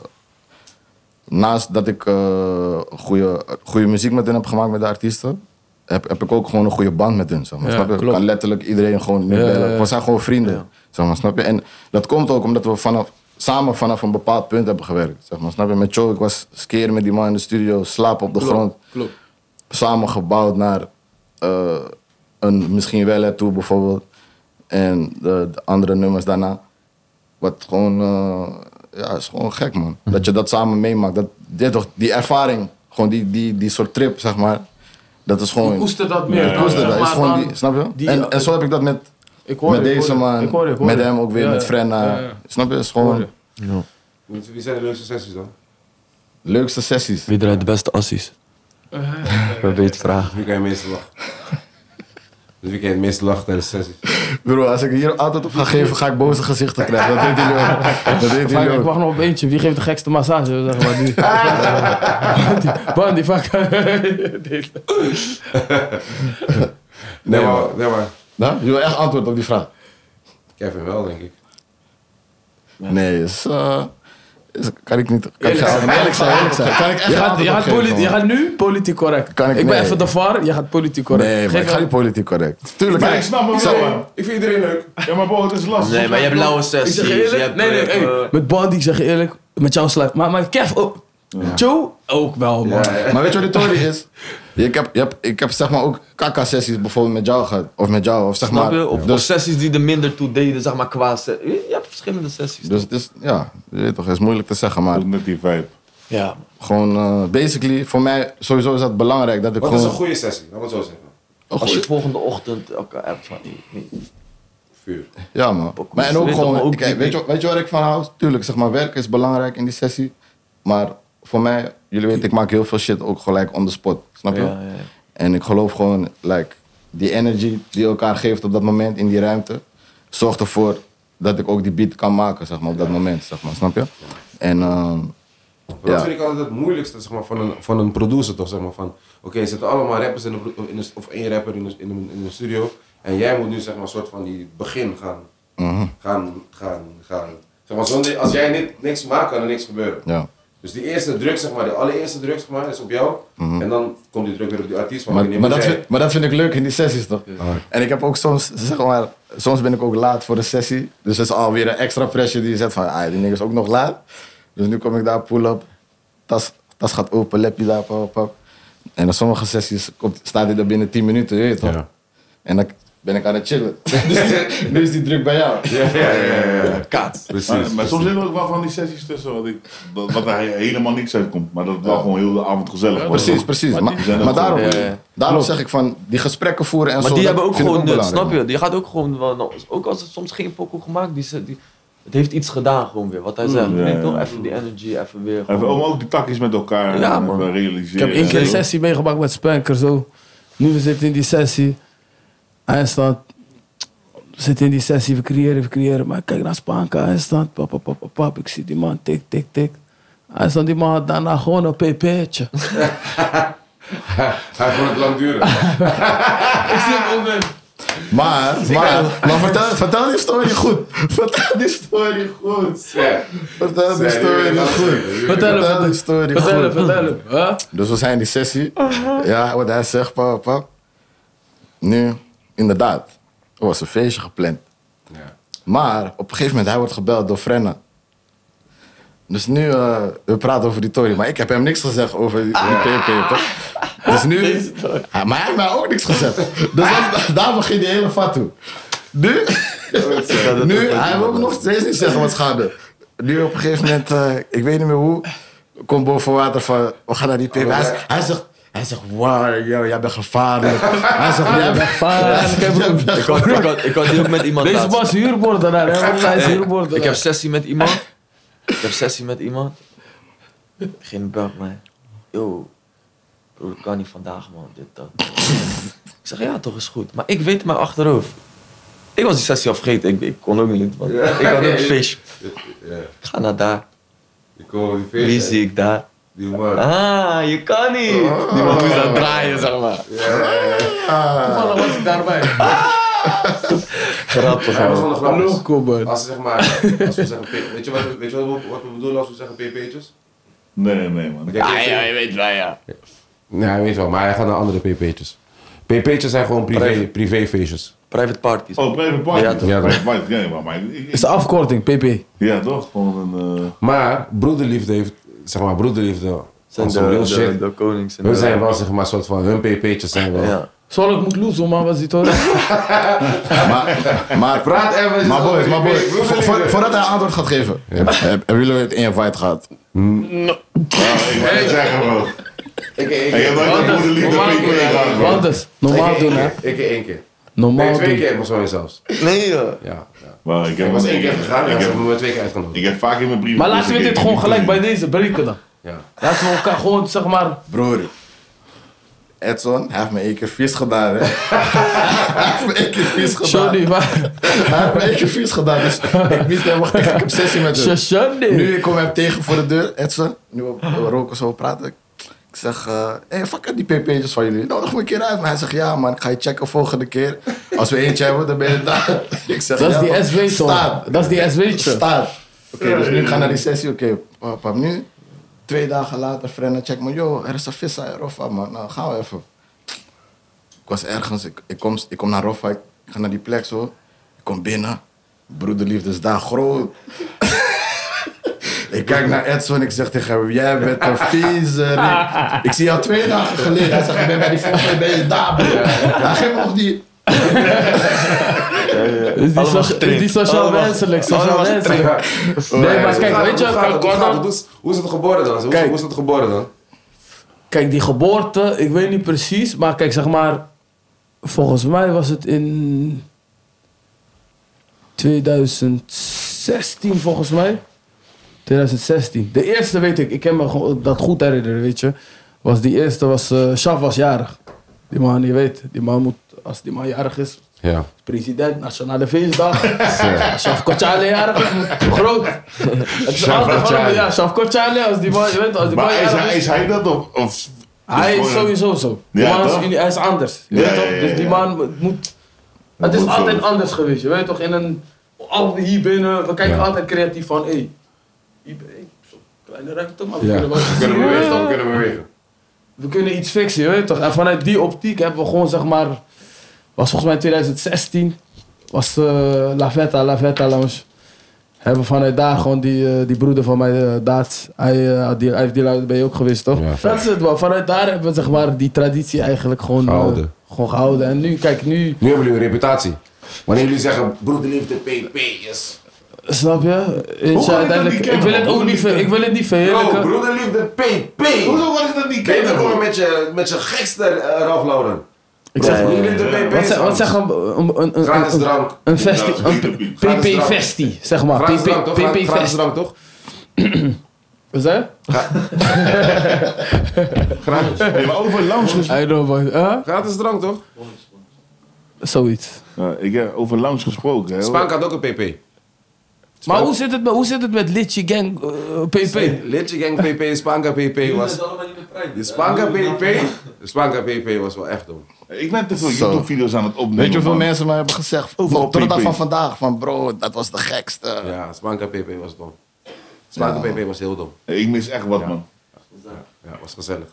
naast dat ik eh, goede, goede muziek met hen heb gemaakt met de artiesten, heb, heb ik ook gewoon een goede band met hun. Zeg maar, Ja, snap je? Ik klopt. kan letterlijk iedereen gewoon nu Ja, bellen. ja, ja. We zijn gewoon vrienden, zeg maar, snap je? En dat komt ook omdat we vanaf, samen vanaf een bepaald punt hebben gewerkt, zeg maar, snap je? Met Joe, ik was skeer met die man in de studio, slaap op de grond Klopt. samen gebouwd naar eh, een misschien wel toe bijvoorbeeld. En de, de andere nummers daarna. Wat gewoon, eh, ja, is gewoon gek man. Mhm. Dat je dat samen meemaakt. Dat, dit, toch, die ervaring, gewoon die, die, die soort trip zeg maar. Dat is gewoon. Ik koester dat meer. Ja, ik dan, koester zeg dat. Is maar, gewoon dan- die, snap je? die- en, en zo heb ik dat met, Ik hoor met je, ik deze hoor je. man. Ik hoor je, ik hoor met je. hem ook weer, Ja, met ja. Frenna. Ja, ja. Snap je? Het is Hoor gewoon je. Ja. Wie wie zijn de leukste sessies dan? leukste sessies. Wie draait de beste assies? Eh, Dat weet ik graag. Wie kan je het meeste lachen? Dus wie kan je het meeste lachen tijdens de sessies? Bro, als ik hier altijd op ga geven, ga ik boze gezichten krijgen. Dat weet jullie ook. Dat Maar weet jullie ik ook. wacht nog op eentje. Wie geeft de gekste massage? Zeg maar, die. Bandy, Bandy, fuck. Deze. Nee, Nee, maar, nee, maar. Nou, je wil echt antwoord op die vraag. Kevin wel, denk ik. Nee, is, eh, Is- Kan ik niet. Kan ik Eerlijk zeggen, zijn, eerlijk zijn, eerlijk zijn. Kan ik echt Je gaat, antwoord je, op gaat geven, politi- man. je gaat nu politiek correct. Kan ik- ik ben nee. even de var, je gaat politiek correct. Nee, maar Geef ik ga me- niet politiek correct. Tuurlijk. Maar kan ik ik- snap hem wel, man. Ik vind iedereen leuk. Ja, maar bro, het is lastig. Nee, maar je hebt lauwe Ik sessies. zeg je Je eerlijk. hebt, Nee, nee, eh, hey, eh, Met Bandy, ik zeg je eerlijk. Met jou sluit. Maar, maar Kev ook. Joe ook wel, man. Maar weet je wat de tory is? Ik heb, je hebt- ik heb zeg maar ook kaka-sessies bijvoorbeeld met jou gehad. Of met jou, of zeg Snap maar. je? Of, of Dus, sessies die er minder toe deden, zeg maar, qua... se- Je je hebt verschillende sessies. dus het is, ja, je weet toch, het is moeilijk te zeggen, maar Ook Net die vibe. Ja. gewoon, eh, basically, voor mij, sowieso is dat belangrijk dat ik Wat is gewoon... een goede sessie? Laat me het zo zeggen. een Als je goeie- volgende ochtend elkaar hebt van... nee, nee. Vuur. Ja, man. Pokoe, Maar en je ook weet toch, gewoon, maar ook ik- die- weet, je, weet je waar ik van hou? Tuurlijk, zeg maar, werk is belangrijk in die sessie. Maar voor mij, jullie weten, ik maak heel veel shit ook gelijk on the spot. Snap je? Ja, ja, ja. En ik geloof gewoon, like, die energy die elkaar geeft op dat moment in die ruimte, zorgt ervoor dat ik ook die beat kan maken, zeg maar, op dat moment, zeg maar, snap je? En, ehm, Maar Dat Ja. vind ik altijd het moeilijkste zeg maar, van, een, van een producer toch, zeg maar. Van, oké, er zitten allemaal rappers in de, pro- in de- of één rapper in de, in, de, in de studio. En jij moet nu zeg maar een soort van die begin gaan, mhm, gaan, gaan, gaan. Zeg maar, zonder, als jij niet, niks maakt, kan er niks gebeuren. ja. Dus die eerste druk, zeg maar, de allereerste druk, zeg maar, is op jou. En dan komt die druk weer op die artiest. van Mhm. Maar, oké, maar, dat moet jij- vind, maar dat vind ik leuk in die sessies toch? En ik heb ook soms, zeg maar, soms ben ik ook laat voor de sessie. Dus dat is alweer een extra pressure die je zet van, ah, die nigger is ook nog laat. Dus nu kom ik daar, pull up, tas, tas gaat open, lapje daar, pap, pap. En in sommige sessies komt, staat hij er binnen 10 minuten, je weet toch? Ja. En dan ben ik aan het chillen. Dus nu is die druk bij jou. Ja, ja, ja, ja, ja. Kaats. Precies. Maar, maar soms zitten er ook wel van die sessies tussen wat, ik, dat, wat er he- helemaal niks uitkomt. Maar dat het wel gewoon heel de avond gezellig wordt. Precies, precies. Maar, die zijn maar ook daarom, gewoon- Ja, ja. daarom zeg ik van, die gesprekken voeren en Maar zo. die dat hebben ook vind ik gewoon nut, belangrijk, snap je? Die gaat ook gewoon wel... nou, Ook als het soms geen pokoe gemaakt, die, ze- die, het heeft iets gedaan gewoon weer. Wat hij zegt. Mm, ja, Nee, ja. toch? Even die energy, even weer... En gewoon- we- maar ook die takjes met elkaar Ja, eh, man. even realiseren. Ik heb één keer een Ja. sessie meegemaakt met Spanker zo. Nu we zitten in die sessie. Hij staat. We zitten in die sessie, we creëren, we creëren. Maar ik kijk naar Spanker, hij staat. Pap, pap, pap, pap, pap. Ik zie die man, tik, tik, tik. Hij staat, die man had daarna gewoon een pp'tje. Hij vond het lang duren. Maar, maar, maar vertel, vertel die story goed. Vertel die story goed. Ja. Vertel die Zijn jullie story dat? goed. Vertel Vertel hem, die story vertel hem, goed. vertel hem. Huh? Dus we zijn in die sessie. Ja, wat hij zegt, pap, pap. Nu, inderdaad, er was een feestje gepland. Ja. Maar op een gegeven moment, hij wordt gebeld door Frenna. Dus nu, eh, we praten over die Tory, maar ik heb hem niks gezegd over die, die PP, toch? Dus nu, Ah, maar hij heeft mij ook niks gezegd. Dus dat- daar begint die hele fatu. Nu, nu hij wil me nog steeds niet zeggen wat schade. Nu op een gegeven moment, eh, ik weet niet meer hoe, komt boven water van, we gaan naar die PP. Hij, zegt- hij zegt, hij zegt, wauw, yo, jij bent gevaarlijk. Hij zegt, jij bent Vaarlijk, hè, broer. gevaarlijk. Ik had, ik, had, ik had hier ook met iemand Deze laatst. was huurmoordenaar, hè? Want hij is Eh, huurmoordenaar. Ik heb sessie met iemand. Ik heb sessie met iemand. Geen belt mij. Yo, bro, dat kan niet vandaag, man. Dit, dat. ik zeg, ja, toch is goed. Maar ik weet het maar achterhoofd. Ik was die sessie al vergeten. Ik, ik kon ook niet, want ik had ook een feestje. Ja. Ik ga naar daar. Die komen die Wie feest. zie ik daar? Die man. Ah, je kan niet. Oh. Die man moest aan het draaien, zeg maar. Toevallig was ik daarbij. Grappig, Hij was man. van de grap. Loco, man. Als ze zeg maar, als we zeggen, pp- weet je, wat, we- weet je wat, we, wat we bedoelen als we zeggen pp'tjes? Nee, nee, man. Ah, ja, je weet wel, ja. Nee, hij weet wel, maar hij gaat naar andere pp'tjes. Pp'tjes zijn gewoon privé, Privé. privéfeestjes. Private parties. Oh, private party. Ja, toch. Ja, toch. Private party, ja, maar- maar ik- Is ik- de afkorting, pp. ja, toch? Gewoon een... eh, Maar broederliefde heeft, zeg maar, broederliefde, Zijn als de, een real de, de, shit. konings. en Hun de- zijn wel, zeg maar, een soort van, hun pp'tjes zijn wel. Ja. Zorg moet loezen, man, was die toch? Maar, maar Praat even. Maar boys, over maar die boys, broederliefde. vo- vo- voordat hij een antwoord gaat geven, heb- hebben jullie het invite gehad? ik wou net zeggen, bro. Ik één Ik heb keer. nooit een goede liefde normaal mee kunnen gaan, bro. Anders, normaal Ik doen, één hè? keer. Ik één keer. Nee, Normaal twee doen. keer, maar zo zelfs. Nee, joh. Ja. ja. Maar ik heb Ik was één keer gegaan en Ik ze heb, hebben me twee keer uitgenodigd. ik heb vaak in mijn brief... Maar laten we dit gewoon gelijk bij de... deze breken dan. Ja. Laten we elkaar gewoon, zeg maar... Broer, Edson hij heeft me één keer vies gedaan, hè? hij heeft me één keer vies gedaan. Johnny, maar... Hij heeft me één keer vies gedaan, dus ik niet helemaal gek. Ik heb sessie met hem. Johnny! Nu ik kom hem tegen voor de deur, Edson, nu we we roken zo praten. Ik zeg, eh hey, fuck it, die pp'tjes van jullie. Nou, Nodig me een keer uit. Maar hij zegt, ja man, ik ga je checken volgende keer. Als we eentje hebben, dan ben je daar. Ik zeg, Dat is ja, die man. SW, toch? Staat. Dat is die SW-tje. Staat. Oké, dus nu ik ga naar die sessie. Oké, papa, nu. Twee dagen later, Frenna check me. Yo, er is een vis aan Roffa, man. Nou, gaan we even. Ik was ergens. Ik, ik, kom, ik kom naar Roffa. Ik ga naar die plek zo. Ik kom binnen. Broederliefde is daar groot. Ik kijk naar Edson, ik zeg tegen hem, jij bent een vieze Rick. Ik zie jou twee dagen geleden. Hij zegt, ik ben bij die volgende, ben je daar, broer. Hij geeft me nog die... Is die, Allemaal so- is getraind. die sociaal Allemaal- wenselijk? Sociaal allemaal wenselijk. Nee, maar kijk, weet je, hoe, Concorde- hoe, is- hoe is het geboren dan? Hoe, is- Kijk. hoe is het geboren dan? Kijk, die geboorte, ik weet niet precies, maar kijk, zeg maar, volgens mij was het in 2016, volgens mij. 2016. De eerste weet ik, ik kan me gewoon dat goed herinneren, weet je. Was die eerste, was, eh Shaf was jarig. Die man, je weet, die man moet, als die man jarig is, Ja. president, nationale feestdag. Shaf Kochale jarig, groot. Het is altijd van, ja, Shaf Kochale, als die man, je weet, als die man Maar is jarig hij, is hij dat of... of hij is gewoon- sowieso zo. Die Ja, man is, toch? uni- hij is anders. Je Ja, weet ja, toch? ja, Dus die ja. man moet- moet. Het is Moet zo. altijd anders geweest. Je weet toch? In een, al hier binnen, we kijken altijd creatief van. Hé, hier ben ik. Zo'n Kleine ruimte, maar we Ja. kunnen wel We iets kunnen doen. bewegen, we kunnen bewegen. We kunnen iets fixen, je weet toch? En vanuit die optiek hebben we gewoon zeg maar. Was volgens mij 2016. Was eh La Vetta, La Vetta Lounge. Hebben we vanuit daar gewoon die, eh, die broeder van mij, eh, Daats. Hij, eh, die, hij heeft die lui- ben je ook geweest, toch? Ja. dat is het, man. Vanuit daar hebben we zeg maar die traditie eigenlijk gewoon eh, Gehouden. gewoon gehouden. En nu, kijk, nu. Nu hebben jullie een reputatie. Wanneer jullie zeggen broederliefde PP is. Snap je? Is ik dat uiteindelijk- niet ik wil kennen? het Hoe ook kan ik niet, ver- dat- ik wil het niet Bro, verheerlijken. broederliefde PP. Hoezo was ik dat niet Nee, dan kennen? kom je hoor? met je, met je gekste eh, Ralph Lauren. Ik zeg, Bro, broederliefde PP wat, is zeg, wat anders. zeg een, een, een, een, Gratis een, drank. een festi, een Gratis drank. PP-festi, zeg maar. Gratis drank toch? Gra- Gratis PP-festi. drank toch? Wat zei je? Gratis. Hey, maar over lounge Dus gesproken. I know, man. Huh? Gratis drank toch? Zoiets. Ja, ik heb over lounge gesproken. Hè, Spaan had ook een PP. Maar hoe zit het met, hoe zit het met Litchi Gang eh, PP? Litje Gang PP, Spanka PP was. allemaal niet meer De Spanka PP, de Spanka PP was wel echt dom. Ik ben te veel Zo. YouTube-video's aan het opnemen. Weet je hoeveel man. mensen mij hebben gezegd? Overal Tot de dag PP. van vandaag. Van bro, dat was de gekste. Ja, Spanka PP was dom. Spanka PP was heel dom. Ik mis echt wat, man. Ja, was gezellig.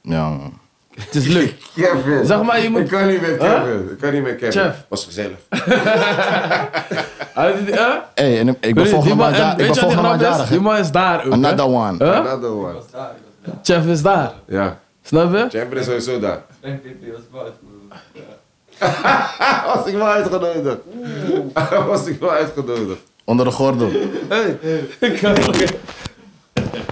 Ja, man. Het is leuk. Kevin. Zeg maar, je moet- Ik kan niet meer Kevin. Ik kan niet meer Kevin. Chef. Was gezellig. Hij- hè? Hey, en ik- ik Weet je, ben die volgende man- maand ja- en ik weet ben je wat die volgende grap maand jarig. is? hè. Die man is daar ook. hè? Another one. Huh? Another one. Chef is daar. Ja. Snap je? Champion is sowieso daar. Frank PP was buiten. Was ik wel uitgenodigd. Was ik wel uitgenodigd. Onder de gordel. Hij geeft hem, Chef.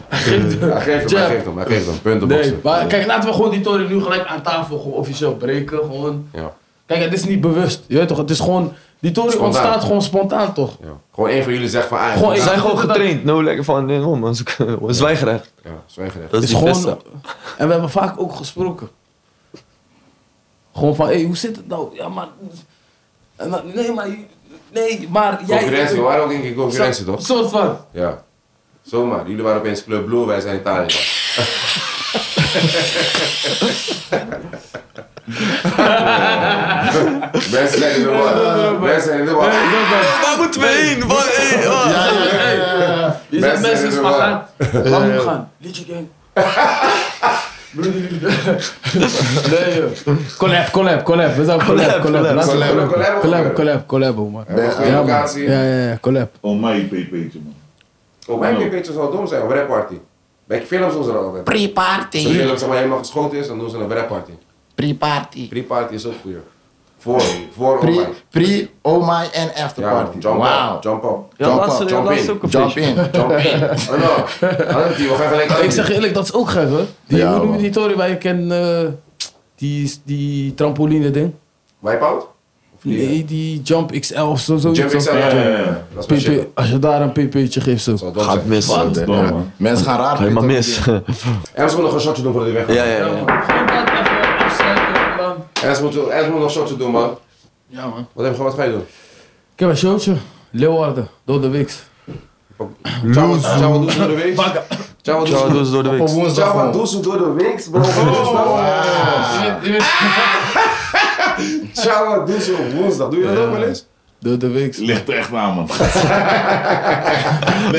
hij geeft hem, hij geeft hem. Punten Nee, boksen. maar kijk, laten we gewoon die toren nu gelijk aan tafel gewoon officieel breken. Gewoon. Ja. Kijk, het is niet bewust. Je weet toch, het is gewoon... Die toren Spontaan. ontstaat gewoon spontaan, toch? ja. Gewoon één van jullie zegt van... Ah, Gewoon ja, We één. zijn gewoon getraind. No, lekker van. Nee, man, man. Zwijgerecht. Ja, zwijgerecht. Dat Het is die is gewoon, beste. en we hebben vaak ook gesproken. Gewoon van, hé, hoe zit het nou? Ja, maar... en dan- nee, maar... Nee, maar jij... Concurrentie, we waren ook in keer concurrentie toch? Soort van. Ja. Zomaar, jullie waren opeens Club Blue, wij zijn Italië. Mensen zijn in de war. Mensen zijn in de war. Waar moeten we heen? Waar- hey, ah. Ja, ja, ja, ja, ja. Je Mensen zegt mensen is hebben maar gaan. waar. Waar moet ik gaan? Liedje gang. nee, joh. Collab, collab, collab. We zijn collab, collab. Laten we collab. Collab, collab, collab, collab. collab, collab, hoor, man. Bij een goede Ja, man. locatie. Ja, ja, ja, collab. Oh, mijn pp'tje, man. Oh, mijn pipetje zal dom zijn, een webparty. Bij films doen ze dat altijd. Als een Pre-party. film zeg maar helemaal geschoten is, dan doen ze een webparty. Pre-party. Pre-party is ook goeie. Voor, voor Pre, online. pre, oh my en after Ja, man, party. jump Wauw. up, jump up. Ja, Jump laatst up, ja, jump laatst in. ook een Jump feestje. in. Jump in. Oh no, Hantie, we gaan gelijk aan. Ik zeg je eerlijk, dat is ook gek, hoor. Die, Ja, hoe noem je man. die toren waar je ken... eh, die, die trampoline ding? Wipeout? Of niet? Nee, die Jump XL of zo. zo Jump zo. XL, Ja, ja, ja, ja. ja. Dat is mijn shit. PP, als je daar een pp'tje geeft, zo. Zal dom zijn. Gaat mis. Wat? Dom, man. Mensen gaan raar. Helemaal Peter. mis. En ze moeten nog een shotje doen voordat hij weggaat. Ja, ja, ja. Gewoon dat even afsluiten, man. En ze moeten en ze moeten nog een shotje doen, man. Ja, man. Wat, heb, je- wat ga je doen? Ik heb een showtje. Leeuwarden, door de week. Ciao, ciao, doezoe door de week. Ciao, Ciao, doezoe. doe ze door de Op een week. woensdag. Ciao, gewoon. doezoe door de week, bro. Ciao, doezoe op woensdag. Doe je dat ook wel eens? Door de week. Ligt er echt aan, man.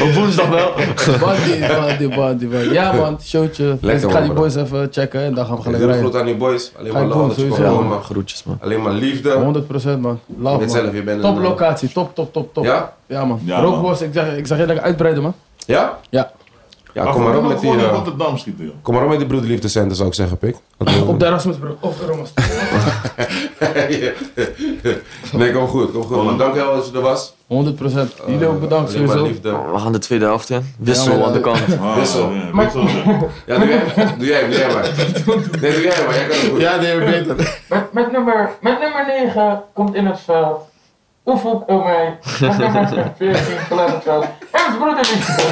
Op woensdag wel. Bandy, bandy, bandy, bandy. Ja man, showtje. Dus ik ga man, die bro. boys even checken en dan gaan we gelijk Heel groot rijden. aan die boys. Alleen Ga maar ik love doen, dat je kan sowieso. komen. Ja, groetjes man. Alleen maar liefde. 100% man. Love Weet man. zelf, je bent een... Top locatie, top, top, top, top. Ja? Ja man. Ja, Rookworst, ik zeg, ik zeg je lekker uitbreiden man. Ja? Ja. Ja, kom maar op met die... Gewoon in eh, Rotterdam schieten, joh. Kom maar op met die broederliefdecenten, zou ik zeggen, pik. Op de Erasmus bro. Op de Erasmus. nee, kom goed, kom goed. Man, dank je wel dat je er was. 100%. Jullie ook bedankt Alleen maar sowieso. liefde. We gaan de tweede helft in. Ja, Wissel maar- aan de kant. Ah, Wissel. ja, Wissel. ja. Ja, doe jij, doe jij, doe jij maar. Nee, doe jij maar, jij kan het goed. Ja, nee, beter. Met, met, nummer, met nummer 9 komt in het veld. Oefent Omei. Met nummer 14 verlaat het veld. Ernst Broederliefde.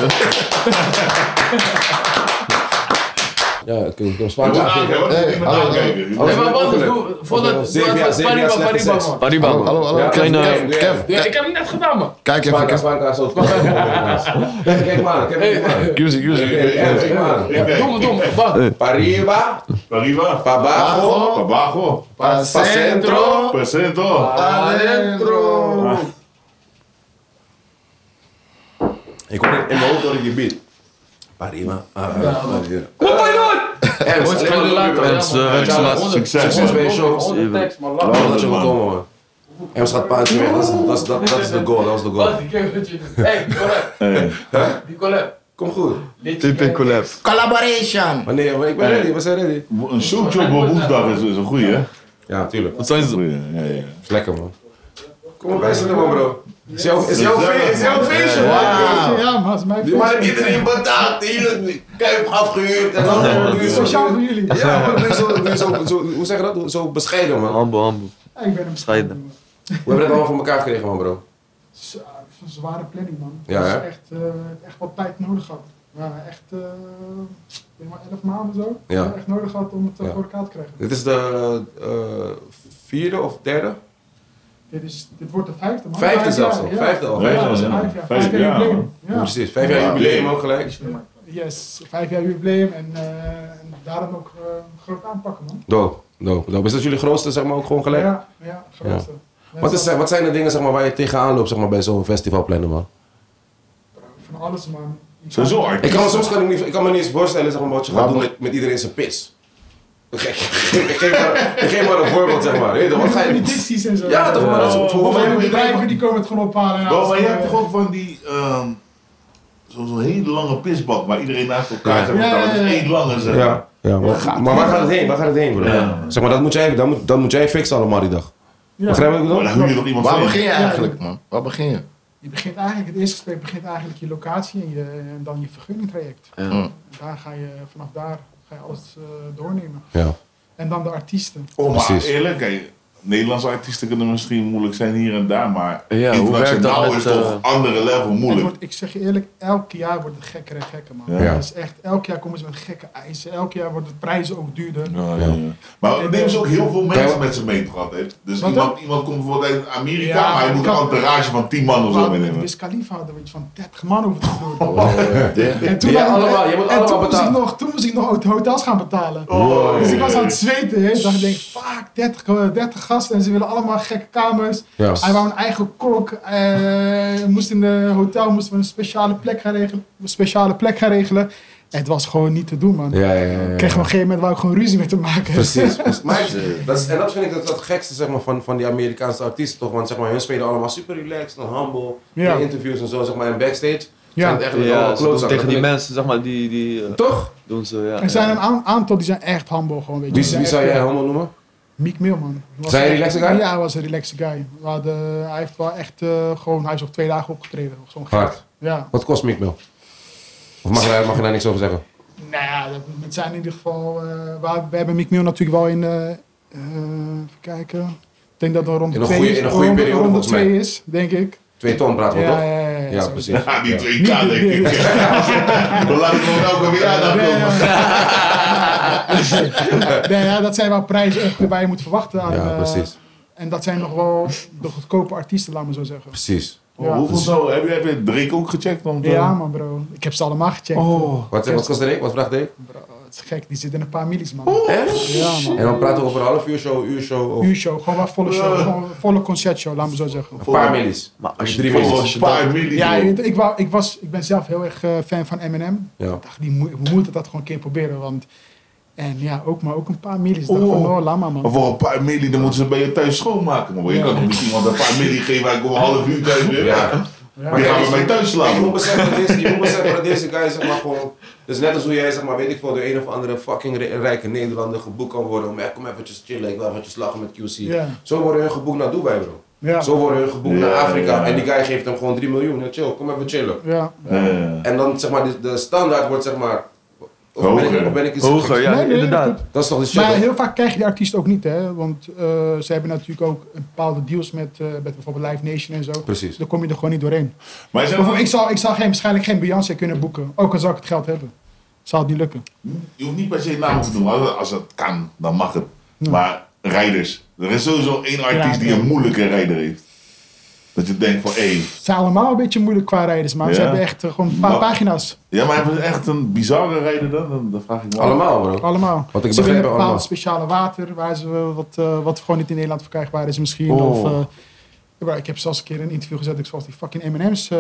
Ja, ik kan Je zwaar moet aankijken, hoor. Je Hey, moet hallo, aankijken. Je moet- Nee, maar wat is Ongeluk. hoe- voordat... Zeven jaar- voordat- zeven jaar Pariba, slechte Pariba seks. man. Pariba Hallo, man. hallo, hallo. Ja, Kev, kleine- Kev, Kev, Ja, ik heb hem net gedaan man. Kijk even, Zwanka, Kev. zwanka, zo. Kijk maar, aan, kijk maar. aan. Use it, use it. Kijk, ja, kijk maar. aan. Kijk, Doe me, doe me. Bam. Pariba, Arriva. Pabajo, Abajo. Ah, Centro. Presento. Adentro. Ik hoor in mijn hoofd hoor ik die beat. Pariba, Pariba. Wat ga je doen? Ernst, Boys, alleen gaan maar jullie leuke later. mensen. Ernst, eh, Ernst, laat- succes, man. bij je shows. Honderd tekst man. Oh, Laat. Laat dat je wel komen, man. Ernst gaat paantje weg, dat is- dat is- dat- dat is de goal, dat is de goal. Wat ik heb met je. Hey, Nicolette. Hey. Nicolette. Kom goed. TP collapse. Collaboration. Maar nee, maar ik ben Hey. ready, we zijn ready. Een showtje op woensdag is, is een goeie, hè? Ja, tuurlijk. Wat zijn ze? Goeie, ja, ja. is lekker, man. Kom op, luister man, bro. Is jouw is jouw Ja, fe- is jouw man. feestje, Ja, man. Ja, maar het is mijn Die man heeft iedereen betaald, de hele kuip afgehuurd en dan nu is het Speciaal voor jullie. Ja, maar nu is zo, nu is zo, zo, hoe zeg je dat? Zo bescheiden, man. Hambo, hambo. Ja, Ik ben hem Bescheiden. We hebben het allemaal voor elkaar gekregen, man, bro. Zo, dat is een zware planning, man. Ja, Dat is hè? echt, eh, echt wat tijd nodig had. Ja, echt, eh, ik denk maar elf maanden zo. Ja. Echt nodig had om het eh, Ja. voor elkaar te krijgen. Dit is de eh, vierde of derde? Dit, is, dit wordt de vijfde, man. Vijfde Vijf zelfs jaar, al. ja. Vijfde al. Vijf Vijf jaar, jaar. Vijf ja. jaar, Vijf vijf jaar jaar, jubileum. Ja. Precies, vijf jaar Ja. jubileum ook gelijk. Yes, vijf jaar jubileum en, eh, en daarom ook eh, groot aanpakken, man. Doop, doop, doop. Is dat jullie grootste, zeg maar, ook gewoon gelijk? Ja, ja, grootste. Net Wat, is, als- wat zijn de dingen, zeg maar, waar je tegenaan loopt, zeg maar, bij zo'n festivalplannen, man? Van alles, man. Sowieso Ik artiest. kan me soms kan ik niet, ik kan me niet eens voorstellen zeg maar, wat je gaat doen met, met iedereen zijn pis. Ik geef- ik geef maar- ik geef maar een voorbeeld, zeg maar. Weet je, wat ga je Edities en zo. Ja, toch, maar dat is voor Hoeveel hoeveel bedrijven die komen het gewoon ophalen. en Bro, alles, maar je eh, hebt toch ook van die. ehm, Zo'n zo'n hele lange pisbak waar iedereen naast elkaar zit. Ja, ja, Dat ja. is één lange zeg. Ja, ja maar, maar waar gaat het heen? Waar gaat het heen, bro? Ja. Zeg maar, dat moet jij, dat moet, dat moet jij fixen allemaal die dag. ja. Begrijp je wat ik Maar bedoel? dan huur je nog iemand Waar voor in. begin je eigenlijk, man? Waar begin je? Je begint eigenlijk, het eerste gesprek begint eigenlijk je locatie en, je, en dan je vergunningtraject. Ja. Daar ga je, vanaf daar ga je alles eh, doornemen. Ja. En dan de artiesten. Oh, maar Precies. eerlijk, hè, Nederlandse artiesten kunnen misschien moeilijk zijn hier en daar, maar Ja, hoe internationaal werkt is dat met, toch eh, andere level Het moeilijk. wordt, ik zeg je eerlijk, elk jaar wordt het gekker en gekker, man. Ja. Ja. Dat is echt, elk jaar komen ze met gekke eisen. Elk jaar worden de prijzen ook duurder. Ja, ja, ja. Maar neem ze ook heel veel Ja. mensen met ze mee gehad. hè. Dus Wat iemand, iemand komt bijvoorbeeld uit Amerika, Ja, maar hij moet een kan- entourage van 10 man of zo Maar met meenemen. Wiz Khalifa hadden we iets van 30 man over te doen. Oh, En toen, Ja, had ik- allemaal, je moet en toen allemaal moest ik betalen. nog, toen moest ik nog hot- hotels gaan betalen. Oh, Dus ik was aan het zweten. Hè. dacht ik, denk, fuck, 30, eh, 30 gasten en ze willen allemaal gekke kamers. Ja. Hij wou een eigen kok. eh moest in een hotel moesten we een speciale plek gaan regelen. Een speciale plek gaan regelen. Het was gewoon niet te doen, man. Ja, ja, ja, ja. Ik kreeg op een gegeven moment waar ik gewoon ruzie met hem maken. Precies. precies. Maar eh, dat is, en dat vind ik het, het gekste zeg maar, van, van die Amerikaanse artiesten toch. Want zeg maar, hun spelen allemaal super relaxed en humble. Ja. In interviews en zo, zeg maar, en backstage. Ja. Zijn het echt Ja, allemaal ze doen klootzakken. tegen die Dat mensen, zeg maar, die, die eh, vind ik- Toch? doen ze, ja. Er zijn een ja. aan- aantal die zijn echt humble gewoon, weet je. Wie, Die zijn wie echt, zou jij eh, helemaal noemen? Meek Mill, man. Was Zijn hij echt- relaxed guy? Ja, hij was een relaxed guy. We hadden- hij heeft wel echt eh, gewoon... Hij is nog twee dagen opgetreden. of Zo'n gek. Hard. Ja. Wat kost Meek Mill? Of mag, je daar- mag je daar niks over zeggen? Nou ja, dat, het zijn in ieder geval... eh, we, we hebben Meek Mill natuurlijk wel in... eh, eh, even kijken. Ik denk dat er rond de In een twee goede- is. in een goede rond- periode, rond de volgens mij. twee is, denk ik. Twee ton praten we Ja, toch? ja, ja, ja, Ja, zo. precies. Ja, die 2K denk ik. We laten gewoon elke weer aan Ja, ja, komen. ja. Nee, ja, dat zijn wel prijzen echt waar je moet verwachten. Aan, Ja, eh, precies. en dat zijn nog wel de goedkope artiesten, laat maar zo zeggen. Precies. Ja. Hoeveel zo? Heb je, heb je Drake ook gecheckt? Want, eh, Oh. Ja, man, bro. Ik heb ze allemaal gecheckt. Wat, wat kost er Wat vraagt hij? Bro, het is gek. Die zit in een paar millies, man. Echt? Ja, man. En dan praten we over een half uur show, uur show of een Uurshow, gewoon wel volle show. Gewoon volle concertshow, laat me zo zeggen. paar millies. Maar als je Drie drie minuten. Voor een paar miljoen. Ja, je weet, ik, wou, ik, was, ik ben zelf heel erg eh, fan van Eminem. Ja. Ik dacht, die moet, we moeten dat gewoon een keer proberen. Want, en ja, ook, maar ook een paar millies. Ik dacht van, oh, lama Maar man. voor een paar miljoen, dan moeten ze bij je thuis schoonmaken. Maar je kan toch niet iemand een paar miljoen geven, hij komt een half uur thuis weer. Ja. Maar die gaan we bij thuis Je moet slaan. beseffen dat deze, je moet beseffen dat deze guy zeg maar gewoon... Dus net als hoe jij zeg maar, weet ik veel, door een of andere fucking ri- rijke Nederlander geboekt kan worden om... "Eh, Kom eventjes chillen, ik wil eventjes lachen met QC. Ja. Zo worden hun geboekt naar Dubai bro. Ja, Zo worden hun geboekt Ja, naar Afrika ja. en die guy geeft hem gewoon 3 miljoen. Ja, chill, kom even chillen. ja. Eh, Ja. En dan zeg maar, de, de standaard wordt zeg maar... Of ben ik, Hoger. of ben ik iets Hoger, ja, Nee, nee, inderdaad. Dat is toch de shit? Maar hoor. heel vaak krijg je die artiest ook niet, hè. Want eh, ze hebben natuurlijk ook bepaalde deals met, eh, met bijvoorbeeld Live Nation en zo. Precies. Dan kom je er gewoon niet doorheen. Maar zijn Bijvoorbeeld, ik zou, ik zou geen, waarschijnlijk geen Beyoncé kunnen boeken. Ook al zou ik het geld hebben. Zou het niet lukken. Je hoeft niet per se namen te doen. Als als het kan, dan mag het. Maar rijders. Er is sowieso één artiest Ja, die ja. een moeilijke rijder heeft. Dat je denkt van, hé. Ze zijn allemaal een beetje moeilijk qua rijders, maar ze Ja. hebben echt eh, gewoon een paar Maar- pagina's. Ja, maar hebben ze echt een bizarre rijder dan? Dan, dan vraag ik me af. Allemaal bro. Allemaal. Wat ik ze begrijp, een bepaald allemaal. speciale water waar ze eh, wat, eh, wat gewoon niet in Nederland verkrijgbaar is misschien. Oh. Of, eh, ja, ik heb zelfs een keer een interview gezet. Ik zoals die fucking M&M's eh,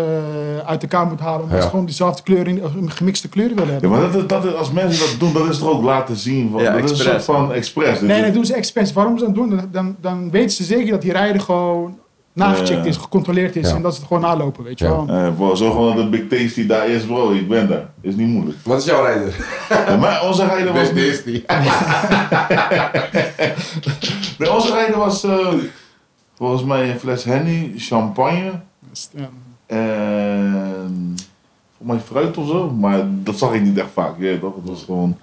uit elkaar moet halen. Omdat Ja. ze gewoon diezelfde kleur in, of een gemixte kleuren willen Ja, hebben. maar dat, is- dat, is- als mensen dat doen, dat is toch ook laten zien. Van, Ja, dat is een soort expres. van expres. Nee, dat doen ze expres. Waarom ze dat doen? Dan, dan, dan weten ze zeker dat die rijder gewoon nagecheckt Ja. is, gecontroleerd is Ja. en dat ze het gewoon nalopen, weet je Ja. wel. Eh, bro, zo gewoon dat de Big Tasty daar is, bro. Ik ben daar. Is niet moeilijk. Wat is jouw rijder? Ja, maar onze rijder was niet... Disney. Nee, onze rijder was eh, volgens mij een fles Henny, champagne... Dus, ja. En Ehm, volgens mij fruit of zo, maar dat zag ik niet echt vaak. Ja, toch? Het was gewoon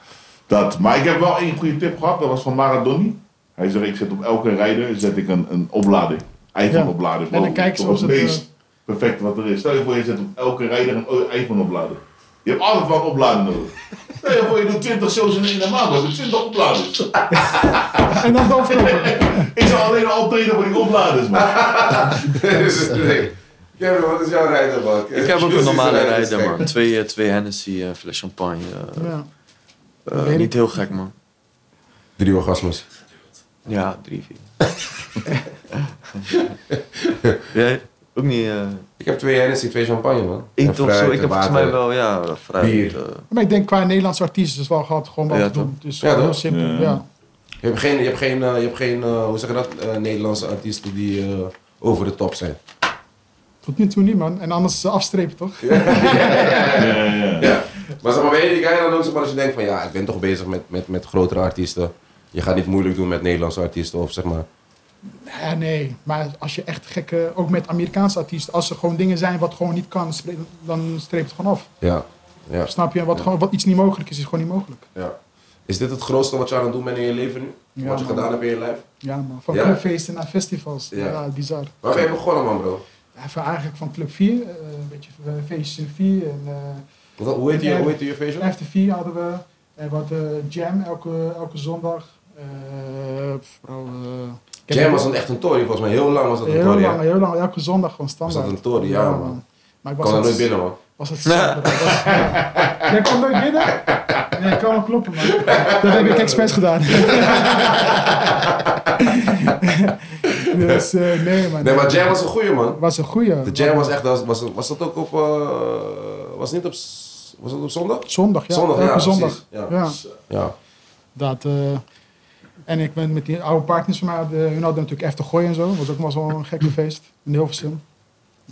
dat. Maar ik heb wel één goede tip gehad, dat was van Maradoni. Hij zei, ik zet op elke rijder zet ik een, een oplading. iPhone-oplader. En dan kijk kijken ze ze of het ze het, meest perfect wat er is. Stel je voor, je zet op elke rijder een iPhone-oplader. Je hebt altijd wel een oplader nodig. Stel je voor, je doet 20 shows in één maand, dat is 20 opladers. En dan doorverkopen. Ik zou alleen al optreden voor die opladers, man. Dus, nee. Kevin, wat is jouw rijder, man? Ik heb ook een normale rijder, man. man. Twee, eh, twee Hennessy, eh, fles champagne. eh, Ja. eh, Weet ik. niet heel gek, man. Drie orgasmes. Ja, drie, vier. Jij? Ook niet... eh Ik heb twee Hennessy, twee champagne, man. En één toch fruit zo. en Ik heb volgens water. mij wel, ja, fruit. Bier. eh, Maar ik denk qua Nederlandse artiesten is wel gehad gewoon wat Ja, te doen. toch? Dus Ja, toch? heel simpel. Ja. Ja. Je hebt geen, je hebt geen, eh, je hebt geen eh, hoe zeg je dat, eh, Nederlandse artiesten die eh, over de top zijn. Tot nu toe niet man. En anders eh, afstrepen toch? Ja, ja. Ja. Maar zeg maar, weet je, die guy dan ook, zeg maar, als je denkt van, ja, ik ben toch bezig met, met, met grotere artiesten. Je gaat niet moeilijk doen met Nederlandse artiesten of zeg maar. Ja, nee. Maar als je echt gekke, ook met Amerikaanse artiesten, als er gewoon dingen zijn wat gewoon niet kan, stre- dan streep het gewoon af. Ja. ja. Snap je? Wat, gewoon, wat iets niet mogelijk is, is gewoon niet mogelijk. ja. Is dit het grootste wat je aan het doen bent in je leven nu? Ja, wat je man. gedaan hebt in je lijf? Ja man. Van Ja. clubfeesten naar festivals. Ja. Ja, bizar. Waar ben je begonnen, man, bro? Ja, van eigenlijk van Club 4, eh, een beetje eh, feestjes in 4 en eh Wat- hoe heet je, hoe heet je feestje? After 4 hadden we. En wat eh, Jam elke, elke zondag. Eh, bro, eh, ik heb- Jam was een, echt een tory, volgens mij. Heel lang was dat een Heel tory. lang, heel lang, elke zondag gewoon standaard. Was dat een tory? Ja, man. Maar ik Ik was kon er het- nooit binnen, man. Was het standaard. Ik was- ja. Jij kwam nooit binnen? Nee, ik kan wel kloppen, man. Dat heb ik expres gedaan. dus eh, nee, man. Nee, maar Jam was een goeie, man. was een goeie. De Jam was echt, was, was, was dat ook op, eh, was niet op, s- was dat op zondag? Zondag, ja. Zondag, elke ja, zondag. precies. Ja. Ja. Ja. Dat, eh, en ik ben met die oude partners van mij, eh, hun hadden natuurlijk Efter Gooi en zo. Was ook wel zo'n gekke feest. In Hilversum.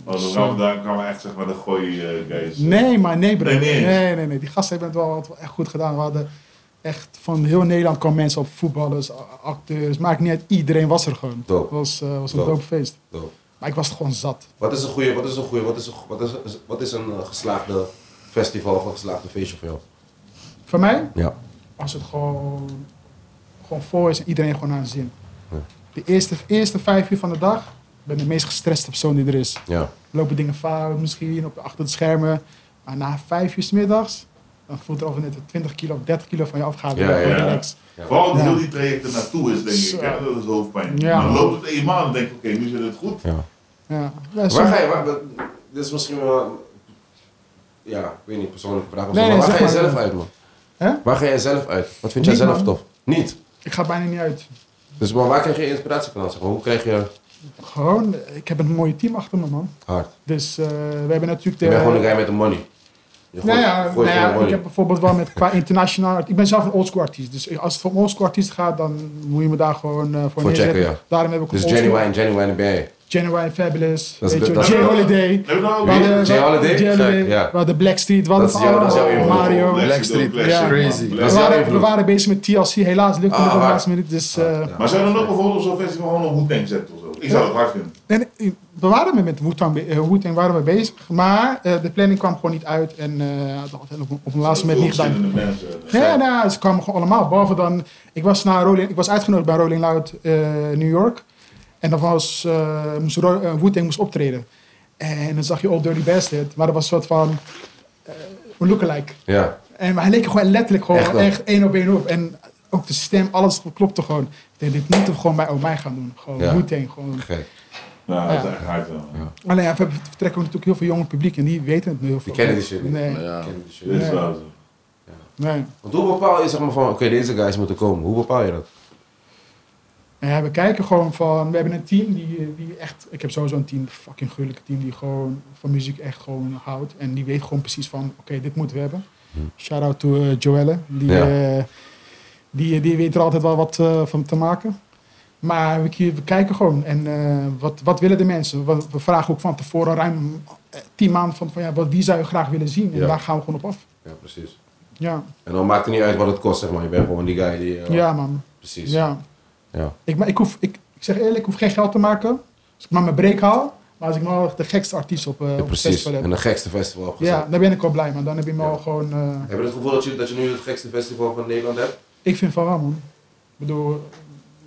Oh, dan gaan we- daar gaan we echt zeg maar de gooi eh, guys. Nee, maar nee, bro. Nee, niet eens. Nee, nee, nee, Die gasten hebben het wel, had wel echt goed gedaan. We hadden echt van heel Nederland kwamen mensen op, voetballers, a- acteurs. Maakt niet uit, iedereen was er gewoon. Dope. Het was, eh, was een Dope. dope feest. Dope. Maar ik was gewoon zat. Wat is een goeie, wat is een goeie, wat is een, wat is, wat is een eh, geslaagde festival of een geslaagde feestje voor jou? Voor mij, Ja. als het gewoon, gewoon vol is en iedereen gewoon aan zin. De eerste, eerste vijf uur van de dag, ik ben de meest gestreste persoon die er is. Ja. lopen dingen fout misschien, op, achter de schermen. Maar na vijf uur 's middags, dan voelt er of er net 20 kilo of 30 kilo van je afgaat. Ja, Ja, ja, ja. Relax. Vooral die Ja. heel die traject er naartoe is, denk ik. Hè? Dat is hoofdpijn. Ja. Dan loopt het eenmaal en denk ik, oké, nu zit het goed. ja. Ja. Ja, Waar soms- ga je, waar, dat- dit is misschien wel, ja, ik weet niet, persoonlijke vraag of zo, Nee, maar nee, waar zeg ga je maar. zelf uit, man? Hè? Waar ga jij zelf uit? Wat vind jij Niet, zelf man. tof? Niet. Ik ga bijna niet uit. Dus maar waar krijg je inspiratie van? Zeg maar, hoe krijg je Gewoon, eh, ik heb een mooie team achter me, man. hard? Dus eh, we hebben natuurlijk de... Je bent gewoon een guy met de money. Je Nou gooit- ja, gooit nou ja, gewoon ik money. heb bijvoorbeeld wel met qua internationaal. Ik ben zelf een oldschool artiest. Dus als het voor een oldschool artiest gaat, dan moet je me daar gewoon eh, voor Voor neerzetten. checken, ja. Daarom heb ik Dus een oldschool- genuine, genuine ben jij. Genuine Fabulous. Dat is weet de- je, dat is- Jay Holiday. Heb je nou we Wie? hadden- Jay we- Holiday? Jay Gek, eh, Holiday, ja. We hadden Blackstreet. We hadden Dat is van jouw- dat is jouw allemaal invloed. Mario. We Blackstreet, crazy. Dat is jouw waren, we invloed. waren bezig met TLC. Helaas lukte Ah, het op de waar. laatste minuut. Dus, eh, Maar zou je dan ook bijvoorbeeld op zo'n festival gewoon een Wu-Tang zetten of zo? Ik zou het hard vinden. nee, nee, eh, we waren met- met Wu-Tang be- eh, Wu-Tang waren we bezig. Maar eh, de planning kwam gewoon niet uit. En eh, dat hadden we op, op een laatste moment niet gedaan. Verschillende mensen. Ja, nou, ze kwamen gewoon allemaal. Behalve dan, ik was, naar Rolling, ik was uitgenodigd bij Rolling Loud eh, New York. En dan was, eh moest Ro- eh, Wu-Tang moest optreden. En dan zag je Old Dirty Bastard. Maar dat was een soort van eh, een lookalike. Ja. En maar hij leek er gewoon letterlijk Echt gewoon wel. echt één op één op. En ook de stem, alles klopte gewoon. Ik denk, dit moeten we gewoon bij Oh mij gaan doen. Gewoon Ja. Wu-Tang. Gewoon. Gek. Ja, dat is echt hard wel. Alleen ja, we hebben- we vertrekken natuurlijk heel veel jonge publiek. En die weten het nu heel veel. kennen die shit niet. Nee, Ja. Dit is wel zo. nee. Want hoe bepaal je zeg maar van, oké, deze guys moeten komen. Hoe bepaal je dat? Ja, we kijken gewoon van, we hebben een team die, die echt, ik heb sowieso een team, een fucking gruwelijke team, die gewoon van muziek echt gewoon houdt. En die weet gewoon precies van, oké, dit moeten we hebben. Shout out to eh, Joelle, die, Hm. Ja. eh, die, die weet er altijd wel wat eh, van te maken. Maar we, kie- we kijken gewoon en eh, wat, wat willen de mensen? Wat- We vragen ook van tevoren ruim eh, tien maanden van, van ja, wat, wie zou je graag willen zien? En Ja. daar gaan we gewoon op af. Ja, precies. Ja, En dan maakt het niet uit wat het kost, zeg maar. Je bent gewoon die guy die... eh, ja man. Precies. Ja. Ja. Ik, maar ik, hoef, ik, ik zeg eerlijk, ik hoef geen geld te maken. Als ik maar mijn break haal. Maar als ik nou echt de gekste artiest op, eh Ja, op het precies. festival heb. En de gekste festival opgezet. Ja, dan ben ik wel blij, man. Dan heb je me Ja. al gewoon... eh, Heb je het gevoel dat je, dat je nu het gekste festival van Nederland hebt? ik vind van wel, man. Ik bedoel,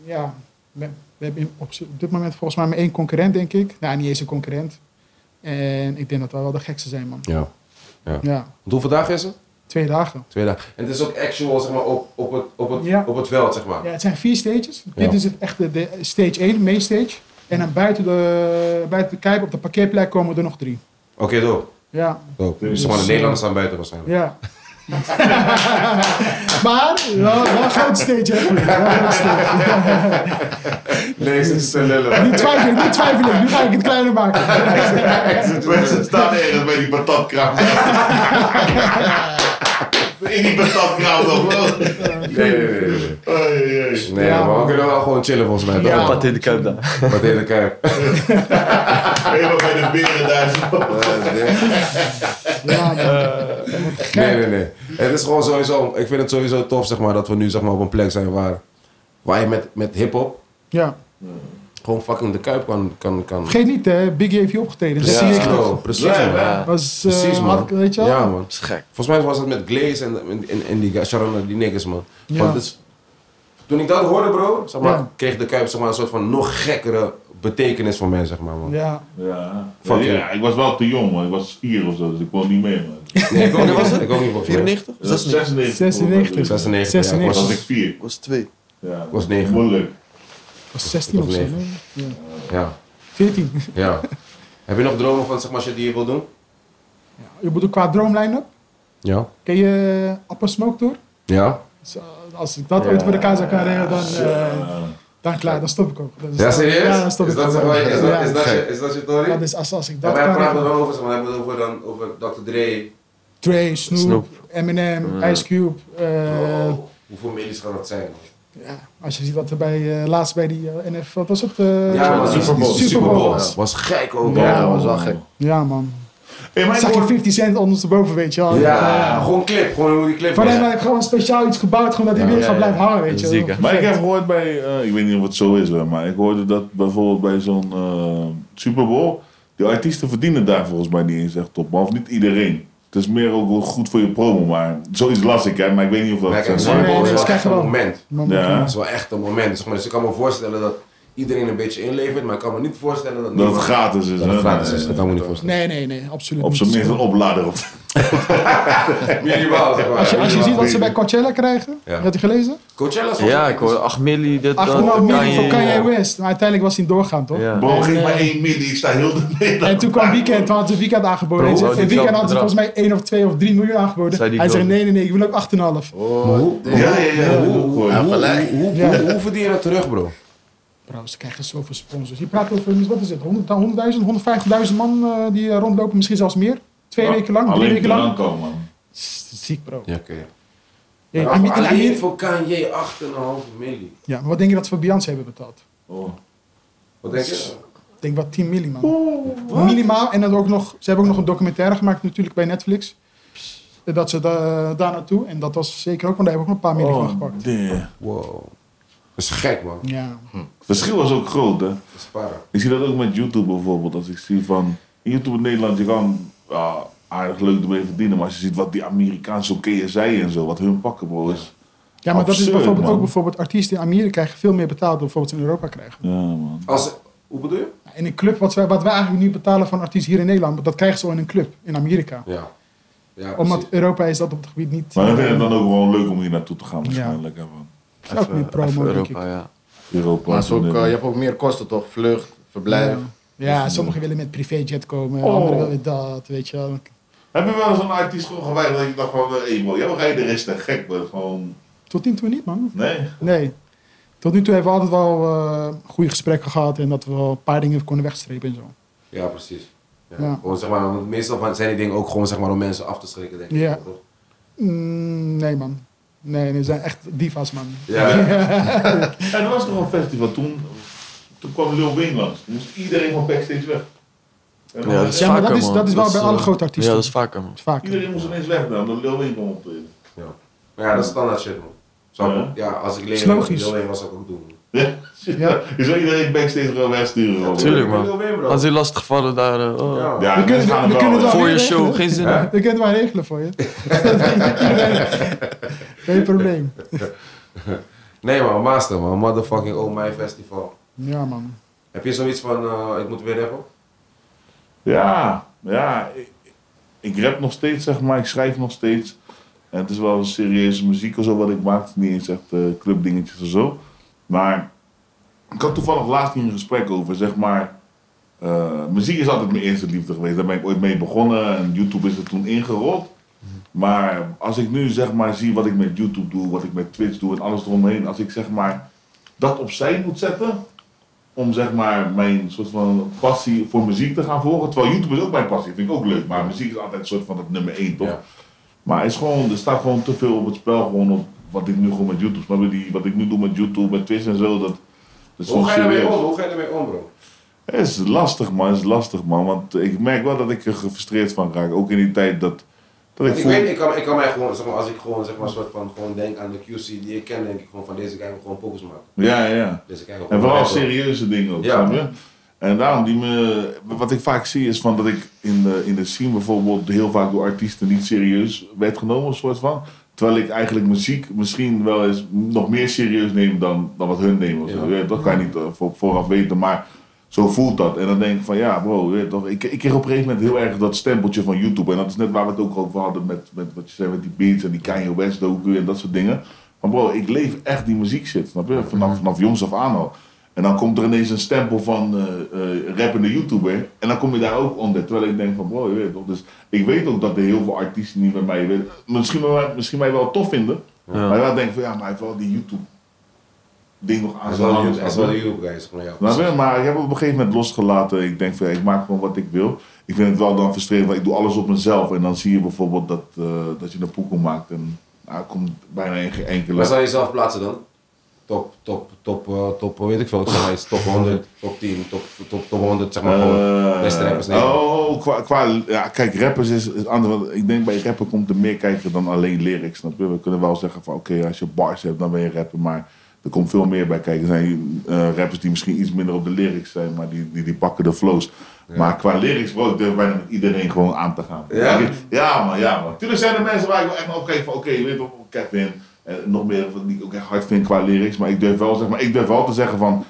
ja... We, we hebben in- op, op dit moment volgens mij maar één concurrent, denk ik. Nou, niet eens een concurrent. En ik denk dat wij wel de gekste zijn, man. Ja. Ja, Want hoeveel dagen is het? twee dagen. Twee dagen. En het is ook actual, zeg maar, op, op, het, op, het, Ja. op het veld, zeg maar. Ja, het zijn vier stages. Ja. Dit is het echte de stage 1, main stage. En dan buiten de, buiten de kijp op de parkeerplek komen er nog drie. Oké, doe. Ja, Doe. Dus, Dus, maar de eh, Nederlanders staan buiten waarschijnlijk. Ja. maar, wel, wel een groot stage, hè? vriend. Wel een groot stage. Nee, ze zijn lullen. Nu twijfel ik, nu twijfel ik. Nu ga ik het kleiner maken. Mensen staan ergens bij die patatkraam. In die patatkraam nog wel. Nee, nee, nee. Nee, Oei, oei. nee Ja, maar we man. kunnen wel gewoon chillen volgens mij. Ja. toch? Pat in de kuip daar. Wat in de kuip. Helemaal bij de beren daar zo. Ja, man. Nee, nee, nee. Het is gewoon sowieso, ik vind het sowieso tof, zeg maar, dat we nu zeg maar, op een plek zijn waar, waar je met, met hip-hop ja. gewoon fucking de kuip kan. kan, kan. Vergeet niet, hè. Biggie heeft je opgetreden. Dat Precies, zie ik bro. toch. Precies, Ja, man. ja. Dat was, eh, Precies, man. hard, weet je wel? Ja, man. Dat is gek. Volgens mij was dat met Glaze en, en, en, en die guy- Sharon, die niggers, man. Ja. Want het is- toen ik dat hoorde, bro, zeg maar, Ja. kreeg de kuip zeg maar, een soort van nog gekkere betekenis voor mij, zeg maar, man. Ja. Ja. Fuck ja, ik was wel te jong, man. Ik was vier of zo, dus ik kon niet mee, man. Nee, ik ook niet, ik ook niet. volgens mij. 94? Of Dat was 96? 96, 96. 96. ja, ik 96. was was, ik vier. was 2. Ja. was negen. Moeilijk. Dat was 16 of zo. hè? Ja, 14. ja. Heb je nog dromen van, zeg maar, shit die je wil doen? Je bedoelt qua droomlijnen? Ja. Ken je eh, Apple Smoke Tour? Ja? Zo, Als ik dat ooit voor elkaar zou kunnen regelen, dan, eh, Ja. dan klaar, dan stop ik ook. Dan is- Ja, serieus? Ja, dan stop is ik ook. dat, zeg maar, is, dat, Ja. is, dat, je- is dat je tory? Dat is als, als ik Ja, dat wij kan praten regelen. er wel over, zeg maar, we hebben het over, dan, over Dr. Dre. Dre, Snoop, Snoop. Eminem, Ice Cube. eh, Oh, hoeveel medisch gaat dat zijn? ja, als je ziet wat er bij, eh, laatst bij die eh, NF, wat was het? eh, Ja, maar Super Bowl. die Super Bowl. was. Was gek ook, Ja, dat man. was wel gek. Ja, man. Hey, maar ik Zag je hoor- 50 Cent ondersteboven, weet je wel. Ja, gewoon clip, gewoon hoe die clip Van was. hem heb ik gewoon speciaal iets gebouwd, gewoon dat hij Ja, weer ja, gaat ja. blijven hangen, weet je wel. Ziek, hè? Maar ik heb gehoord bij, eh, ik weet niet of het zo is, hoor, maar ik hoorde dat bijvoorbeeld bij zo'n eh, Super Bowl, die artiesten verdienen daar volgens mij niet eens echt op, behalve niet iedereen. Het is meer ook wel goed voor je promo, maar zoiets las ik, hè, maar ik weet niet of dat Maar kijk, zo Super nee, Bowl nee, is dat wel krijg echt je een wel. moment. Man, Ja. Dat is wel echt een moment. Zeg maar. Dus ik kan me voorstellen dat iedereen een beetje inlevert, maar ik kan me niet voorstellen dat dat het niemand- gratis is. dat hè? het gratis is. Nee, Dat kan me niet voorstellen. Nee, nee, nee, absoluut Op niet. zijn minst een oplader op. Minimaal, zeg maar. Als je, als je Minimaal. ziet wat ze bij Coachella krijgen, Ja. had je gelezen? Coachella is Ja, ik hoor 8 milli, dit, dat. 800 miljoen nou, voor Kanye. Kanye West. Maar uiteindelijk was hij doorgaan, toch? Ja. Bro, geef En, maar eh, één midden, ik sta heel de middag. En toen kwam weekend, toen hadden ze weekend aangeboden. Bro, Hij zei, oh, voor die weekend klap- hadden ze volgens mij 1 of 2 of 3 miljoen aangeboden. Zei die Oh. Hij zei grote. nee, nee, nee, ik wil ook 8,5. Ja, ja, ja. Hoe, hoe- hoe, hoe- Ja, hoe, gelijk. dus hoe- hoe- Ja. hoe verdien je dat terug, bro? Bro, ze krijgen zoveel sponsors. Je praat over, wat is het, 100.000, 150.000 man eh, die eh, rondlopen, misschien zelfs meer. Twee weken lang, drie Alleen weken lang. drank al, man. Ziek, bro. Ja, oké. Hey, Maar Ami- en Alleen Ami- voor Kanye 8,5 miljoen. Ja, maar wat denk je dat ze voor Beyoncé hebben betaald? Oh. Wat denk je? Ik denk wat 10 milli, man. Minimaal. En dat ook nog, ze hebben ook nog een documentaire gemaakt natuurlijk bij Netflix. Eh, Dat ze da- daar naartoe. En dat was zeker ook, want daar hebben we ook nog een paar Oh, miljoen van Oh. gepakt. damn. Wow. Dat is gek, man. Ja. Verschil was ook groot, hè. Dat is para. Ik zie dat ook met YouTube bijvoorbeeld. Als ik zie van YouTube in Nederland, je kan ah, aardig leuk ermee verdienen. Maar als je ziet wat die Amerikaanse KSI en zo, wat hun pakken, bro. Is, Ja, maar dat Absurd, is bijvoorbeeld man. ook bijvoorbeeld artiesten in Amerika krijgen veel meer betaald dan bijvoorbeeld ze in Europa krijgen. ja, man. Als, hoe bedoel je? In een club, wat wij, wat wij eigenlijk nu betalen van artiesten hier in Nederland, dat krijgen ze al in een club in Amerika. Ja. Ja, Omdat precies. Europa is dat op het gebied niet. Maar dan eh, vind ik het dan ook wel leuk om hier naartoe te gaan, Ja. waarschijnlijk. hè, man. is ook meer promo, denk ik. Europa, ja. Europa. Maar het is ook, eh, Nederland. je hebt ook meer kosten toch? Vlucht, verblijf. Ja, sommigen willen met privéjet komen, Oh. anderen willen dat, weet je wel. Heb je wel eens een artiest gewoon geweigerd dat je dacht van, hé hey, bro, jij ga je de rest echt gek, bro. Gewoon, Tot nu toe niet, man. nee. Nee. Tot nu toe hebben we altijd wel eh, goede gesprekken gehad en dat we wel een paar dingen konden wegstrepen en zo. Ja, precies. Ja. Ja. Gewoon, zeg maar, want meestal van- zijn die dingen ook gewoon zeg maar, om mensen af te schrikken, denk ik. Ja. toch? Mm, nee, man. Nee, we zijn echt diva's, man. Ja. En er was nog een festival toen, toen kwam Lil Wayne langs. Toen moest iedereen van backstage weg. En Ja, dat is Ja, maar vaker, dat is- man. dat is wel bij eh, alle grote artiesten. Ja, dat is vaker, man. Vaak. Iedereen moest ineens weg Nou, dan, omdat Lil Wayne kwam optreden. Maar ja, dat is standaard shit, man. Zou ik- ja, als ik Is leer logisch. Lil Wayne was, zou ik ook doen. Ja. Ja. Je zou iedereen backstage gewoon wegsturen. gewoon. Tuurlijk, man. Lil Wayne, bro. Als die lastigvallen daar. eh, oh. Ja. Ja, We kunnen- mensen gaan we het kunnen wel. het Voor je regelen. show, geen zin. We kunnen het maar regelen voor je. Geen probleem. Nee, man, master, man. Motherfucking Oh My Festival. Ja, man. Heb je zoiets van, eh, ik moet weer rappen? Ja, ja. Ik, ik rap nog steeds, zeg maar. Ik schrijf nog steeds. En het is wel serieuze muziek of zo wat ik maak. Het is Niet eens echt eh, clubdingetjes of zo. Maar ik had toevallig laatst hier een gesprek over, zeg maar. eh, muziek is altijd mijn eerste liefde geweest. Daar ben ik ooit mee begonnen. En YouTube is er toen ingerold. Maar als ik nu zeg maar zie wat ik met YouTube doe, wat ik met Twitch doe en alles eromheen. Als ik zeg maar dat opzij moet zetten, om zeg maar mijn soort van passie voor muziek te gaan volgen. Terwijl YouTube is ook mijn passie, vind ik ook leuk. Maar muziek is altijd een soort van het nummer één, toch? Ja. Maar het is gewoon, er staat gewoon te veel op het spel, gewoon op wat ik nu gewoon met YouTube, snap je? Die, wat ik nu doe met YouTube, met Twitch en zo, dat, dat is Hoe gewoon ga je daarmee serieus. om? Hoe ga je daarmee om, bro? Het is lastig man, het is lastig man, want ik merk wel dat ik er gefrustreerd van raak. Ook in die tijd dat, dat ik Ik, voel... weet, ik kan, ik kan mij gewoon, zeg maar, als ik gewoon, zeg maar, soort van, gewoon denk aan de QC die ik ken, denk ik gewoon van deze guy wil gewoon pokers maken. Ja, ja. Deze guy wil En gewoon vooral rappen. serieuze dingen ook, Ja. snap je? En daarom, die me, wat ik vaak zie is van dat ik in de, in de scene bijvoorbeeld heel vaak door artiesten niet serieus werd genomen, soort van. Terwijl ik eigenlijk muziek misschien wel eens nog meer serieus neem dan, dan wat hun nemen. of zo. Ja. Je weet, Dat kan je niet eh, voor, vooraf weten, maar zo voelt dat. En dan denk ik van ja, bro, je weet toch, ik, ik kreeg op een gegeven moment heel erg dat stempeltje van YouTube. En dat is net waar we het ook over hadden met, met wat je zei, met die beats en die Kanye West docu en dat soort dingen. Maar bro, ik leef echt die muziek shit, snap je? Vanaf, vanaf jongs af aan al. En dan komt er ineens een stempel van eh eh, rappende YouTuber. En dan kom je daar ook onder. Terwijl ik denk van, bro, je weet toch. Dus ik weet ook dat er heel veel artiesten niet met mij willen. Misschien, bij mij, misschien mij wel tof vinden. Maar wel denken van, ja, maar hij heeft wel die YouTube ding nog aan Hij is zijn wel de hand. YouTube- hij is wel de YouTube guy, zeg maar, ja. Snap je? Maar ik heb het op een gegeven moment losgelaten. Ik denk van, ja, ik maak gewoon wat ik wil. Ik vind het wel dan frustrerend, want ik doe alles op mezelf. En dan zie je bijvoorbeeld dat, eh, dat je een poekel maakt. En nou, er komt bijna geen enkele... Waar zou je jezelf plaatsen dan? Top, top, top, eh, top, eh, weet ik veel, ik zeg maar iets, top 100, top 10, top, top, top 100, zeg maar gewoon. Eh, beste rappers Nederland. Oh, qua, qua, ja, kijk, rappers is, is anders. want Ik denk bij rapper komt er meer kijken dan alleen lyrics. Snap je? We kunnen wel zeggen van oké, als je bars hebt, dan ben je rapper. Maar er komt veel meer bij kijken. Er zijn eh, rappers die misschien iets minder op de lyrics zijn, maar die, die, die pakken de flows. Maar qua lyrics, bro, ik durf bijna met iedereen gewoon aan te gaan. Ja? Ik- ja man, ja man. Tuurlijk zijn er mensen waar ik wel echt naar op kijk van oké, je weet toch, Kevin. En nog meer wat ik ook echt hard vind qua lyrics. Maar ik durf wel, zeg maar, ik durf wel te zeggen van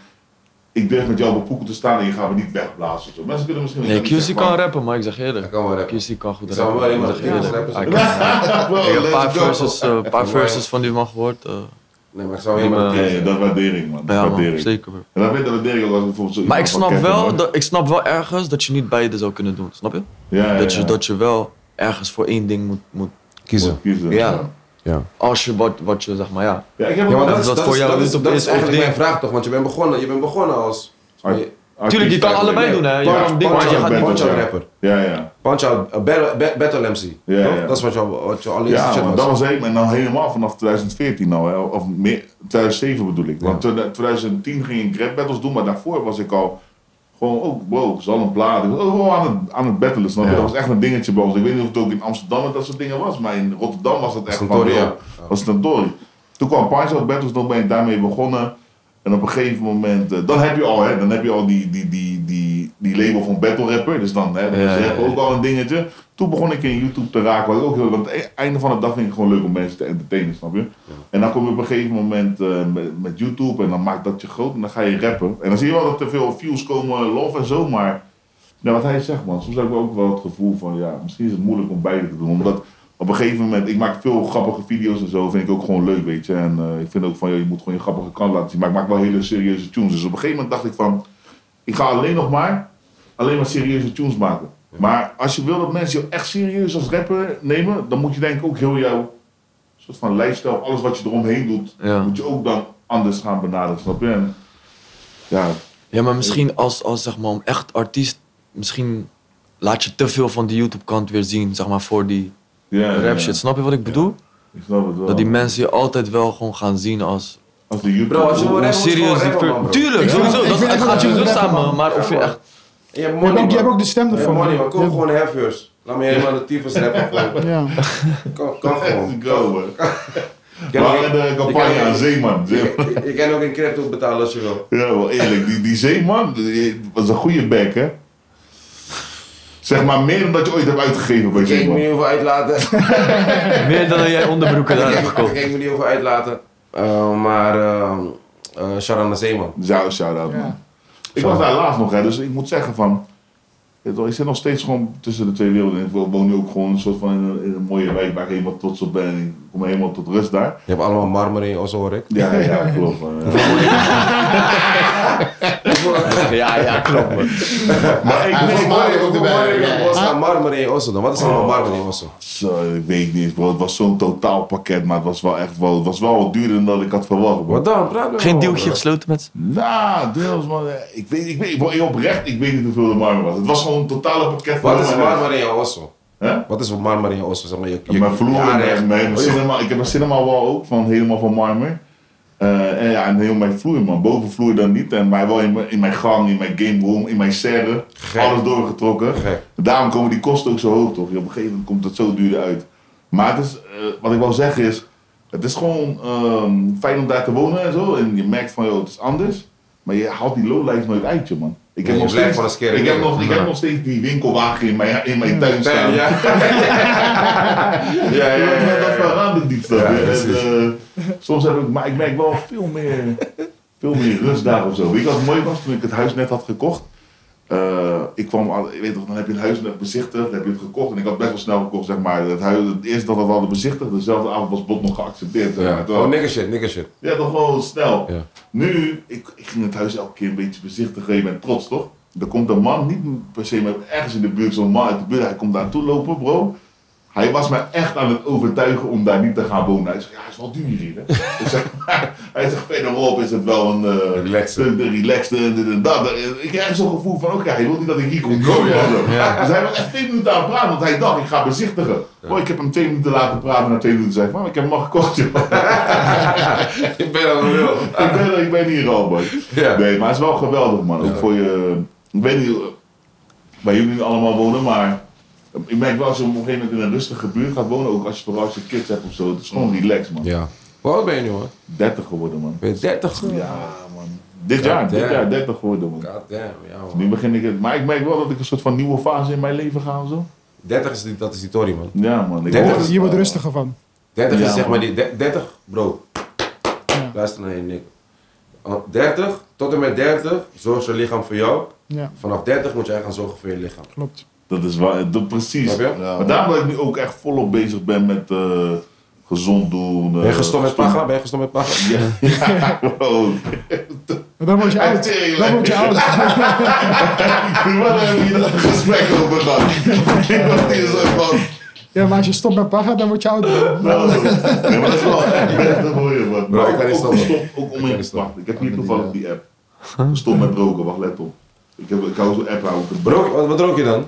ik durf met jou op een poekel te staan en je gaat me niet wegblazen. of Zo. Mensen kunnen misschien Nee, ik kan niet QC zeggen, kan maar- rappen, maar ik zeg Hij eerlijk. kan wel rappen. QC kan goed Ik zou hem wel rappen. Ik helemaal zeg geen eerlijk. rappers Ah, Ik hebben. Wow, ik heb een let's paar go. verses, eh, een paar Mooi. verses van die man gehoord. eh, Nee, maar ik zou helemaal Die, niet Ja, ja, dat is waardering, man. Dat is ja, man, waardering. zeker. bro. En dan vind ik dat waardering ook als bijvoorbeeld zo Maar ik iemand van snap, Kevin, wel, hoor. dat, ik snap wel ergens dat je niet beide zou kunnen doen, snap je? Ja, ja, Dat je, ja. dat je wel ergens voor één ding moet, moet kiezen. kiezen. Ja. Ja. Als je wat, wat je zeg maar ja. Ja, ik heb Ja, maar ook- dat dat is, wat dat voor is, jou dat is is, dat op de is eerste eigenlijk ding. mijn vraag toch, want je bent begonnen, je bent begonnen als Hard- je- Tuurlijk, je kan Artiest allebei eigenlijk. doen, hè. Je Punch- kan dingen, maar je punch-out gaat bent. niet... punch-out ja. rapper. Ja, ja. Punch-out, eh, battle, ba- battle MC. Ja, toch? ja. Dat is wat je, al- wat je allereerste Ja, shit maar was. dat was ik en dan helemaal vanaf 2014 nou, hè. of meer, 2007 bedoel ik. Want toen- 2010 ging ik rap battles doen, maar daarvoor was ik al gewoon ook, wow, zal een plaat. Ik was ook gewoon aan het, aan het battelen, snap je? Ja. Dat was echt een dingetje bij ons. Ik weet niet of het ook in Amsterdam en dat soort dingen was, maar in Rotterdam was dat echt van, Stentori, yo, ja. was het een dory. Toen kwam Punch Out Battles, dan ben ik daarmee begonnen. En op een gegeven moment, eh, dan heb je al, hè, dan heb je al die, die, die, die, die label van battle rapper. Dus dan, hè, dan Ja, is ja, rap ja. ook al een dingetje. Toen begon ik in YouTube te raken. Wat ik ook heel, want het einde van de dag vind ik het gewoon leuk om mensen te entertainen, snap je? En dan kom je op een gegeven moment eh, met, met YouTube en dan maakt dat je groot en dan ga je rappen. En dan zie je wel dat er veel views komen, love en zo, maar nou, wat hij zegt, man. Soms heb ik ook wel het gevoel van, ja, misschien is het moeilijk om beide te doen. Omdat op een gegeven moment, ik maak veel grappige video's en zo, vind ik ook gewoon leuk, weet je. En eh, ik vind ook van, joh, je moet gewoon je grappige kant laten zien. Maar ik maak wel hele serieuze tunes. Dus op een gegeven moment dacht ik van, ik ga alleen nog maar, alleen maar serieuze tunes maken. Maar als je wil dat mensen je echt serieus als rapper nemen, dan moet je denk ik ook heel jouw soort van lifestyle, alles wat je eromheen doet, Ja. moet je ook dan anders gaan benaderen, snap je? En, ja, Ja, maar misschien als, als zeg maar, om echt artiest, misschien laat je te veel van die YouTube-kant weer zien, zeg maar, voor die ja, ja, rap shit. Snap je wat ik bedoel? Ik snap het wel. Dat die mensen je altijd wel gewoon gaan zien als... Als de YouTube... Bro, als je wil Hoe rappen, moet je gewoon serieus die... rappen, ver- man, bro. Tuurlijk, Ik vind- sowieso. ik Dat vind het het gaat je wel zo rappen, samen, man. maar of je Ja, man. echt... Je hebt Je hebt money, ook, je hebt man. ook de stem Je hebt ervan. money, man. Kom Ja. gewoon heffers. Laat me helemaal de tyfus rappen. gewoon. Ja. Kom, kom Let's gewoon. go, man. Ik We ken ook- hadden de campagne aan Zeeman. Zee- ik- ik- ik kan ook in crypto betalen als je wil. Ja, wel eerlijk. Die, die Zeeman die was een goede bek, hè? Zeg maar meer dan dat je ooit hebt uitgegeven bij Ik kijk me niet Zeeman. over uitlaten. Meer dan jij onderbroeken daar hebt Ik kijk- ik gekocht. kijk me niet over uitlaten. Eh, Maar ehm, eh, Sharana Zeeman. Zou shout-out, Ja. man. Ik was daar laatst nog, hè, dus ik moet zeggen van... weet je wel, Ik zit nog steeds gewoon tussen de twee werelden. Ik woon nu ook gewoon een soort van in een, in een mooie wijk waar ik helemaal trots op ben. Ik kom helemaal tot rust daar. Je hebt allemaal marmer in je ossen, hoor ik. Ja, ja, klopt. man. Ja. Ja, ja, klopt. man. Maar ik Hij weet was wel- mooi ook erbij. Ik Ja. was aan marmer in je ossen Oh. dan. Wat is allemaal marmer in je ossen? Zo, Dus, eh, ik weet niet eens, bro. Het was zo'n totaalpakket, maar het was wel echt wel, het was wel wat duurder dan ik had verwacht, bro. Wat dan? Praat nou Geen over. deeltje gesloten met... Nou, deels, man. Ik weet, ik weet, bro, oprecht, ik weet niet hoeveel de marmer was. Het was gewoon een totale pakket. Wat is helemaal- marmer in je ossen? Hè? Wat is marmer in je ossen? Zeg maar, je, Oh, je, Mijn vloer, je en aanrecht. mijn, mijn cinema, ik heb een cinema wall ook, van, helemaal van marmer. Eh, en ja, en heel mijn vloer, man. Bovenvloer dan niet, en, maar wel in mijn, in mijn gang, in mijn game room, in mijn serre. Gek. Alles doorgetrokken. Gek. Daarom komen die kosten ook zo hoog, toch? Op een gegeven moment komt het zo duur uit. Maar het is, eh, wat ik wil zeggen is, het is gewoon ehm, fijn om daar te wonen en zo. En je merkt van, joh, het is anders. Maar je haalt die lowlife nooit uit, je man. Ik Nee, heb, je nog blijft steeds, wel eens keren ik, heb liggen. nog, ik heb nog steeds die winkelwagen in mijn, in mijn tuin staan. Ja. Ja, ja, ja, Maar dat ja, ja. verandert niet. snap je? Ja, En, precies. eh, soms heb ik, maar ik merk wel veel meer, veel meer rust daar of zo. Weet je wat mooi was toen ik het huis net had gekocht? Eh, ik kwam, al- ik weet toch, dan heb je het huis net bezichtigd, dan heb je het gekocht. En ik had best wel snel gekocht, zeg maar. Het, huis, het eerste dat we hadden bezichtigd, dezelfde avond was bot nog geaccepteerd. Zeg maar. Ja. Terwijl- Oh, nigger shit, nigger shit. ja, toch gewoon snel. Ja. Nu, ik, ik ging het huis elke keer een beetje bezichtigen. Je bent trots, toch? Er komt een man, niet per se, maar ergens in de buurt, zo'n man uit de buurt. Hij komt daar toe lopen, bro. Hij was mij echt aan het overtuigen om daar niet te gaan wonen. Hij zegt, ja, het is wel duur hier, hè? Ik zeg, hij zegt, verderop is het wel een... eh, Relaxen. stuk relaxed en dit en dat. Ik krijg zo'n gevoel van, oké, hij wil niet dat ik hier kom komen. Dus hij was echt twee minuten aan het praten, want hij dacht, ik ga bezichtigen. Oh, ik heb hem twee minuten laten praten, na twee minuten zei ik, man, ik heb hem al gekocht, joh. Ik ben al real. ik, ben, ik ben hier al, man. Ja. Nee, maar het is wel geweldig, man. Ook voor je... Ik weet niet eh, waar jullie nu allemaal wonen, maar... eh, Ik merk wel, als je op een gegeven moment in een rustige buurt gaat wonen, ook als je vooral als je kids hebt of zo, het is gewoon relaxed, man. Ja. Hoe oud ben je nu, hoor? 30 geworden, man. Ben je 30? Ja, man. Dit jaar, dit damn. jaar 30 geworden, man. God damn, ja, man. Nu begin ik het, maar ik merk wel dat ik een soort van nieuwe fase in mijn leven ga of zo. 30 is die, dat is die Tory, man. Ja, man. Ik Dertig hoor het, Je wordt eh, rustiger van. 30 Ja, is zeg man. maar die. 30, bro. Ja. Luister naar je nek. eh, 30 tot en met 30 zorgt je lichaam voor jou. Ja, Vanaf 30 moet jij gaan zorgen voor je lichaam. klopt. Dat is waar, dat precies. Snap je? Ja, Maar daarom dat ik nu ook echt volop bezig ben met eh, gezond doen. eh, Ben je gestopt met sport. paga? Ben je gestopt met paga? Ja, ja bro. En dan word je oud. Tering, Dan word je man. oud. Wat hebben jullie dat gesprek over gehad? Ik dacht hier zo van. Ja, maar als je stopt met paga, dan word je oud. Nou, nee, maar dat is wel echt best een mooie man. Maar ik kan niet ook, ook, stoppen. stop, ook om kan niet in Wacht, stoppen. ik heb hier toevallig die app. Stop met roken, wacht, let op. Ik, heb, ik hou zo'n app, hou ik een Broek, wat, wat rook je dan?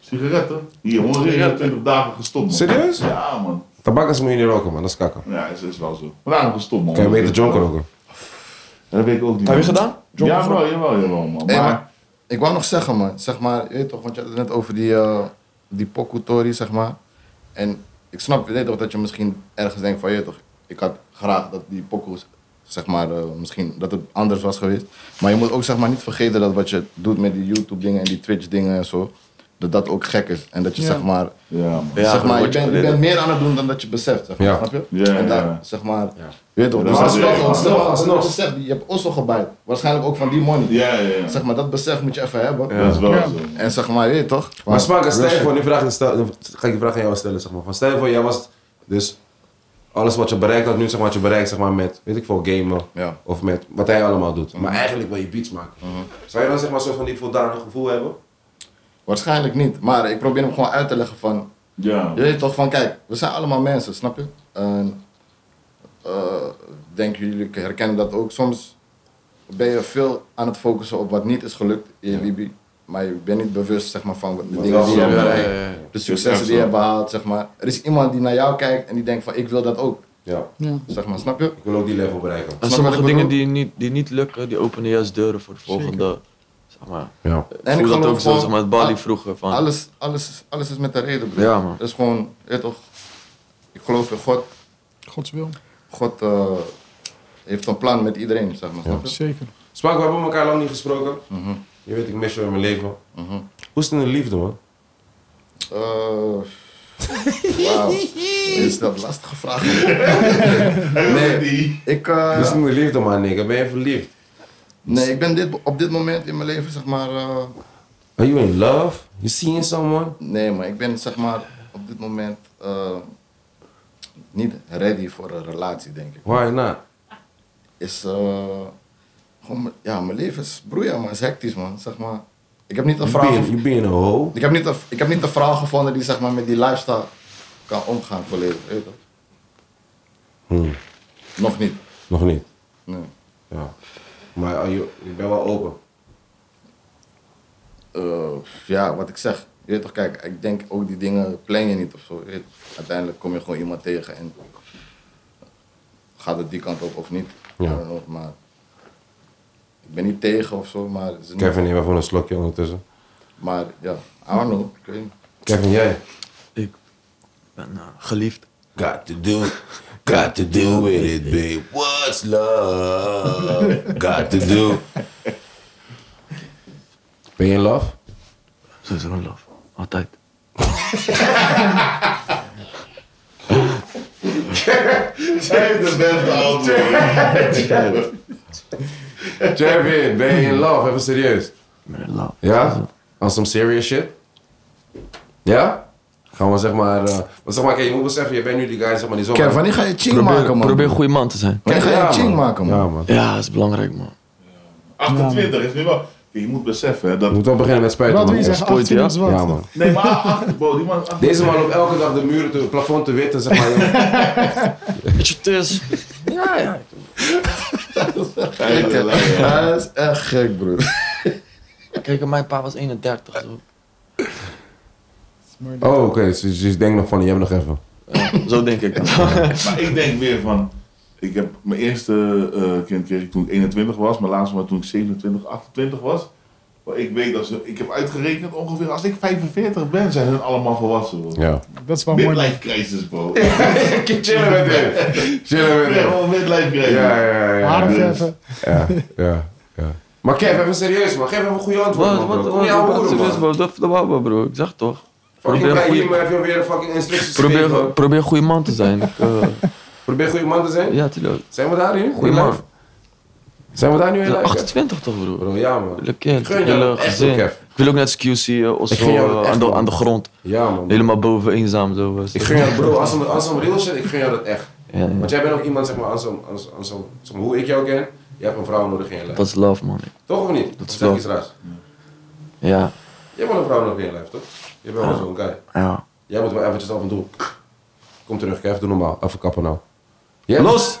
Sigaretten? Hier, 121 dagen gestopt, man. Serieus? Ja, man. Tabakkers moet je niet roken, man. Dat is kakken. Ja, is, is wel zo. Waarom gestopt, man? Kan je beter jonker roken? Dat weet ik ook niet. Heb je gedaan? Ja, jawel, jawel, jawel, man. Hey, Maar, maar ik wou nog zeggen, man. Zeg maar, je weet toch, want je had het net over die, eh die pokoe-tory, zeg maar. En ik snap, je weet toch, dat je misschien ergens denkt van, je weet toch, ik had graag dat die pokoes, zeg maar, eh, misschien dat het anders was geweest. Maar je moet ook, zeg maar, niet vergeten dat wat je doet met die YouTube-dingen en die Twitch-dingen en zo, dat dat ook gek is. En dat je, Ja. zeg maar, ja, man. Ja, zeg dan maar je, word je bent, je alleen. bent meer aan het doen dan dat je beseft, zeg maar, Ja. snap je? Ja, en daar, ja, ja. zeg maar, je weet toch, Ja, dus dat als is je echt- dat- alsnog, als je alsnog. dat beseft, je hebt Oslo gebijt, waarschijnlijk ook van die money. Ja, ja, ja. Zeg maar, dat besef moet je even hebben. Dat is wel Ja. zo. En zeg maar, je weet toch? Maar smaak, stel je voor, nu vraag, ik- stel, dan ga ik die vraag aan jou stellen, zeg maar. Van, stel je voor, jij was dus alles wat je bereikt had, nu zeg maar, wat je bereikt zeg maar, met, weet ik veel, gamen. Ja. Of met wat hij allemaal doet. Maar eigenlijk wil je beats maken. Zou je dan zeg maar zo van die voldane gevoel hebben? Waarschijnlijk niet, maar ik probeer hem gewoon uit te leggen van... Ja. Je weet toch van, kijk, we zijn allemaal mensen, snap je? En, eh, ik denk jullie herkennen dat ook. Soms ben je veel aan het focussen op wat niet is gelukt in je libi. Maar je bent niet bewust zeg maar, van de dingen wel die je hebt zo, ja, bereikt. Eh, De echt successen die zo. je hebt behaald, zeg maar. Er is iemand die naar jou kijkt en die denkt van, ik wil dat ook. Ja. Ja, Zeg maar, snap je? Ik wil ook die level bereiken. wat en ik sommige bedoel? dingen die niet, die niet lukken, die openen juist deuren voor de volgende. Zeg maar. Ja. En ik voel dat geloof ook zo, gewoon- zeg maar, het Bali vroeger. Van, Alles, alles, alles is met de reden, bro. Ja, man. Het is gewoon, je weet toch, ik geloof in God. Gods wil. God eh, heeft een plan met iedereen, zeg maar. snap je? Zeker. Smaak, we hebben elkaar lang niet gesproken. Mhm. Je weet, ik mis je in mijn leven. Hoe is het in de liefde, man? Eh, Wauw. Je stelt lastige vragen. Nee, die. Ik, eh, Hoe Dus- is het in de liefde, man, nigga? Ben je verliefd? nee, ik ben dit, op dit moment in mijn leven, zeg maar... eh, Are you in love? You seeing someone? nee, maar ik ben, zeg maar, op dit moment eh, niet ready voor een relatie, denk ik. Why not? Is, eh, gewoon, mijn- ja, mijn leven is broeia, maar is hectisch, man. Zeg maar, ik heb niet een You vrouw... being, you being a hoe? Ik heb, niet een, ik heb niet een vrouw gevonden die zeg maar, met die lifestyle kan omgaan volledig. Weet je toch? Hmm, Nog niet. nog niet. Nee. Ja. Maar are you, ik ben wel open. Eh, ja, wat ik zeg. Je weet toch, kijk, ik denk ook die dingen plan je niet of zo. je weet toch. Uiteindelijk kom je gewoon iemand tegen en gaat het die kant op of niet. Ja. I don't know, maar ik ben niet tegen of zo, maar, het is niet- Kevin, neem even een slokje ondertussen. maar ja, I don't know. Ik weet niet. Kevin, jij? Ik ben eh, geliefd. Got to do, got to do with it, babe. What's love? Got to do. Ben je in love? Zo is er een love. Altijd. Zij is de beste antwoord. Kevin, ben je in love? Even serieus. Ik ben in love. Ja? On some serious shit? Ja? Gaan we zeg maar... eh maar zeg maar, kijk, je moet beseffen, je bent nu die guy zeg maar, die zo... Kijk, wanneer ga je ching Probeer, maken, man? probeer een goede man te zijn. wanneer ga je Ja, ching maken, man? Ja, man. Ja, dat is belangrijk, man. 28 is nu wel. Je moet beseffen hè, dat. Je moet wel beginnen met spijt. Wat man. wil je zeggen? Spoit, 18 ja? is wat? Ja, man. Nee, maar achter, bro, die man. achter- Deze man op elke dag de muren, te, het plafond te witten, zeg maar. joh. Weet je, het is. Ja, ja. Kijk, hè. Ja, dat is echt gek, broer. Kijk, mijn pa was 31. Zo, Oh, oké. Dus dus ik denk nog van, je hebt nog even. Ja, zo denk ik. dan. Maar ik denk weer van. Ik heb mijn eerste eh kind kreeg ik toen ik 21 was, mijn laatste was toen ik 27, 28 was. Maar ik weet dat ze, ik heb uitgerekend ongeveer als ik 45 ben, zijn hun allemaal volwassen. Bro. Ja. Dat is wel mooi. man. Midlife crisis, bro. Ja, Chillen met hem. Chillen met hem. gewoon midlife crisis. Ja, ja, ja. Haren dus- verven. ja, ja, ja. Maar Kev, even serieus man. Geef even een goede antwoord Wat, man. bro. wat, wat, Kom wat, niet ouwe wat, hoeren, serieus, man. bro. Dat dat wou ik, bro. Ik zeg toch. Fucking Probeer bij goeie- hier, maar heb je weer een fucking instructies Probeer, gegeven. probeer een goede man te zijn. Ik, eh, Probeer goede man te zijn. ja, tuurlijk. Zijn we daar hier? Goeie man. Zijn we daar nu in? Luik, hè? 28 toch, broer? Bro, ja man. Leuk kind, Ik gun ik jou wil een dat echt, gezin. ook, Kev. Ik wil ook net als QC eh, of Ik gun jou dat zo eh, echt, aan de, man. aan de grond. Ja man. Helemaal boven eenzaam zo. eh, Ik gun jou, bro, als een, als een real shit, ik gun jou dat echt. Ja, ja. Want jij bent ook iemand, zeg maar, als, een- als, als, een- zeg maar, hoe ik jou ken, je hebt een vrouw nodig in je lijf. Dat is love, man. Toch of niet? dat is Of zeg ik wel- iets raars. Ja, Jij bent een vrouw nodig in je lijf, toch? Je bent Ah. wel zo'n guy. ja. Jij moet wel eventjes af en toe. Kom terug, Kev, doe normaal. Even kappen nou. Jij Los!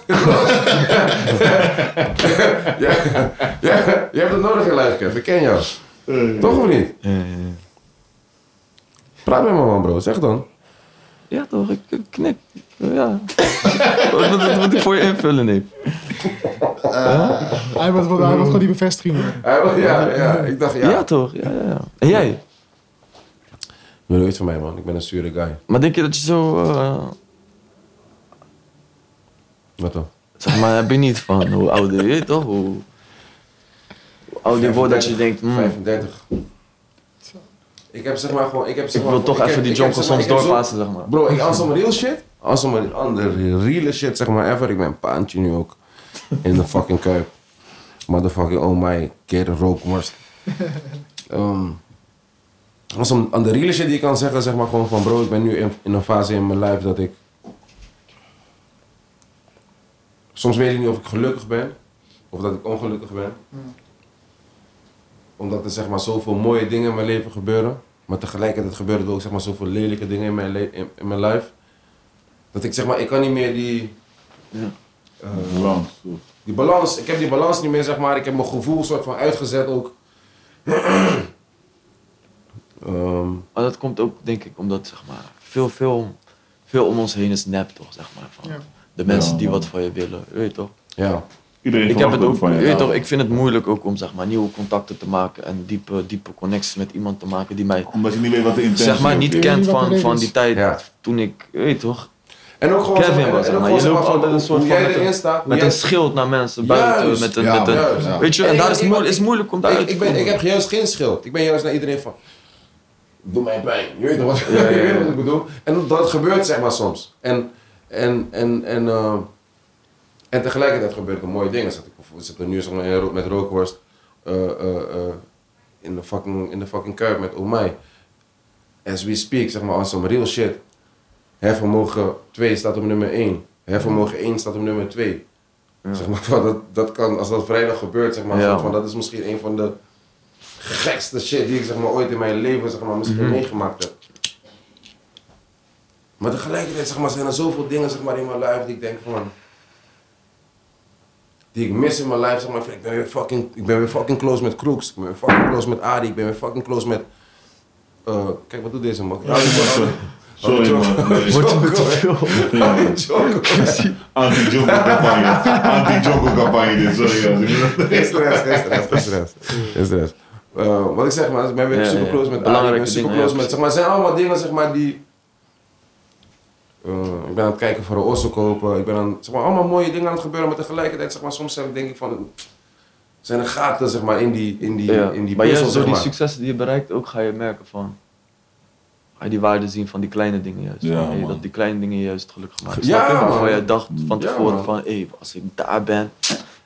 Ja, ja, je hebt het nodig in je lijf, Kev. Ik ken jou. Toch of niet? Ja, Eh, ja, ja. Praat met me man, bro. Zeg dan. Ja, toch? Ik ik knik. Ja. wat, wat, wat ik voor je invullen, nee. Hij wil hij wil gewoon die bevestiging. hoor. Hij wil- Eh, Ja, ja, ik dacht, Ja. ja. toch? Ja, ja, ja. En jij? Wil je iets van mij, man? Ik ben een zure guy. Maar denk je dat je zo... eh, Wat dan? zeg maar, heb je niet van hoe ouder je weet, toch? Hoe, hoe ouder je wordt Oh, dat je denkt... hmm, 35. Ik heb zeg maar gewoon. Ik, heb, zeg ik maar, wil toch gewoon- even die ik heb- jonkel ik heb, zeg soms maar, ik heb zo- doorpassen, zeg maar. Bro, ik, als om real shit. Als om een andere real shit, zeg maar, ever. Ik ben een paantje nu ook. In de fucking kuip. Motherfucking, oh my, kid, rookworst. Ehm, als om aan de real shit die ik kan zeggen, zeg maar gewoon van bro, ik ben nu in, in een fase in mijn lijf dat ik. Soms weet ik niet of ik gelukkig ben of dat ik ongelukkig ben. Omdat er zeg maar zoveel mooie dingen in mijn leven gebeuren. Maar tegelijkertijd gebeuren er ook zeg maar zoveel lelijke dingen in mijn, le- in, in mijn lijf. Dat ik zeg maar, ik kan niet meer die, Lang. die balans, ik heb die balans niet meer zeg maar. Ik heb mijn gevoel soort van uitgezet ook. Ehm, Maar dat komt ook, denk ik, omdat zeg maar, veel, veel, veel om ons heen is nep, toch? Zeg maar, van Ja. De mensen Ja, die man. wat van je willen, weet je toch? ja, Iedereen Ik, heb het ook, van weet je. Nou, je Ja. toch? ik vind het moeilijk ook om zeg maar, nieuwe contacten te maken en diepe, diepe connecties met iemand te maken die mij Omdat je niet weet wat de intentie zeg maar, ook niet weet is. kent niet wat de van, reden van is. die tijd Ja. toen ik, weet je toch? En ook gewoon. Kevin zeg maar- was en ook het, maar gewoon je zeg loopt maar van altijd een hoe- soort hoe van jij met een- erin staat. Met hoe een jij- schild naar mensen buiten, Juist. met een, Ja, met een, juist. Ja. weet je, en Ik- daar is ik- moeilijk, is moeilijk om daaruit ik, ik, ben, ik heb juist geen schild. Ik ben juist naar iedereen van. Doe mij pijn. Je weet toch wat, je weet wat ik bedoel? En dat gebeurt zeg maar soms. En, en, en, en, eh, en tegelijkertijd gebeuren er mooie dingen. Zit ik we zitten nu zeg maar, in ro- met rookworst eh, eh, eh, in, de fucking, in de fucking kuip met Omai. As we speak, zeg maar, als some real shit. Hervermogen 2 staat op nummer 1. Hervermogen 1 staat op nummer 2. Zeg maar, van dat, dat kan, als dat vrijdag gebeurt, zeg maar, Ja, soort van, man. dat is misschien een van de gekste shit die ik zeg maar, ooit in mijn leven zeg maar, Mhm. misschien meegemaakt heb. Maar tegelijkertijd zeg maar, zijn er zoveel dingen zeg maar, in mijn lijf die ik denk van. Die ik mis in mijn lijf, zeg maar, ik ben weer fucking, ik ben weer fucking close met Crooks, ik ben weer fucking close met Adi, ik ben weer fucking close met... eh, kijk, wat doet deze man? Ja, Sorry man. Nee. Ja. Anti-joggo-campagne. Anti-joggo-campagne dit, sorry. jongens. Geen stress, geen stress, geen stress. Geen stress. Eh, wat ik zeg, maar, ik ben weer Ja, super ja. close met Adi, ik Belangrijke ben super dingen, close ja, met... Zeg maar, het zijn allemaal dingen zeg maar, die... Eh, ik ben aan het kijken voor een osso kopen. Ik ben aan, zeg maar, allemaal mooie dingen aan het gebeuren, maar tegelijkertijd zeg maar, soms heb ik, denk ik van... Zijn er gaten zeg maar, in die, in die, Ja. in die maar puzzel, juist door zeg die maar. successen die je bereikt, ook ga je merken van. Ga je die waarde zien van die kleine dingen juist. Ja, Van, hey, man. dat die kleine dingen je juist gelukkig maken. Ja, Snap je? man. Waarvan je dacht van Ja, tevoren man. van, hey, als ik daar ben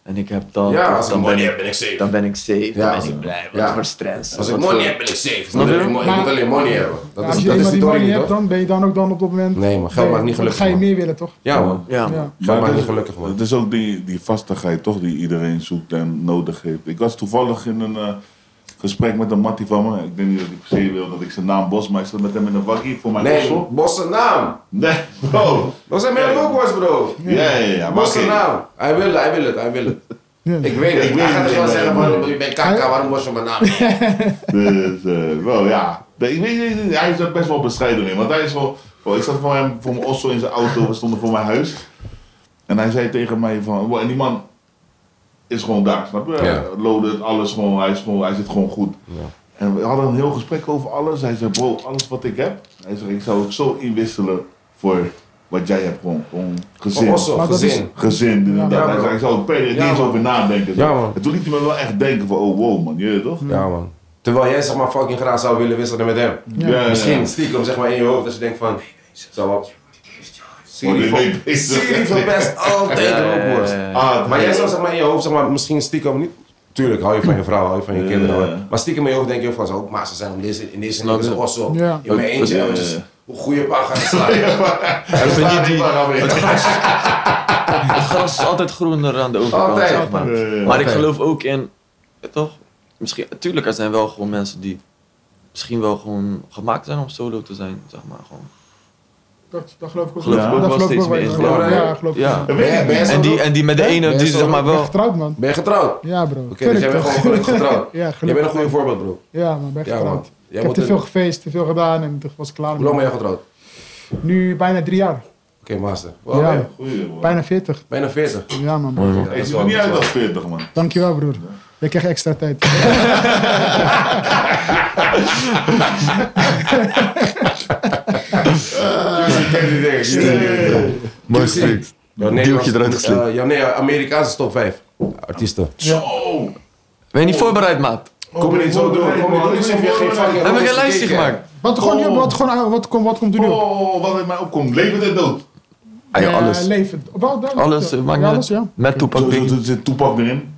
en ik heb dat, Ja, of als ik dan, ben money ik, heb, ben ik safe. dan ben ik safe, Ja, dan als ben ik- ik blij, ja. wat voor stress. Als ik wat money voor- heb, ben ik safe. Ik Snap moet je? alleen, mo- ik Maar- moet alleen money hebben. Dat Ja, is, als je dat is eenmaal de die story, money niet, hebt, toch? dan ben je dan ook dan op dat moment... Nee, maar geld maakt niet Dan gelukkig. ga je man. meer willen, toch? Ja, man. Ja, man. Ja. Geld maakt het niet is- gelukkig, man. Het is ook die, die vastigheid toch die iedereen zoekt en nodig heeft. Ik was toevallig in een eh, gesprek met een mattie van me. Ik denk niet dat ik per se wil dat ik zijn naam bos, maar ik zat met hem in een wakkie voor mijn Nee, ossel. bosse naam. Nee, bro. Dat zijn mijn rookworst, bro. Ja, ja, ja. ja, maar Bosse oké. naam. Hij wil, hij wil het, hij wil het. Ja. Ik weet het. Ik Hij weet gaat het er gewoon niet, zeggen, maar- waarom je bent kaka, waarom was je mijn naam? Dus, eh, wel ja. Nee, ik weet niet, hij is er best wel bescheiden in. Want hij is wel. wel, ik zat voor hem voor mijn osso in zijn auto, we stonden voor mijn huis. En hij zei tegen mij van. wow, en die man is gewoon daar, snap je? Ja. Loaded, alles gewoon hij, is gewoon, hij zit gewoon goed. Ja. En we hadden een heel gesprek over alles. Hij zei, bro, alles wat ik heb. Hij zei, ik zou het zo inwisselen voor wat jij hebt, gewoon, gewoon gezin. Voor Osso, Maar dat is- gezin. Gezin, inderdaad. Ja, hij bro. zei, ik zou er per- niet Ja, eens man. over nadenken. Ja, man. En toen liet hij me wel echt denken van, oh wow man, je weet toch? Ja, man. Terwijl jij zeg maar fucking graag zou willen wisselen met hem. Ja, ja, ja. Misschien stiekem zeg maar in je hoofd, dat je denkt van... Zou wel... Siri Oh, nee, ver- nee. Siri verpest altijd Ja, de ja, ja, rookworst. ja. Ah, Maar jij zou zeg maar, in je hoofd zeg maar, misschien stiekem niet... Tuurlijk, hou je van je vrouw, hou je van je Ja. kinderen. hoor. Maar stiekem in je hoofd denk je van zo, maar ze zijn in deze, in deze Snap is je? osso. Ja. In mijn eentje, Ja. eventjes hoe goede paar gaan slaan. Ik vind niet die, die... het gras is altijd groener aan de overkant, Altijd. zeg maar. Ja. Maar ik Oké. geloof ook in, ja, toch? Misschien, tuurlijk, er zijn wel gewoon mensen die misschien wel gewoon gemaakt zijn om solo te zijn, zeg maar. Gewoon. Dat, dat geloof ik ook Geloof wel. ik ook Dat wel steeds wel. meer. Geloof- Ja. Ja, geloof ik Ja. Dat wel. Ben weet jij- ik ben jij niet. En die, solo? en die met de Hè? ene, Ben die je zeg maar Ben je wel. getrouwd, man? Ben je getrouwd? Ja, bro. Oké, dus jij bent gewoon gelukkig getrouwd. Ja, Jij bent een gelukkig. goede voorbeeld, bro. Ja, man, ben Ja, man. getrouwd. Jij ik heb moet te een- veel gefeest, te veel gedaan en toen was ik klaar. Hoe lang ben jij getrouwd? Nu bijna drie jaar. Oké, master. Ja. Wow, Goeie, man. Bijna veertig. Bijna 40. Ja, man. Ja, dat Hey, is ziet wel- er niet dat is uit wel- als 40, man. Dankjewel, broer. Je krijgt extra tijd. Mooi gespeeld. Deeltje eruit geslikt. Jouw Eh, nee, Amerikaanse top 5 artiesten. Zo! Ben je Oh. niet voorbereid, maat? Kom je niet zo door, Oh, nee, kom je man. door. Alsof je geen fucking We hebben rollers geen lijstje gekeken gemaakt. Wat, gewoon, Oh. wat, gewoon, wat, komt- wat komt er nu op? Oh, wat in mij opkomt. Leven en dood. Ah, joh, Eh, alles. Leven. Wel, wel- Alles, eh, Oh, ja, maakt niet alles, ja. Met Toepak Sowieso Biggie. zit- zit Toepak weer in.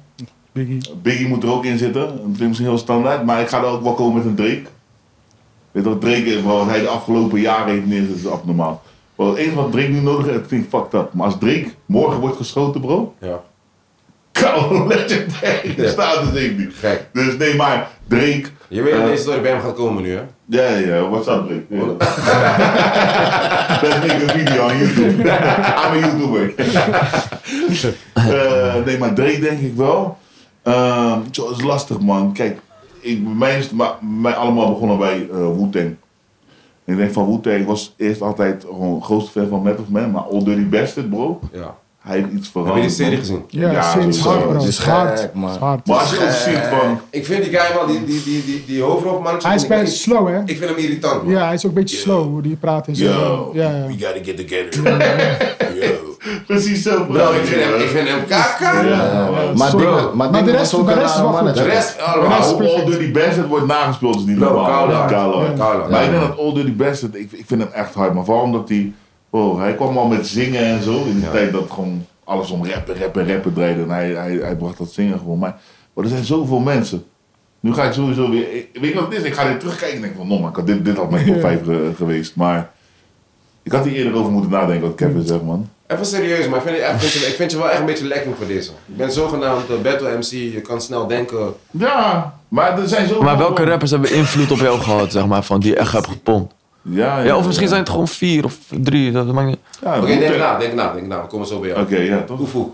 Biggie. Biggie moet er ook in zitten. Dat klinkt misschien heel standaard, maar ik ga er ook wel komen met een Drake. Weet je wat Drake is, wat hij de afgelopen jaren heeft neergezet, is abnormaal. Maar het enige wat Drake nu nodig heeft, het klinkt fucked up. Maar als Drake morgen wordt geschoten, bro. Ja, Kou, legendary. Ja. Dat staat dus ik niet. gek. Dus nee, maar Drake. Je weet dat Eh. deze story bij hem gaat komen nu, hè? Ja, ja, what's up, Drake? Ja. Let's make a video on YouTube. I'm a YouTuber. Eh, nee, maar Drake denk ik wel. Ehm zo, dat is lastig, man. Kijk, ik, bij mij is het maar, bij mij allemaal begonnen bij eh Wu-Tang. En ik denk van Wu-Tang ik was eerst altijd gewoon de grootste fan van Method Man, maar All Dirty Bastard, bro. Ja. Hij heeft iets Heb je veranderd. die serie man. gezien? Ja, Ja, serieus, sowieso. hard, bro. Het is Hard. gek, man. Het is hard. Maar als je ook ziet Eh. van... Ik vind die guy wel, die, die, die, die, die hoofdrolmannetje. Hij is vind ik- best slow, hè? Ik vind hem irritant, man. Ja, hij is ook een beetje slow hoe die praat en zo. Yo, Ja, ja. We gotta get together. Yo. Precies zo, bro. Bro, Nou, ik vind hem, ik vind hem kaka. Ja, man. Maar, Sorry, bro, man. maar, Maar de de rest, rest- ook de een rest is rare wel goed. De mannetje. rest, Maar allemaal. eh, hoe All Dirty Bastard wordt nagespeeld is niet Bro, normaal. koude hard. Koude hard. Koude hard. Maar ik denk dat All Dirty Bastard, ik, ik vind hem echt hard. Maar vooral omdat hij, oh, hij kwam al met zingen en zo. In de tijd dat gewoon alles om rappen, rappen, rappen draaide. En hij, hij, hij bracht dat zingen gewoon. Maar, maar er zijn zoveel mensen. Nu ga ik sowieso weer, ik, weet je wat het is? Ik ga dit terugkijken en denk van, no man, ik had dit, dit had mijn top 5 ge- geweest. Maar ik had hier eerder over moeten nadenken wat Kevin zegt, man. Even serieus, maar ik vind, je- ik, vind je, ik vind je wel echt een beetje lekker voor deze. Je bent zogenaamd eh, battle MC, je kan snel denken. Ja, maar er zijn zoveel... Maar welke rappers hebben invloed op jou gehad, zeg maar, van die je echt hebt gepompt? Ja, ja, Ja, of misschien ja. zijn het gewoon vier of drie, dat maakt niet Ja, Oké, Wu-Tang. denk na, denk na, denk na. We komen zo bij jou. Oké, ja, toch? Oefoe.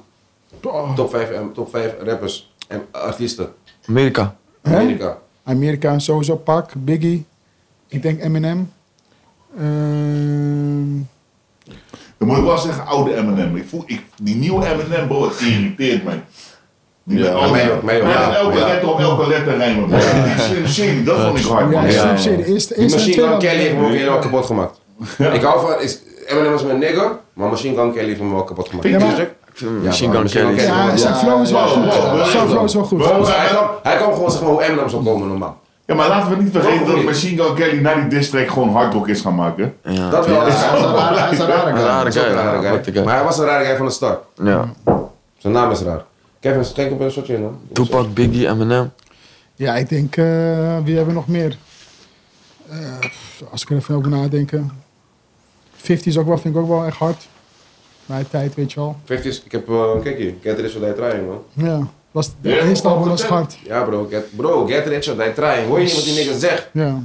Oh. Top 5, en- top 5 rappers en artiesten. Amerika. Hè? Amerika. Amerika en sowieso pak. Biggie. Ik denk Eminem. Ehm, Dan moet ik wel zeggen, oude Eminem. Ik voel, ik, die nieuwe Eminem, bro, het irriteert mij. Die Ja, met al die- mij ook, mij ook, met ja, elke ja. letter op elke letter rijmen. bro. Die Slim Shady, dat vond ik hard. ja, man. ja, ja. shit, de eerste, Die eerste en Machine tweede Gun album. Kelly heeft me ook helemaal kapot gemaakt. Ik hou van, is, Eminem is mijn nigger, maar Machine Gun Kelly heeft me wel kapot gemaakt. Ja, maar- Is het? Machine maar Gun Machine Gun Kelly. Kelly. Ja, zijn Ja, flow is wel ja, goed. ja, ja. Zijn flow is wel goed. Bro, Dus hij, kan, hij kan gewoon zeggen hoe Eminem zou komen normaal. Ja, maar laten we niet vergeten Bro, dat Machine Gun Kelly na die diss track gewoon hardrock is gaan maken. Ah, Ja. Dat wel. Ja, dat is Hij is een rare- hij is een rare Een guy. rare dat is ook guy, een rare guy. aparte guy. Maar hij was een rare guy van de start. Ja. Zijn naam is raar. Kevin, schenk op een shotje in dan. Tupac, Biggie, Eminem. Ja, ik denk, eh, wie hebben we nog meer? Eh, als ik er even over nadenken. 50 is ook wel, vind ik ook wel echt hard. Mijn tijd, weet je wel. 50's, ik heb, eh, kijk hier, Get Rich or Die Trying man. Ja, was, de Ja, eerste album was goed, hard. Ja bro, get, bro, Get Rich or Die Trying. Hoor je niet wat die nigger zegt? Ja.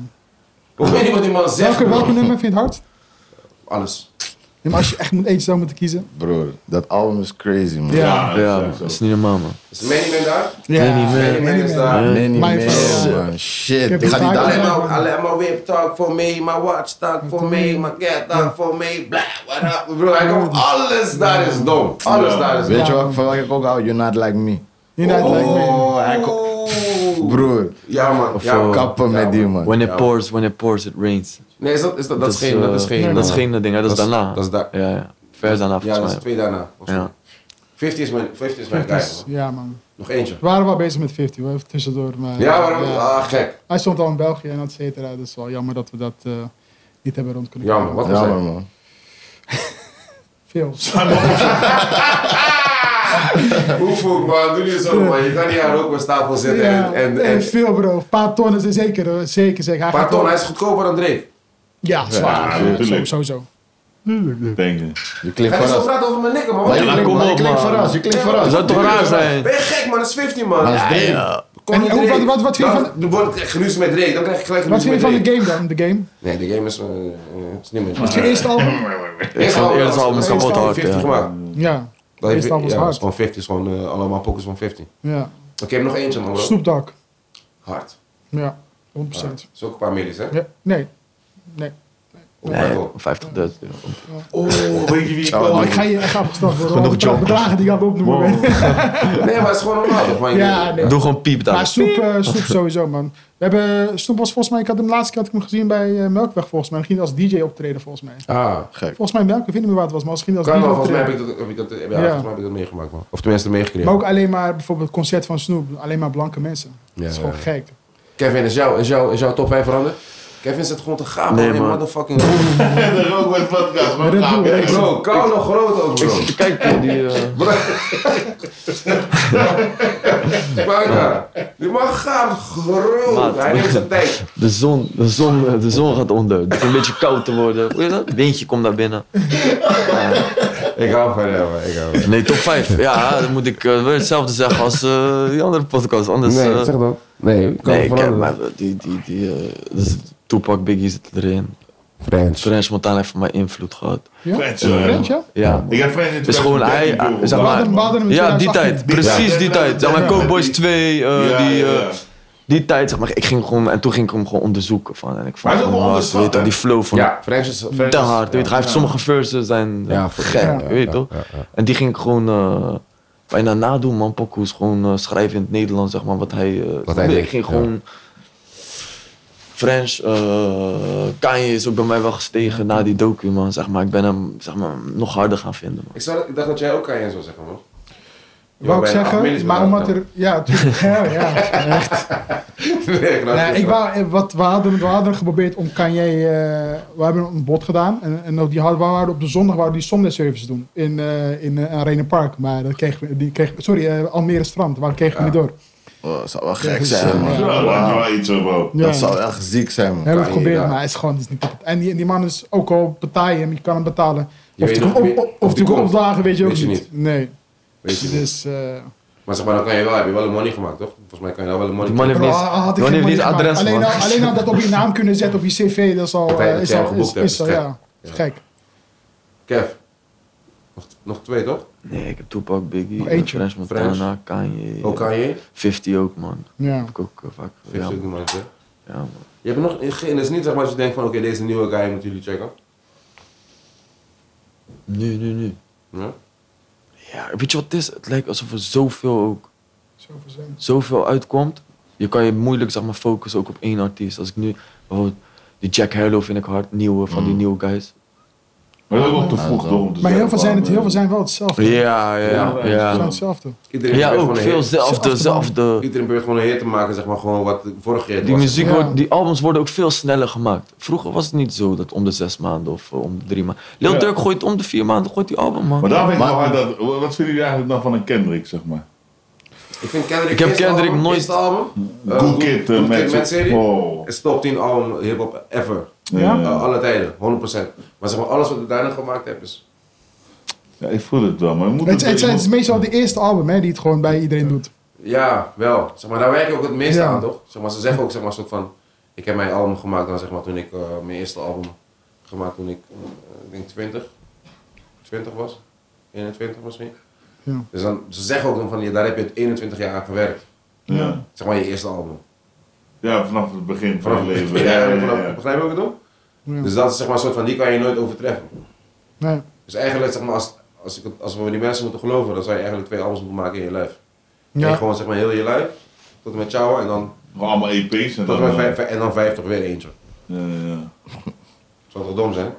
Hoor je niet wat die man zegt? Welke, bro? welke nummer vind je het hard? Alles. Ja, maar als je echt moet eentje zou moeten kiezen. Broer, dat album is crazy, man. Ja. Ja, dat dat is niet normaal, man. Is Manny Man daar? Ja, Manny Man is daar. Nee, niet Mijn meer, vrouw. man. Shit, heb ik ga die die vaak- daar... Alleen maar, alleen maar whip talk voor me, my watch talk voor me, my cat talk voor me, blah, what up. Bro, hij komt, alles daar is dom. Alles Ja. daar is dom. Weet je wat, van welke ik ook hou? You're not like me. You know, like me. Oh, hij ko- Oeh. Broer, Ja man, ja voor man. Ja, kappen met die, man. When it Ja. pours, when it pours, it rains. Nee, is dat, is dat, dat, is geen, eh, dat is geen... Dat is geen ding, hè, dat is Dat is- daarna. dat is daar. Ja, ja. Vers daarna, Ja, dat volgens is mij. twee daarna. Ja. 50 is mijn, 50 is mijn 50 guy, is- man. Ja, man. Nog eentje. We waren wel bezig met 50, hoor, even tussendoor. Maar, eh, Ja, waarom? ja. Ah, gek. Hij stond al in België en et cetera. Dus wel jammer dat we dat eh, niet hebben rond kunnen Jammer, komen. wat was Jammer, hij? man. Veel. Hoe voel man? Doe niet zo, man. Je kan die haar ook op een stapel zetten. Ja, En, en, nee, en, veel bro. Een paar ton is er zeker, hoor. zeker zeker. Hij maar gaat Ton, wel- hij is goedkoper dan Drake. Ja, zwaar. Ja, Zo- tuurlijk. Sowieso. Denk je. Je klinkt Ga je zo verrast. praten over mijn nikken, man? Maar Wat- je Ja, klinkt- kom maar je op, klinkt man. verrast. Je klinkt Dat verrast. zou toch raar zijn? Ben je gek, man? Dat is 50, man. Maar dat is Drake. Kom En- niet en hoe- Drake. wat- wat vind je Dan- Dan word ik geruzie met Drake. Dan krijg ik gelijk Wat geruzie vind je met van Drake. de game dan? De game? Nee, de game is... eh, eh, Het is niet meer. Het eerste album? Ik vond het eerste album kapot kapot hard, 50 ja. gemaakt. Ja. Dat Eerste album is ja, hard. is gewoon 50. is gewoon eh, allemaal pokus van 50. ja. Oké, ik heb nog eentje, man. bro. Snoop Dogg. Hard. Ja, 100%. Dat is ook een paar millies, hè? Ja. Nee. Nee. Op Nee, Apple. 50.000 euro. Oh, weet je wie ik Oh, ik ga je echt afgestraft worden. Genoeg jokes. Bedragen die ik aan het opnoemen ben. Nee, maar het is gewoon normaal. toch, man? Ja, nee. Doe gewoon piep Maar daar. Snoep, eh, Snoep sowieso, man. We hebben, Snoep was volgens mij, ik had hem de laatste keer had ik hem gezien bij eh, Melkweg, volgens mij. Dan ging hij als DJ optreden, volgens mij. Ah, Volgens mij Melkweg, ik weet niet meer waar het was, maar als ging hij als kan DJ wel. Volgens mij heb optreden. ik dat, heb ik dat, ja, Ja. Volgens mij heb ik dat meegemaakt, man. Of tenminste meegekregen. Maar ook alleen maar, bijvoorbeeld het concert van Snoep, alleen maar blanke mensen. Ja, dat is gewoon ja. gek. Kevin, is, jou, is, jou, is jouw top 5 veranderd? Kevin zit gewoon te gaan, Nee, man. Nee, man. motherfucking... En de rook wordt podcast. Maar dat doen we. Hey, bro, koude groot ook, bro. Kijk, man, die... eh, Banga. Die man gaat groot. Maat. Hij neemt zijn tijd. De zon, de zon, eh, de zon gaat onder. Het is een beetje koud te worden. Hoe is dat? Windje komt daar binnen. Ik hou van jou, man. Ik hou van jou. Nee, top 5. Ja, dan moet ik eh, weer hetzelfde zeggen als eh, die andere podcast. Anders, eh, Nee, zeg dat. Nee, ik kan nee, het kijk, veranderen. maar die, die, die, eh, dus Tupac Biggie zit erin. French. French Montana heeft voor mij invloed gehad. Ja? French, Ja, eh, French, ja? Ja, Ik heb French in is gewoon 2013 hij- eh, veel zeg gedaan. maar- Baden, Baden in ja die tijd. 2018. Precies die tijd. Zeg maar, Cowboys 2, eh, Ja, die... ja, eh, ja. die tijd, zeg maar, ik ging gewoon, en toen ging ik hem gewoon onderzoeken van, en ik vond hij is hem ook wel hard, onderschat, weet je, hè? die flow van, Ja, French is... French te is- hard, weet je, hij heeft sommige verses zijn Ja, voor- gek, ja, weet je toch? ja, ja. En die ging ik gewoon eh, bijna nadoen, man. Pokoes gewoon eh, schrijven in het Nederlands, zeg maar, wat hij... eh, Wat hij ik denkt, ging ja. gewoon... French, eh Kanye is ook bij mij wel gestegen na die docu, man. Zeg maar, ik ben hem zeg maar, nog harder gaan vinden, man. Ik, zou, ik dacht dat jij ook Kanye zou zeggen, man. Je Wou ik bent acht zeggen, millies maar bedankt, omdat er... Ja, tuurlijk. ja, ja. Nee, ik laat Nee, het ik maar. wou, eh, wat, we, hadden, we hadden geprobeerd om Kanye... eh we hebben een bod gedaan. En, en die hadden, we hadden op de zondag wouden die Sunday service doen. In, eh in eh, Arena Park. Maar dat kregen we... Die kregen, sorry, eh, Almere Strand. Waar kregen we niet door. Oh, dat zou wel gek Ja, zijn, ja. man. Ja, dat lijkt me wel iets, hoor, bro. Ja. Dat zou echt ziek zijn, We man. hebben Kanye, het geprobeerd, ja. maar hij is gewoon... is niet, en, die, die man is ook al betaal je hem. Je kan hem betalen. Je Of weet die nog komt niet- op- of of die die komt komt. opdagen, weet je ook Weet je niet. niet. Nee. Weet je niet. Dus... eh, Maar zeg maar, dan kan je wel, heb je wel een money gemaakt, toch? Volgens mij kan je dan wel een money Die man heeft Bro, niet, al had ik die man geen heeft niet moeite adres, gemaakt. man. alleen al, alleen al dat op je naam kunnen zetten op je cv, dat is al, Dat wij- eh, dat is jij al, geboekt is, hebt, is is al, gek. ja. Is Gek. Kev. Nog, nog twee, toch? Nee, ik heb Tupac, Biggie, Nog eentje. French Montana, French. Kanye, Ook Oh, Kanye? 50 ook, man. Ja. Heb ik ook eh, vaak Geef gedaan. ze Ja, ook niet, man. hè? man. Je hebt nog geen, dat is niet zeg maar als je denkt van, oké, deze nieuwe guy moeten jullie checken. Nu, nu, nu. Ja? Ja, weet je wat het is? Het lijkt alsof er zoveel ook Zo verzinnen. zoveel uitkomt, je kan je moeilijk zeg maar, focussen ook op één artiest. Als ik nu, bijvoorbeeld, die Jack Harlow vind ik hard, nieuwe van die nieuwe guys. Maar dat is ook nog te vroeg, toch? om te Maar heel zeggen, veel zijn het, man, heel veel eh. zijn wel hetzelfde. Ja, ja, Ze zijn ja. hetzelfde. Iedereen Ja, probeert gewoon ook een veel hit- zelfde, Zelfde zelfde. Iedereen probeert gewoon een hit te maken, zeg maar, gewoon wat vorig jaar het Die was. muziek Ja. wordt, die albums worden ook veel sneller gemaakt. Vroeger was het niet zo dat om de zes maanden of eh, om de drie maanden. Lil Ja. Durk gooit om de vier maanden gooit die album man. Maar daar ben ik Maar- wel hard dat. Wat vinden jullie eigenlijk dan van een Kendrick, zeg maar? Ik vind Kendrick, Ik heb eerste Kendrick album, nooit- eerste album. eh, Cool Good- Kid Good eh, Kid, met Mad City. Oh. is top 10 album hip-hop ever. Ja? Eh, alle tijden, 100%. Maar zeg maar, alles wat ik daarna gemaakt heb is. Ja, ik voel het wel, maar je moet Het, het- het, je zijn- het moet- is meestal de eerste album hè, die het gewoon bij iedereen doet. Ja, wel. Zeg maar, daar werk ik ook het meeste Ja. aan, toch? Zeg maar, ze zeggen ook, zeg maar, soort van. Ik heb mijn album gemaakt dan, zeg maar, toen ik eh, mijn eerste album gemaakt toen ik, eh, ik denk 20, 20 was. 21 misschien. Ja. Dus dan, ze zeggen ook dan van, ja, daar heb je het 21 jaar aan gewerkt. Ja. Zeg maar, je eerste album. ja, vanaf het begin van Vanaf het leven. Ja, Ja, ja, vanaf- ja. Begrijp je wat ik bedoel? Ja. Dus dat is zeg maar een soort van, die kan je nooit overtreffen. Nee. Dus eigenlijk, zeg maar, als, als, ik, het- als we die mensen moeten geloven, dan zou je eigenlijk twee albums moeten maken in je lijf. Ja. En gewoon zeg maar heel je lijf, tot en met jou en dan, Gewoon allemaal EP's en tot dan. en met eh, vijf, en dan vijftig weer eentje. ja, ja. Zou toch dom zijn?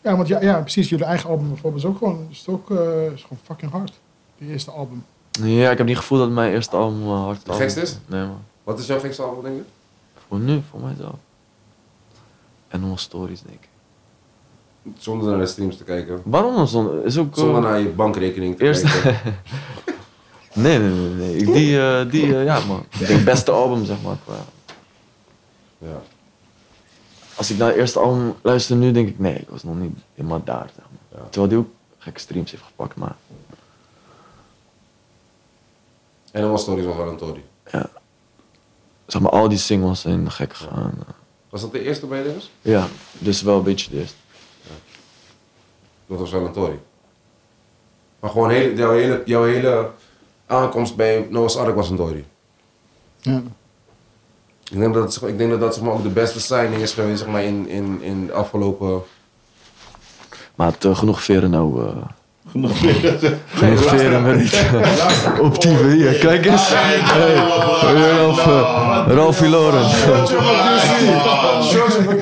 Ja, want ja, ja, precies. Jullie eigen album bijvoorbeeld is ook gewoon, is het ook, eh, is gewoon fucking hard. Die eerste album. Ja, ik heb niet het gevoel dat mijn eerste album eh, hard Het album gekste is? Nee man, Wat is jouw gekste album, denk je? voor nu, voor mijzelf. Animal Stories denk ik. Zonder naar de streams te kijken. Waarom dan zonder? Is ook... eh, Zonder naar je bankrekening te Eerst- kijken. Nee, nee, nee. nee. Ik, die, eh, die eh, ja man. Ik denk beste album, zeg maar. qua- Ja. Als ik naar het eerste album luister nu, denk ik, nee, ik was nog niet helemaal daar, zeg maar. Ja. Terwijl die ook gekke streams heeft gepakt, maar... En dan was Stories was wel een Tory. Zeg maar, al die singles zijn gek gegaan. eh. Was dat de eerste bij deze? Ja, dus wel een beetje de eerste. Dat was wel een Tory. Maar gewoon heel, jouw, hele, jouw hele aankomst bij Noah's Ark was een Tory. Ja. Ik denk dat het, zeg maar- ik denk dat, dat zeg maar, ook de beste signing is geweest zeg maar, in, in, in de afgelopen... Maar het, eh, genoeg veren nou... eh, Genoeg. Nee, genoeg veren met niet. eh, Op die hier, kijk eens. Hey, Ralf, eh, Ralfie Loren. George van Ah. George van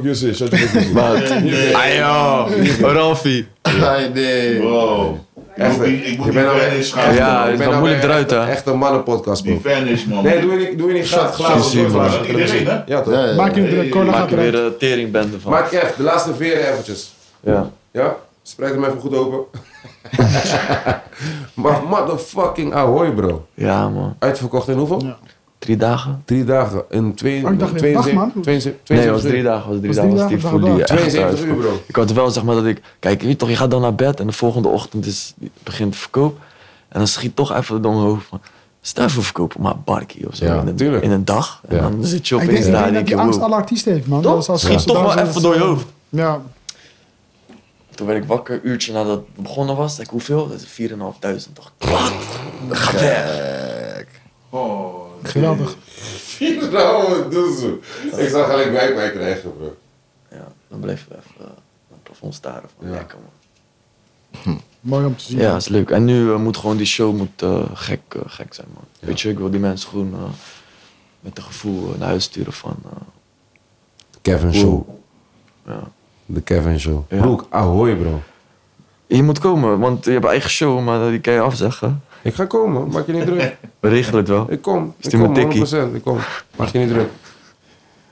QC, George van QC. Maar het- Ayo, Ralfie. Nee, nee. Wow. Ik moet die- ik moet Je die bent al- vanish gaan. Ja, Ik het ben is wel nou moeilijk bij een eruit, hè. echte- Echte mannenpodcast, bro. Die vanish, man. Nee, doe je niet, doe je niet graag glazen. Zie je, door, man. glazen. Iedereen, hè? Ja, toch? Ja, ja. Maak je Hey, druk, cola Eh, Maak gaat er eruit. weer een teringbende van. Maak even, de laatste veren eventjes. Ja. Ja? Spreek hem even goed open. maar motherfucking ahoy, bro. ja, man. Uitverkocht in hoeveel? Ja. Drie dagen? Drie dagen. In twee, Oh, ik dacht in twee- acht twee- maanden. twee- twee- Nee, het twee- was drie dagen. was drie Was dagen drie was die dagen, folie dagen. echt 72 uur, thuis. bro. Ik had wel, zeg maar, dat ik... Kijk, je weet toch, je gaat dan naar bed en de volgende ochtend is, begint de verkoop. En dan schiet toch even door mijn hoofd van... Stel voor verkopen, maar barkie of zo. Ja, in, een, tuurlijk. in een dag. En Ja. dan zit je Ik opeens denk, ik daar en denk dat denk je, die angst wow. alle artiesten heeft, man. Toch? Dat is als- als Schiet ze toch daar wel zijn, even dat door ze- je hoofd. Ja. Toen werd ik wakker, een uurtje nadat het begonnen was. Denk, hoeveel? Dat is 4.500. Dacht, ga weg. Oh, Geweldig. Nou, doe zo. Ik zou gelijk wijk bij krijgen, bro. Ja, dan bleef we even eh, naar het plafond staren. Van, Ja. lekker, man. Mooi om te zien. Ja, is leuk. En nu eh, moet gewoon die show moet, eh, gek, eh, gek zijn, man. Weet je, ik wil die mensen gewoon eh, met een gevoel eh, naar huis sturen van... eh, Kevin Show. Show. ja. De Kevin Show. Ja. Broek, ahoy, bro. Je moet komen, want je hebt een eigen show, maar eh, die kan je afzeggen. Ik ga komen, maak je niet druk. We regelen het wel. Ik kom. Ik Stuur me kom, tikkie. 100%. Ik kom. Maak je niet druk.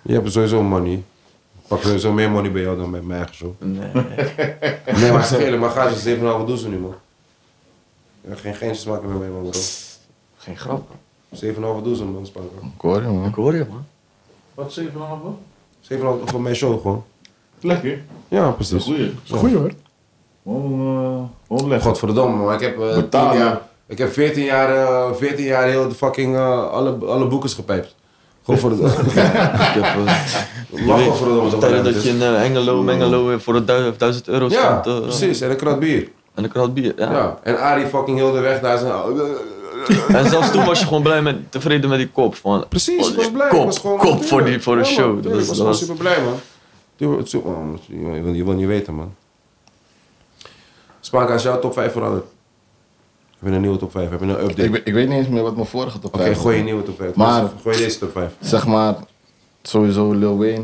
Je hebt sowieso money. Ik pak sowieso meer money bij jou dan bij mijn eigen show. Nee. Nee, maar zeg eerlijk, maar gaat je 7,5 wat doen ze nu, man? Ja, geen geintjes maken met mij, man, bro. 7,5 Geen grap. wat doen ze, man, spanker. 7,5 Ik hoor je, Ik man. hoor je, man. Wat zeg je vanavond? voor mijn show, gewoon. Lekker. Ja, Dat is precies. goeie. Goeie hoor. Gewoon, eh, gewoon lekker. Godverdomme, man. Ik heb, eh, 10 Betalen. jaar, ik heb 14 jaar, eh, 14 jaar heel de fucking eh, alle, alle boekers gepijpt. Gewoon voor de... Ik heb, eh, Lach wel voor de domme. zo dus- tijden blijft dat je het. in eh, Engelo, Mengelo weer voor de du- 1000 euro Ja, stond. eh, precies. En een krat bier. En ik had bier. Ja. Ja. En Arie fucking heel de weg daar zijn... En zelfs toen was je gewoon blij met, tevreden met die kop. Van, Precies, oh, ik was blij. Kop, ik was gewoon, kop voor, die, voor de Ja, man, show. tuurlijk, dat was, ik was dat gewoon was- super blij, man. Tuurlijk, het is- oh, man, je, wil, je wil niet weten, man. Spaak, als jouw top 5 verandert. Heb je een nieuwe top 5? Heb je een update? Ik, we- ik weet niet eens meer wat mijn vorige top Oké, vijf was. gooi je nieuwe top 5. Maar- gooi je deze top 5. Zeg maar, sowieso Lil Wayne.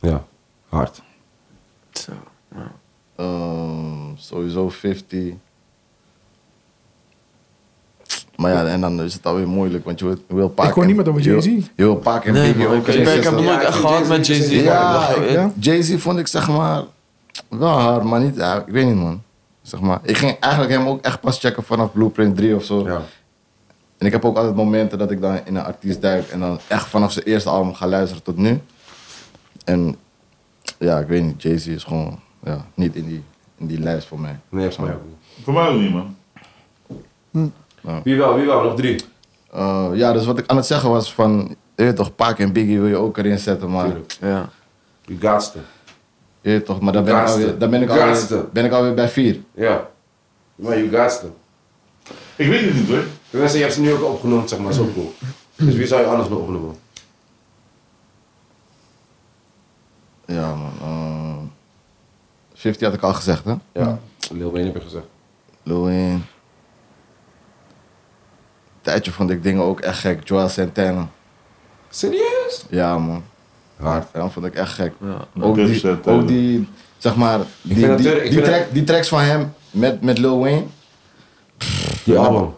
Ja, hard. Zo. Ehm, sowieso 50. Maar ja, en dan is het alweer moeilijk, want je wil- je wil Paak... Ik hoor en- niemand over je wil- Jay-Z. Je wil Paak en Nee, Biggie man, ook. ik, ik, en ben- ik heb Jay-Z. hem nooit echt gehad met Jay-Z. Ja, Ja, Ik- ik- Jay-Z vond ik zeg maar wel hard, maar niet... ja, ik weet niet, man. Zeg maar, ik ging eigenlijk hem ook echt pas checken vanaf Blueprint 3 of zo. Ja. En ik heb ook altijd momenten dat ik dan in een artiest duik en dan echt vanaf zijn eerste album ga luisteren tot nu. En ja, ik weet niet, Jay-Z is gewoon ja, niet in die, in die lijst voor mij. Nee, volgens mij ook niet. Voor mij ook niet, man. Wie wel, wie wel? Nog drie. Eh, ja, dus wat ik aan het zeggen was van, je weet toch, Paak en Biggie wil je ook erin zetten, maar, Tuurlijk. Ja. Die gaatste. je weet toch, maar daar ben ik Gaatste. alweer, daar ben ik alweer, Gaatste. ben ik alweer bij vier. Ja. Maar je gaatste. Ik weet het niet, hoor. De mensen, je hebt ze nu ook opgenoemd, zeg maar. Zo cool. Dus wie zou je anders nog opnoemen? Ja man, eh, 50 had ik al gezegd hè, Ja. Lil Wayne heb je gezegd. Lil Wayne. Een Tijdje vond ik dingen ook echt gek, Joel Santana. Serieus? Ja man, Hard. ja, dat vond ik echt gek. Ja. Ook Def die, Santana. ook die, zeg maar, die, vind die, dat die, Turk- ik vind track- die tracks van hem met, met Lil Wayne. Die album.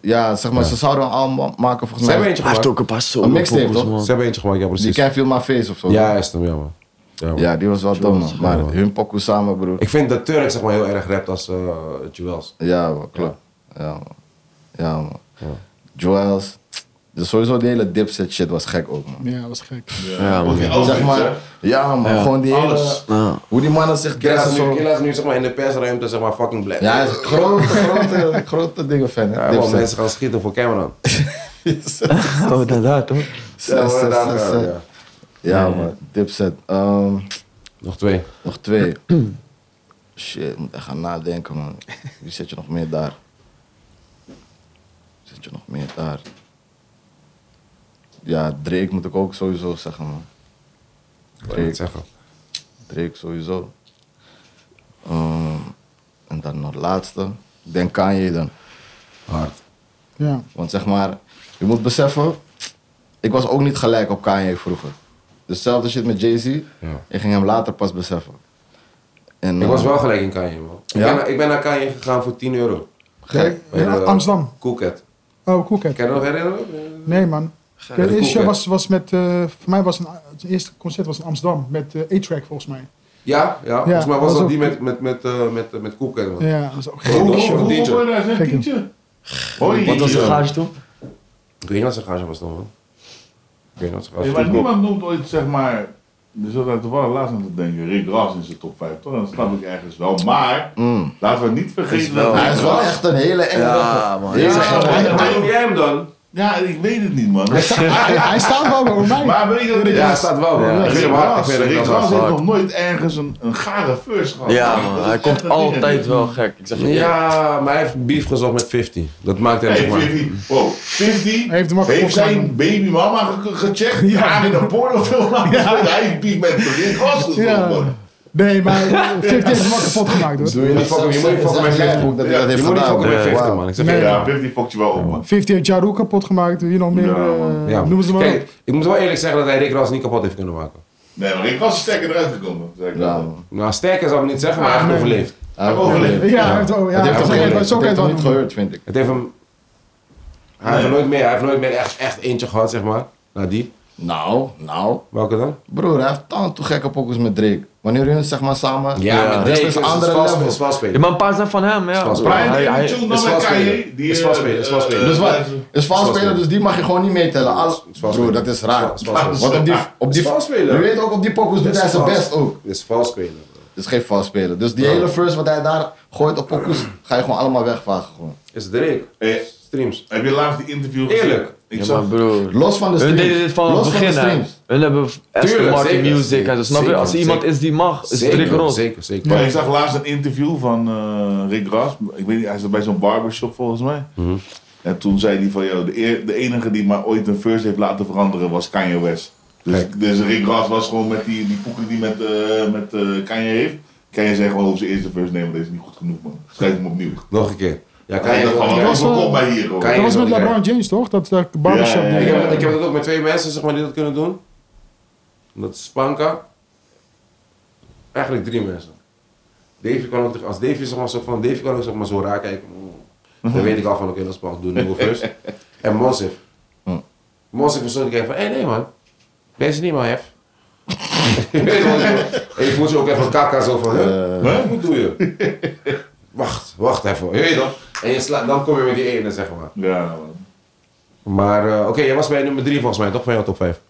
Ja, zeg maar, ze zouden een album maken volgens Ze hebben mij. eentje Hij heeft gemaakt. ook een paar Een solo mixtape, pokus, toch? Ze man. hebben eentje gemaakt, ja Die precies. Can Feel My Face of zo. Ja, is hem, ja man. Ja, man. Ja, die was wel dom, man. Maar ja, man. hun pokoe samen, broer. Ik vind dat Turk zeg maar heel erg rapt als eh Jewels. Ja, man, klopt. Ja, man. Ja, man. Joels. Dus sowieso die hele dipset shit was gek ook, man. Ja, dat was gek. Ja, man. Oké, alles, zeg maar, hè? ja, man. Ja. Gewoon die hele- Alles. Ja. Hoe die mannen zich Killa dressen is, nu- zo. Killa is nu zeg maar in de persruimte zeg maar fucking black. Ja, hij is een grote, grote, grote dingen fan. hè. Ja, man, Dipset. mensen gaan schieten voor Cameron. Oh, inderdaad, hoor. Zes, Ja, zes, inderdaad, zes, ja, zes. ja. Ja, man. Dipset. Ehm, Nog twee. nog twee. Shit, ik moet echt gaan nadenken, man. Wie zit je nog meer daar? Wie zit je nog meer daar? Ja, Drake moet ik ook sowieso zeggen, man. Ik wil het Drake, zeggen. Drake sowieso. Ehm, en dan nog laatste. Ik denk Kanye dan. Hard. Ja. Want zeg maar, je moet beseffen, ik was ook niet gelijk op Kanye vroeger. Dezelfde shit met Jay-Z, Ja. ik ging hem later pas beseffen. En, Ik was eh, wel gelijk in Kanye, man. Ik, Ja? ben, ik ben naar Kanye gegaan voor 10 euro. Gek. Bij Ja, eh, de- Amsterdam. Coolcat. Oh, Coolcat. Ken je dat nog herinneren? Nee, man. Ja, Het eerste Coolcat. show was, was met, eh, voor mij was een, het eerste concert was in Amsterdam met eh, A-Track volgens mij. Ja, ja. Volgens mij dat was was dat ook- die met, met, met, eh, met, eh, met Coolcat, man. Ja, dat was Hoe- ook gek. hoe- Hoe- hoe- hoe- hoe- hoe- hij zegt Gek, joh. tientje. Hoi. Wat was de garage toen? Ik weet niet wat zijn garage was dan, man. Ik weet niet wat zijn Ja, garage maar was. niemand noemt ooit, zeg maar. Dus dat had toevallig laatst aan te denken. Rick Ross in zijn top 5, toch? Dat snap ik ergens wel. Maar mm. laten we niet vergeten wel- dat Hij is wel Ross- echt een hele enge Ja, man. Deze Ja, enge- hij- Waarom noem jij hem dan? Ja, ik weet het niet, man. Hij, hij staat wel bij mij. Maar weet je dat Ja, hij staat wel, man. Ja. Ik vind Rick hem hard. Ik Ross- vind Rick Rick Ross Ross hard. heeft nog nooit ergens een, een gare first gehad. Ja, Dat man. is Hij echt komt een ding. altijd wel gek. Ik zeg je eerlijk. Ja, maar hij heeft beef gezocht met 50. Dat maakt hem Hey, zeg maar. 50, wow, 50 Hij heeft heeft, hem ook opgeslagen. zijn baby mama ge- ge- gecheckt. Ja. Haar in een pornofilm laten spelen. Hij heeft piek met Rick Ross gezocht, Ja. man. Nee, maar 50 heeft hem wel kapot gemaakt hoor. Je moet niet fucken- je moet niet fucken met 50. Dat Ja, hij dat Je heeft moet niet gedaan. fucken met Ja. 50, man. Ik zeg Nee. je eerlijk. Ja, 50 fokt je wel op, man. 50 heeft Jaru kapot gemaakt, hier nog meer. Ja, man. eh, Ja, man. noem ze maar op. Kijk, ik moet wel eerlijk zeggen dat hij Rick Ross niet kapot heeft kunnen maken. Nee, maar Rick Ross is sterker eruit gekomen. Zeg ik Ja, wel. man. Nou, sterker zou ik niet zeggen, maar hij heeft Nee. overleefd. Hij heeft overleefd. overleefd. Ja, hij heeft wel- ja, Dat heeft hij hem heeft overleefd. wel- zo Dat kan heeft je hem het niet wel gehoord, vind ik. Het heeft hem... Hij heeft er nooit meer, hij heeft nooit meer echt, echt eentje gehad, zeg maar. Nou, die. Nou, nou. Welke dan? Broer, hij heeft tant toe gekke pokus met Drake. Wanneer hun zeg maar samen... maar dat is een andere level. is valspelen. Ja, maar een paar zijn van hem, ja. Van Spijt. Hij- Brian hij- Daly hij- Chung is dan met vastspelen. Kanye. die, Is eh, vastspelen, is eh, vastspelen. eh, Dus wat? Is valspeler, Valspeler. dus die mag je gewoon niet meetellen. Al, valspeler. broer, dat is raar. Is valspeler. Want op die, op die, Is valspeler. je weet ook, op die pokus doet Dit is hij zijn vals. best ook. Dit is valspelen. bro. Het is geen valspeler. Dus die hele first wat hij daar gooit op pokus, ga je gewoon allemaal wegvagen. Gewoon. Is Drake. eh, Streams. Heb je laatst die interview gezien? Eerlijk. Ik Ja, zag maar broer. Los van de Hun streams. deden dit van Los het begin, van de hè. streams. Hun hebben Aston Tuurlijk, Martin zeker, Music en zo, snap je? zeker, Als er iemand zeker. is die mag, is het Rick Ross. Zeker, zeker. Maar ik zag laatst een interview van eh, Rick Ross. Ik weet niet, hij zat bij zo'n barbershop volgens mij. En toen zei hij van, joh, de, eer- de enige die maar ooit een first heeft laten veranderen was Kanye West. Dus, Kijk. dus Rick Ross was gewoon met die, die poeken die met, eh, met eh, Kanye heeft. Kanye zei gewoon over zijn eerste first, nee, maar deze is niet goed genoeg, man. Schrijf hem opnieuw. Nog een keer. Ja, Kanye Kanye dacht wil- van, was wel- kom maar hier, hoor. Kanye Dat was wil met die guy. LeBron James toch? Dat eh, barbershop. Ja, ja, ja. Ik ding. heb, ik heb dat ook met twee mensen zeg maar, die dat kunnen doen. Dat is Spanka. Eigenlijk drie mensen. Davy kan ook, als Davy zeg maar, zo, van Davy kan ook zeg maar, zo raar kijken. mm, Dan weet ik al van oké, dat is Spanka, doe een nieuwe first. en Mosif. Mm. Mosif was zo die kijkt van, hé nee man, deze niet maar hef. en je voelt je ook even kaka zo van, hè? Hè? wat doe je? wacht, wacht even. Je weet toch? En je slaat, dan kom je met die ene zeg maar. Ja, man. Maar eh, oké, jij was bij nummer 3 volgens mij, toch? Van jouw top 5.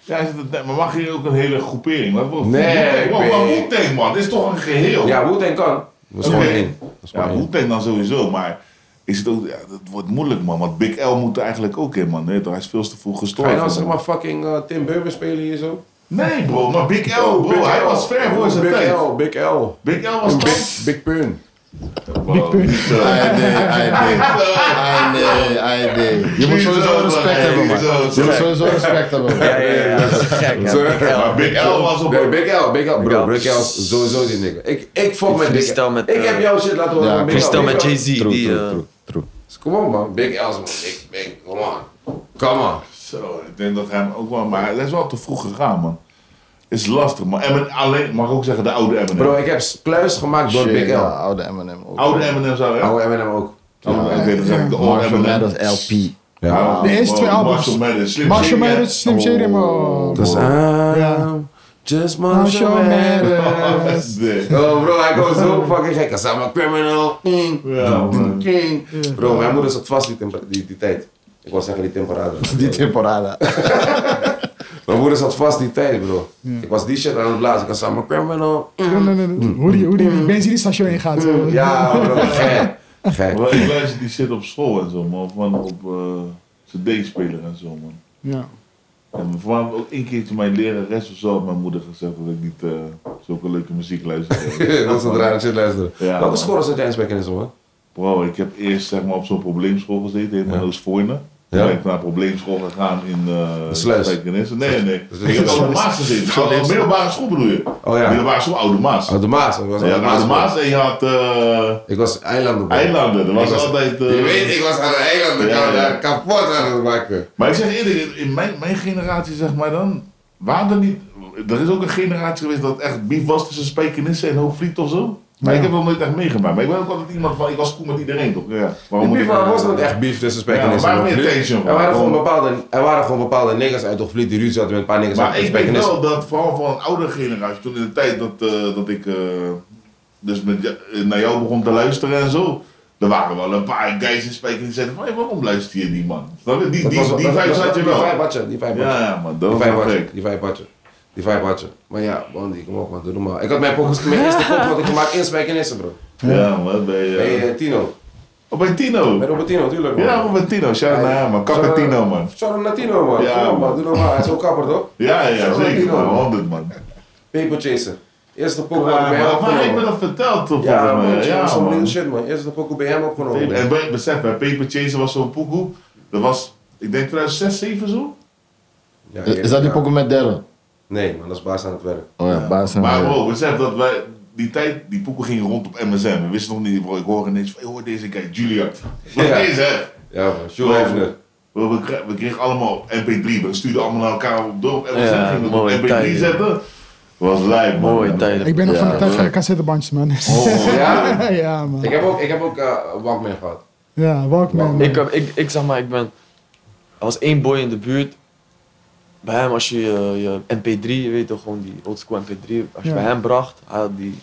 Ja, hij zit het net- maar mag hier ook een hele groepering? Wat, wat, Nee, Wu-Tang, wat, wat ik- Wu-Tang, man? Dit is toch een geheel? Ja, Wu-Tang kan. Dat is Oh. Oké. gewoon één. Dat is Ja, gewoon één. Wu-Tang dan sowieso, maar is het ook, ja, dat wordt moeilijk man, want Big L moet er eigenlijk ook in man, Weet je toch, hij is veel te vroeg Ga gestorven. je nou zeg maar fucking eh, Tim Burger spelen hier zo? Nee bro, maar Big L bro, Oh, Big hij L. Oh, was ver voor zijn Big tijd. L, Big L. Big L was Big, toch? Big Pun. Big Pun. Ai, nee, ai, nee. Ai, nee, ai, nee. Je moet sowieso respect hebben, man. Je moet sowieso respect hebben, man. Ja, ja, ja, dat is gek, hè. Sorry. Maar Big L was op... Nee, Big L, Big L, bro. L. Big L is sowieso die nigga. Ik, ik fuck met Big freestyle L. met, ik eh, heb jouw shit laten horen. ja, van Big L. Freestyle Big met L- Jay-Z, True, die... true, eh, true, true. Come on man, Big L is man. Big, big, come on. Come on. Zo, ik denk dat hij hem ook wel, maar dat is wel te vroeg gegaan man. Is lastig man, Eminem alleen, mag ik ook zeggen de oude Eminem. Bro, ik heb kluis gemaakt door Shit, Big ja, L. oude Eminem ook. oude Eminem zou hè? Oude Eminem ook. Oh, Oké, dat zeg ik de Marshall old Mathers Eminem. Oh, LP. Ja. De eerste twee albums. Marshall Mathers, Slim Oh, Marshall Shady, hè? Mathers, Slim Shady, man. Dus Ja. I'm just Nou, Marshall Marshall Mathers. Mathers. Nee. Oh bro, hij komt zo fucking gek. Als I'm a criminal king. Ja, man. king. Bro, mijn moeder zat vast die, temper- die, die tijd. Ik wou zeggen die temperade. Die temporada. Mijn moeder zat vast die tijd bro. Ik was die shit aan het blazen. Ik was I'm a criminal. Nee, nee, nee, nee. Hoe die, hoe die benzinestation in gaat. zo. Ja bro, gek. Gek. Maar ik luister die shit op school en zo, man. Van op eh cd-speler en zo, man. Ja. En voor mij ook één keertje mijn lerares of zo had mijn moeder gezegd dat ik niet eh zulke leuke muziek luisterde. Dat is een rare shit luisteren. Ja, Welke man. score zat jij in Spijkenissen man? Bro, ik heb eerst zeg maar, op zo'n probleemschool gezeten, helemaal Ja. in Oostvoorne. Ja. Toen ben ik naar een probleemschool gegaan in... eh, De Sluis. Spijkenissen. Nee, nee. Dus ik heb de- op de Maas gezeten. Op de middelbare school bedoel je? Oh ja. Middelbare school, Oude Maas. Oh, de Maas. Ik was Ja, aan de Maas. Oude Maas en je had eh, Ik was eilanden. eilanden. Er was Ik was- altijd... eh, Je weet, ik was aan de eilanden. Ik Ja, was ja. daar kapot aan het maken. Maar ik zeg eerlijk, in- in mijn, mijn generatie zeg maar dan, waren er niet... Er is ook een generatie geweest dat echt beef was tussen Spijkenissen en Hoogvliet of zo. Maar Ja. ik heb dat nooit echt meegemaakt. Maar ik ben ook altijd iemand van, ik was cool met iedereen toch? Ja. Waarom Die moet beef ik- was niet echt beef tussen Spijkenissen Ja, maar en waar meer Hoogvliet. tension van? Er waren gewoon Gewoon- bepaalde, er waren gewoon bepaalde niggas uit Hoogvliet die ruzie hadden met een paar niggas Maar uit ik weet Spijkenissen. wel dat vooral van een oudere generatie, toen in de tijd dat, eh, dat ik eh, dus met, ja- naar jou begon te luisteren en zo. Er waren wel een paar guys in Spijkenissen die zeiden van, "Hey, waarom luister je die man? Snap je? Die, Dat die, was- die, dat- vibes dat- had je Die wel. vijf had je, die vijf had je. Ja, ja, man, dat Die was vijf wel had je, gek. die vijf had je. Die vijf had je. Maar ja, man, die kom op man, doe normaal. Ik had mijn pokus, mijn eerste pop had ik gemaakt in Spijkenissen bro. Ja, man, bij, eh, Bij eh, Tino. oh, bij Tino. Bij Robertino, tuurlijk man. Ja, met Tino, shout naar hem, man. Kapper Tino, man. Shout-out naar Tino man. Ja, Kom op, man, man. doe normaal. Hij is ook kapper toch? Ja, ja, Shout-out zeker, Tino, man. man. 100, man. Paper Chaser. Eerste Maar, pop had ik bij hem maar ik opgenomen. ben dat verteld, toch? Ja, volgens mij. man, ja, zo'n man. nieuwe shit, man. Eerst de pokoe bij hem opgenomen. man. Oh. En bij- besef, bij Paper Chaser was zo'n poekoe. Dat was, ik denk 2006, 7 zo. Oh, Ja, Is is dat die ja. Pokémon met Daryl? Nee, man, dat is baas aan het werk. Oh ja, baas. en- Maar bro, besef dat wij, die tijd, die poekoe ging rond op MSM. We wisten nog niet, bro, ik hoor ineens van, ik hoor deze guy, Juliard. Wat Ja. is hè? Ja, man. Sjoe Hefner. Bro, we, kregen, we kregen allemaal MP3, we stuurden allemaal naar elkaar op door op MSM, Ja, gingen we op mooie MP3 tijden. zetten. Was lijp, man. Mooie tijden. Ik ben nog Ja, van de tijd van de gek. cassettebandjes, man. Oh, Ja? ja, man. Ik heb ook, ik heb ook eh Walkman gehad. Ja, Walkman. man. Ik, heb- ik, ik zeg maar, ik ben. Er was één boy in de buurt. Bij hem, als je eh, je MP3, je weet toch gewoon die oldschool MP3, als je Ja. bij hem bracht, hij had die.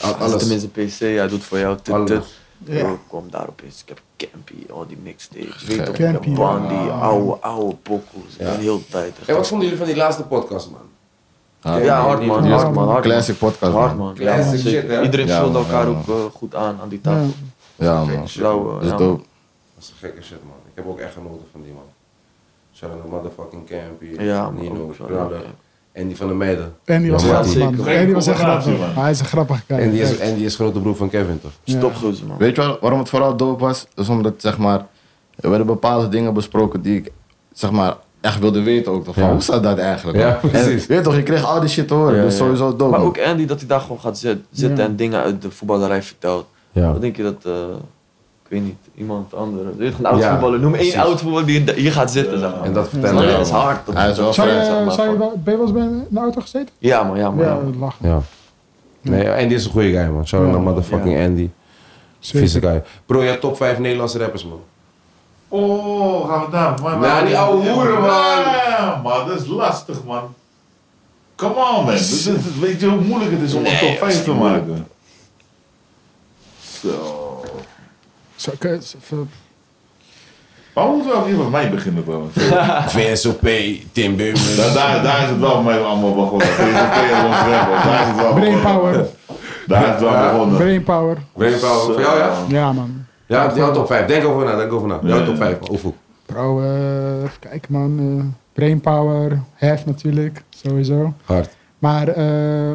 Al- Hij had Alles. tenminste een PC, hij doet voor jou. Tut, tut. Alles. Ja. Bro, ik kwam daar opeens. Ik heb Campy, al die mixtapes. Je Weet toch, Campy, Campy, Bandy, ja. oude, oude pokoes. Ja. En heel tijd. echt. Hey, wat vonden jullie van die laatste podcast, man? Ah, ja, hard man, die is hard man, hard man. Classic podcast. Hard man. man. Classic Ja, man, shit, zeker. hè? Iedereen Ja, vulde man, elkaar ja, ook eh, goed aan aan die Ja. tafel. Ja, man. Blauwe, Dat is ja. dope. Dat is een gekke shit, man. Ik heb ook echt genoten van die, man. Shout out naar motherfucking Campy, Ja, man. Nino, ook zo, Knaller ja. en die van de meiden. En die was Ja, grappig, zeker. man. Geen En die was echt combinatie, grappig. man. Hij is een grappige kijker. En die, is, en die is grote broer van Kevin, toch? Ja. Stopgoed, man. Weet je waar- waarom het vooral dope was? Is omdat, zeg maar, er werden bepaalde dingen besproken die ik, zeg maar, echt wilde weten ook. Toch? Van, Ja. Hoe staat dat eigenlijk? Ja, man? En precies. weet je toch, je kreeg al die shit te horen, Ja, dus ja. sowieso dope. Maar man. ook Andy, dat hij daar gewoon gaat zit- zitten Ja. en dingen uit de voetballerij vertelt. Ja. Wat denk je dat, eh, ik weet niet, iemand andere. Je weet, een oud Ja, voetballer, noem één precies. oud voetballer die hier- hier gaat zitten. zeg maar. En dat Snap vertelde je? hij, dat is man. hard. Dat- Hij is wel dat- Zou vrij, zeg je, maar, zou je, van- wel- ben je wel eens bij een auto gezeten? Ja, man, ja, man. Ja, ja, man. lachen. Ja. Nee, Andy is een goede guy, man. Shout out Ja. naar motherfucking Andy. Vieze guy. Bro, je hebt top 5 Nederlandse rappers, man. Oh, gaan we daar. Maar, Nou, die oude hoeren, man. Ja, man, dat is lastig, man. Come on, man. Dit- dit- dit- weet je hoe moeilijk het is om een top 5 te maken? Zo. Zo, ik, eh, z- ver- Maar we moeten wel even met mij beginnen, trouwens. VSOP, Tim Beumer. daar, daar, daar is het wel voor mij allemaal begonnen. VVP en ons rappers, Daar is het wel Brain begonnen. power. Daar is het wel begonnen. Brain power. Brainpower, voor jou ja? Ja, man. Ja, jouw top 5. Denk over na, denk over na. Jouw Ja. top 5, man. Oefo. Bro, eh, even kijken, man. eh brain power. Hef natuurlijk, sowieso. Hard. Maar, eh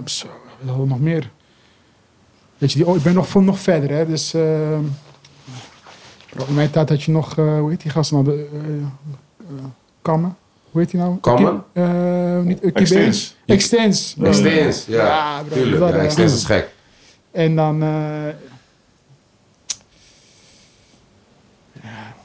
zo, wat hadden we nog meer? Weet je, die, oh, ik ben nog, veel nog verder, hè. Dus, eh, bro, in mijn tijd had je nog, eh, hoe heet die gast nou? De, eh, eh, Kammen? Hoe heet die nou? Kammen? Uki- eh, niet Uki Extens. Bens. Extens. Ja. Extens, ja. Ja, bro, Tuurlijk, dat, ja, eh, Extens is gek. En dan... eh, ja.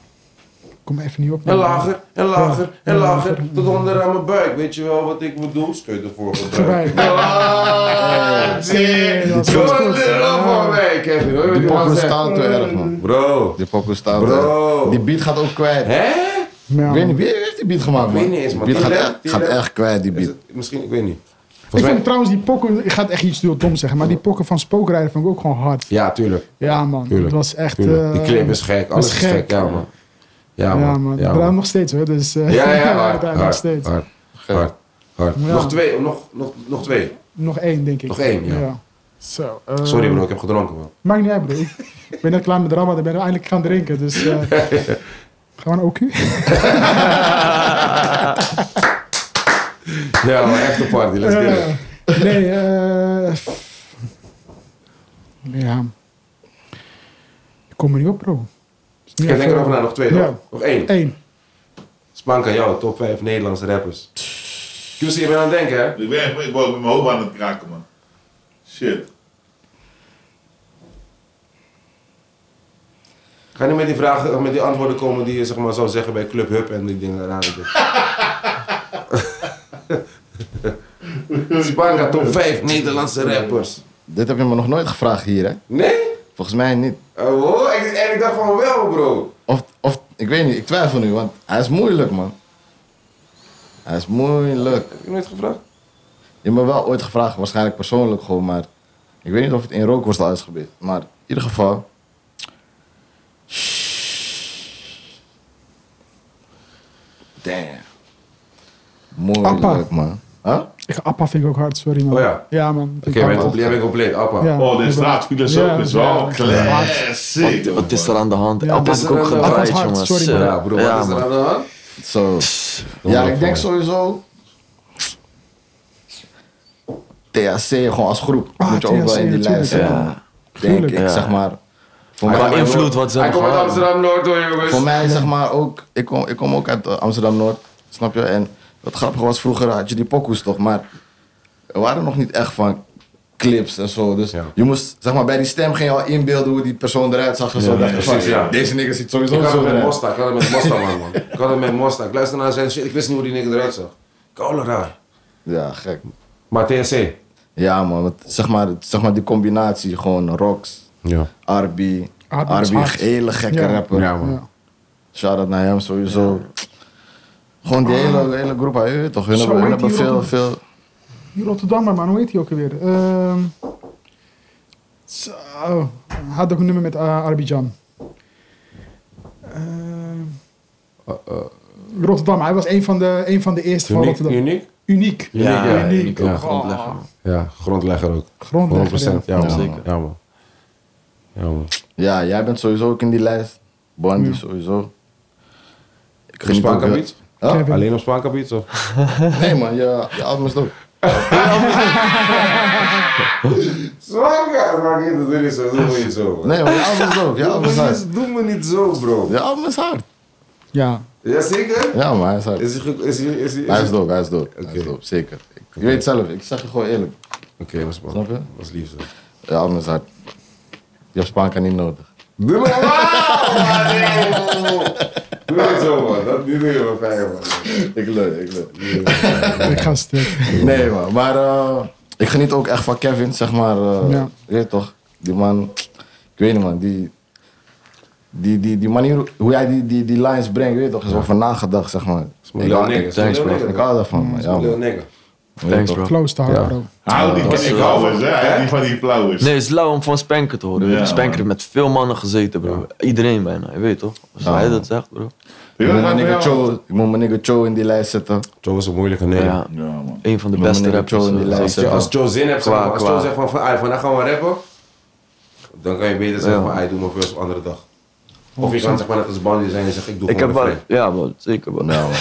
kom maar even niet op. En lager, en lager, en lager, tot onder aan mijn buik. Weet je wel wat ik bedoel? Scheut ervoor gebruiken. Gebruik. Laatsie, Ja, dat is doe goed. het er wel voor mij, Kevin. Hoor je wat Die ik nou pokken zeg? staan te erg, man. Bro. Die pokken staan te Bro. erg. Die beat gaat ook kwijt. Hè? Ja, Ik weet niet, wie heeft die beat gemaakt, Ik man? weet niet eens, man. Die beat gaat Die echt, rap, die gaat rap. echt kwijt, die Is beat. het- misschien, ik weet niet. Ik Volgens vind mij... trouwens die pokken, ik ga echt iets heel dom zeggen, maar die pokken van Spookrijder vond ik ook gewoon hard. Ja, tuurlijk. Ja man, Tuurlijk, het was echt... tuurlijk. eh, Die clip is gek, alles is gek. Ja, man. Ja, man. Ja man, Ja, ja, man. nog steeds hoor, dus... eh, Ja, ja, we hard, draaien nog hard, steeds. hard, hard, hard. Ja. Nog twee, oh, nog, nog, nog twee. Nog één denk ik. Nog één, ja. Zo, eh, Sorry bro, ik heb gedronken man. Maakt niet uit bro, ik ik ben net klaar met drama, ik ben eindelijk gaan drinken, dus... eh gewoon ook u? Ja, maar echt een party, let's get it. Eh, nee, eh. f- ja. Ik kom er niet op, bro. Is niet Ik denk even- erover na, nog twee Ja. nog. Nog één. Eén. Spank aan jou, top 5 Nederlandse rappers. QC, je bent aan het denken hè? Ik ben ik ben met mijn hoofd aan het kraken, man. Shit. Ga niet met die vragen, eh, met die antwoorden komen die je zeg maar zou zeggen bij Club Hub en die dingen. rare dingen. Spanka, top 5 Nederlandse rappers. Dit heb je me nog nooit gevraagd hier, hè? Nee? Volgens mij niet. Oh, ik- en ik dacht van wel bro. Of, of, ik weet niet, ik twijfel nu, want hij is moeilijk, man. Hij is moeilijk. Heb je nooit gevraagd? Je hebt me wel ooit gevraagd, waarschijnlijk persoonlijk gewoon, maar ik weet niet of het in rookworstel is gebeurd. Maar in ieder geval. Damn. Moeilijk, Appa. man. Huh? Ik, Appa vind ik ook hard, sorry man. Oh ja. Ja man. Oké, maar Ik- die heb ik compleet, appa. Ja. Oh, de straatfilosoof Ja, is wel ja. classic. Wat is er aan de hand? Ja, Ja, wat heb is ik er ook aan de hand? gedraaid, Wat hard, jongens. sorry, Eh, man. Ja, bro, wat ja, is er man. aan de hand? Zo. Ja, ik denk sowieso. THC gewoon als groep. Ah, moet je ook wel THC in die lijst natuurlijk, zetten. ja. Denk ik, Tuurlijk. zeg maar. Voor Qua mij, invloed wat ze Hij komt uit gehad. Amsterdam Noord hoor, jongens. voor mij zeg maar ook. Ik kom, ik kom ook uit eh, Amsterdam-Noord, snap je? En wat grappig was, vroeger had je die pokoes toch, maar er waren nog niet echt van clips en zo. Dus Ja. je moest, zeg maar, bij die stem ging je al inbeelden hoe die persoon eruit zag. En zo dacht je van, precies, ja. deze nigger ziet Ik sowieso had het zo met eruit. Mosta, ik had het met Mosta, man. man. Ik had het met Mosta. Ik luister naar zijn shit, ik wist niet hoe die nigger eruit zag. Koude raar. Ja, gek. Maar TSC. Ja man, want, zeg, maar, zeg maar die combinatie gewoon rocks, Ja. Arby. Arby Ah, is Arby, hard. hele gekke Ja. rapper. Ja, man. Ja. Shout-out naar hem sowieso. Gewoon die hele, de hele groep, hij weet toch? Hun Ah. Zo hebben, hun heet die hebben veel, rock- veel... Die Rotterdammer man, hoe heet die ook alweer? Ehm zo, hij had ook een nummer met eh, Arbidjan. Ehm, Rotterdam, hij was een van de, een van de eerste van Oh, Uniek, Rotterdam. uniek? Uniek. Ja, Ja, uniek ook ja. grondleggen, man. Ja, grondlegger ook. 100%. Grondlegger. ja. Ja, man. Zeker. Ja, man. Ja, man. Ja, jij bent sowieso ook in die lijst. Bondi sowieso. Ik Geen geniet ook heel- Spaankabiet? Huh? Kevin. Alleen op Spaankabiet, of? Nee man, je, je album is dope. Zwanger, maar niet, doe niet zo, doe me niet zo. Nee man, je album is dope. Je album is hard. doe me niet zo, bro. Je album is hard. Ja, Jazeker? Ja man, hij is hard. Is hij goed? Is hij... Is hij, Hij is dope, hij is dope. Hij is Oké. dope, zeker. Ik, je weet het zelf, ik zeg je gewoon eerlijk. Oké, dat was man. Snap je? Dat was lief zo. Je album is hard. Je hebt Spaan kan niet nodig. Doe me normaal, man. Nee, man. Doe niet zo, man. Dat niet doe je wel fijn, man. Ik leuk, ik leuk. ik ga stuk. Nee man, maar eh, ik geniet ook echt van Kevin, zeg maar. eh, Ja. Je weet toch, die man, ik weet niet man, die, die, die, die manier hoe hij die, die, die lines brengt, je weet toch, is over nagedacht, zeg maar. mijn Ik lil hou- nigger, ik- is mijn thanks, lil bro. nigger. Ik hou daarvan man, ja Lil man. nigga. Thanks, bro. Close te houden, bro. Hou die van die flowers, hè? Hij Hè? houdt niet van die flowers. Nee, het is lauw om van Spanker te horen. Ja, Ja, Spanker heeft man. met veel mannen gezeten, bro. Iedereen bijna, je weet toch? Als Ja, hij man. dat zegt, bro. Ik Weet je moet wat mijn ik nigga van jou- Cho, ik moet mijn nigga Cho in die lijst zetten. Joe is een moeilijke neger. Ja, Ja, man. een van de Noem beste meneer rappers. Joe in die eh, lijst. zeker. Als je, als Joe zin hebt, zeg Qua- maar, als qua- Joe zegt van, van, "Ai, vandaag gaan we rappen, dan kan je beter zeggen Ja. van, "Ai, doe maar first op een andere dag. Of je kan zeg maar net als Bandy zijn en zeggen, ik doe Ik heb gewoon wel, refrein. ja, wel, zeker wel. Nou, man.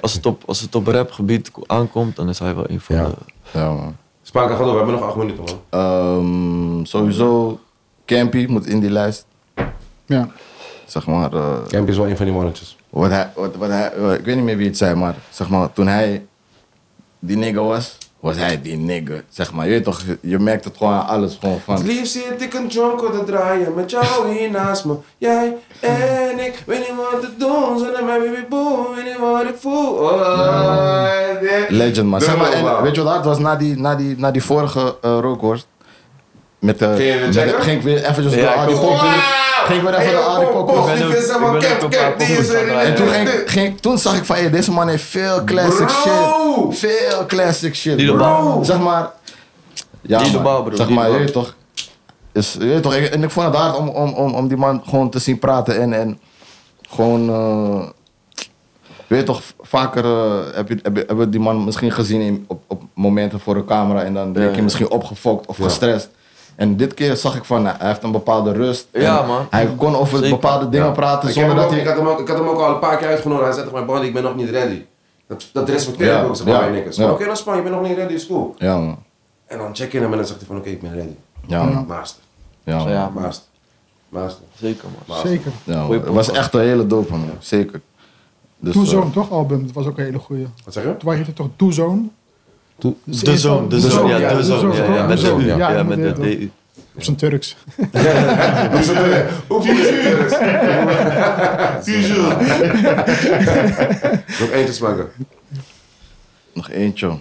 Als het op, als het op rapgebied ko- aankomt, dan is hij wel een van Ja. de... Ja, man. Spaanka, ga door, we hebben nog acht minuten, man. Ehm, sowieso, Campy moet in die lijst, Ja. zeg maar. eh, Camp is wel een van die mannetjes. Wat hij, wat, wat hij, eh, ik weet niet meer wie het zei, maar zeg maar, toen hij die nigger was, was hij die nigger, zeg maar. Je weet toch, je merkt het gewoon aan alles gewoon Het van... liefst zit ik een jonko te draaien met jou hier naast me. Jij en ik, weet niet wat te doen zonder mijn baby boom, weet niet wat ik voel. Oh, yeah. Legend, man. Zeg maar, Dubbel, en, man. weet je wat hard was na die, na die, na die vorige eh rookhorst? Met de, je weer met de- checken? ging ik weer eventjes Ja, door ik al die ook. pop- Wauw! Ging ik weer even Hey, naar Arie yo, Poppy. Poppy, Ik die ben ook- is ik allemaal ben ook cap, een cap, paar die poppetjes is er aan het En niet. toen, ging, ik- ging, ik- toen zag ik van je, deze man heeft veel classic Bro! shit. Veel classic shit. Niet normaal. Zeg maar. Ja, Niet man. normaal, bro. Zeg Niet maar, je normaal. weet toch. Is, je weet toch ik- en ik vond het hard om, om, om, om die man gewoon te zien praten en, en gewoon. eh, je weet toch, vaker eh, heb je, heb je, hebben we die man misschien gezien in, op, op momenten voor de camera en dan ben je ja. misschien opgefokt of gestrest. En dit keer zag ik van, nou, hij heeft een bepaalde rust. Ja, En man. Hij kon over Zeker. bepaalde dingen praten Ik heb zonder hem dat ook- hij... ik had hem ook- ik had hem ook al een paar keer uitgenodigd. Hij zei tegen mij, Brandy, ik ben nog niet ready. Dat, dat respecteer Ja, ik ook, zeg maar, ja, bij niks. ja. Oké, dan span, je bent nog niet ready, is cool. Ja, man. En dan check je hem en dan zegt hij van, oké, ik ben ready. Ja, man. Master, Ja, man. Ja, maar master, master. zeker man. master. Zeker. Ja, man. Goeie Het was podcast. echt een hele dope, man. Zeker. Dus, Two eh, Zone, toch? Album, dat was ook een hele goeie. Wat zeg je? Toen heette het toch Two Zone? Dus De eerst zoon, al- de zoon, ja, de Zone, zoon. Ja, toch? ja, De met Zone, de ja, ja, dat met de heette het. DU. Op zijn Turks. Hoeveel is het Turks? Nog eentje smaken. Nog eentje.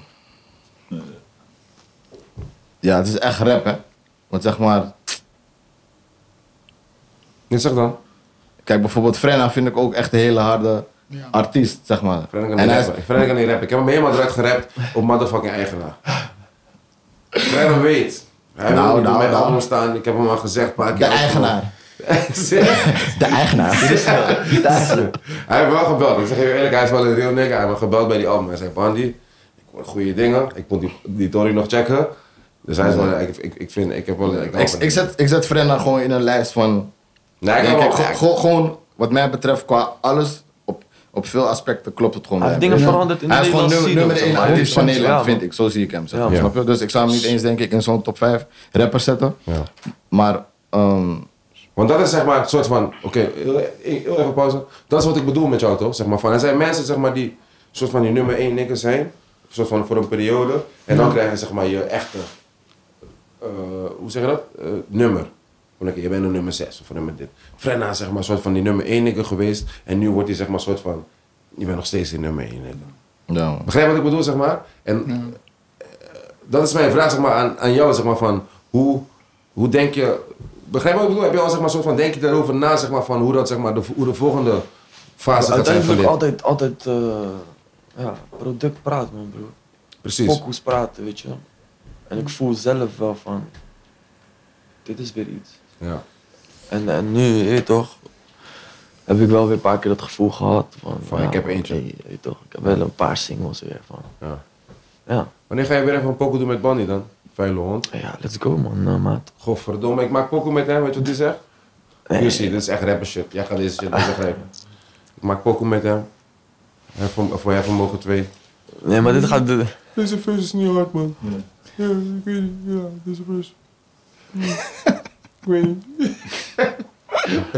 Ja, het is echt rap, hè. Want zeg maar... Dit zeg dan. Kijk, bijvoorbeeld Frenna vind ik ook echt een hele harde artiest, zeg maar. Frenna kan en niet hij is- rappen. Frenna kan niet rappen. Ik heb hem helemaal eruit gerapt op motherfucking eigenaar. Frenna weet. Hij Nou, wil niet nou, op mijn nou. album staan. Ik heb hem al gezegd een paar keer. de eigenaar. De eigenaar. hij heeft wel gebeld. Ik zeg je eerlijk, hij is wel een real nigga. Hij heeft wel gebeld bij die album. Hij zei, Bandy, ik hoor goede dingen. Ik moet die, die Tory nog checken. Dus hij is wel, ik, ik, ik vind, ik heb wel... Ik, ik, ik, zet, ik zet Frenna gewoon in een lijst van... Nee, ik Ja, heb kijk, wel- gewoon- gewoon, gewoon wat mij betreft qua alles, op, op veel aspecten klopt het gewoon. Hij heeft bij hem. dingen veranderd in de Hij is gewoon Nederlandse nummer, scene nummer ook, zeg één maar. artiest van 100%, Nederland, ja, vind man. ik. Zo zie ik hem. Zeg. Ja, maar. man. Snap je? Dus ik zou hem niet eens, denk ik, in zo'n top 5 rapper zetten. Ja. Maar, ehm, Want dat is zeg maar een soort van, oké, heel, heel even pauze. Dat is wat ik bedoel met jou toch? Zeg maar van, er zijn mensen zeg maar die soort van die nummer 1 nikkers zijn, een soort van voor een periode. En dan krijg je zeg maar je echte, eh, hoe zeg je dat? Eh, nummer. Van oké, je bent een nummer 6 of een nummer dit. Frenna is zeg maar een soort van die nummer 1 nikker geweest. En nu wordt hij zeg maar een soort van, je bent nog steeds die nummer 1 nikker. ja, man. Begrijp wat ik bedoel, zeg maar? En eh, dat is mijn vraag zeg maar, aan, aan jou, zeg maar, van hoe, hoe denk je... Begrijp wat ik bedoel? Heb je al, zeg maar, soort van, denk je daarover na, zeg maar, van hoe, dat, zeg maar, de, hoe de volgende fase gaat zijn van Uiteindelijk dit? altijd, altijd, eh, ja, product praat man broer. Precies. pokoes praten, weet je. En ik voel zelf wel van, dit is weer iets. Ja. En, en nu, je weet toch, heb ik wel weer een paar keer dat gevoel gehad van... Van, ik heb man, eentje. hey, je weet toch, ik heb wel een paar singles weer van. Ja. Ja, Wanneer ga je weer even een pokoe doen met Bandy dan? Vuile hond. ja let's go man, eh, maat. Godverdomme, ik maak pokoe met hem, weet je wat hij zegt? Nee. Jussie, dit is echt rapper shit. Jij gaat deze shit niet begrijpen. Ik maak pokoe met hem. Hij verm- Of jij vermogen twee. Nee, maar dit gaat... de- Deze verse is niet hard, man. Ja, ik weet niet. Ja, deze verse. ik weet niet.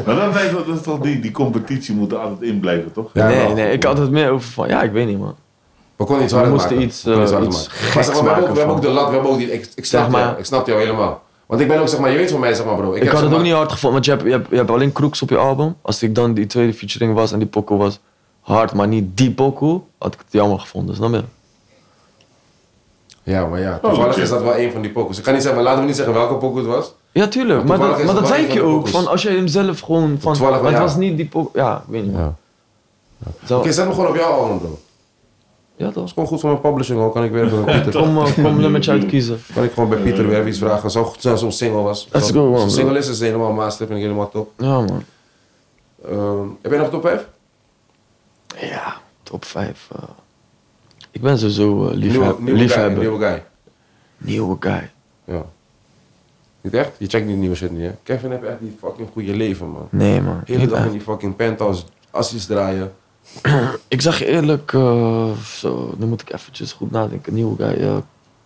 Maar dat is, dat is toch die, die competitie moet er altijd in blijven, toch? Ja, nee, wel. nee, ik had het meer over van, ja, ik weet niet man. We konden iets We harder moesten maken. iets, We konden eh, harder iets maken. Maar geks zeg maar, we, hebben ook, we maken hebben ook de lat, we hebben ook die... Ik, ik, snap Zeg maar- jou, ik snap jou helemaal. Want ik ben ook, zeg maar, je weet van mij, zeg maar bro. Ik, heb, had zeg het ook maar- niet hard gevonden, want je hebt, je, hebt, je hebt alleen Crooks op je album. Als ik dan die tweede featuring was en die pokoe was hard, maar niet die pokoe, had ik het jammer gevonden, snap je? Ja, maar ja. Toevallig is dat wel een van die pokus. Ik kan niet zeggen, laten we niet zeggen welke pokus het was. Ja, tuurlijk. Maar Maar, toevallig dat, is maar het dat wel zei een ik van je de ook. pokoes. Van als je hem zelf gewoon van. Toevallig, maar het ja. was niet die pop. Ja, ik weet niet. Ja. Zo, Oké, zet me gewoon op jouw album, bro. Dat ja toch? is gewoon goed voor mijn publishing, hoor. Kan ik weer even Pieter... Eh. Kom, eh, kom een nummertje uitkiezen. Kan ik gewoon bij Pieter weer even iets vragen. Zo goed zo'n single was. Let's go, man, Zo'n bro. single is, is helemaal master. Vind ik helemaal top. Ja, man. Ehm, heb jij nog top 5? Ja, top 5. Ik ben sowieso Nieuwe, eh, liefheb- nieuwe guy. liefhebber. Nieuwe, Nieuwe guy. guy. Ja. Niet echt? Je checkt die nieuwe shit niet, hè? Kevin heeft echt die fucking goede leven, man. Nee, man. De hele niet dag in echt. die fucking penthouse assies draaien. Ik zeg je eerlijk, eh, zo, dan moet ik eventjes goed nadenken. Nieuwe guy. eh,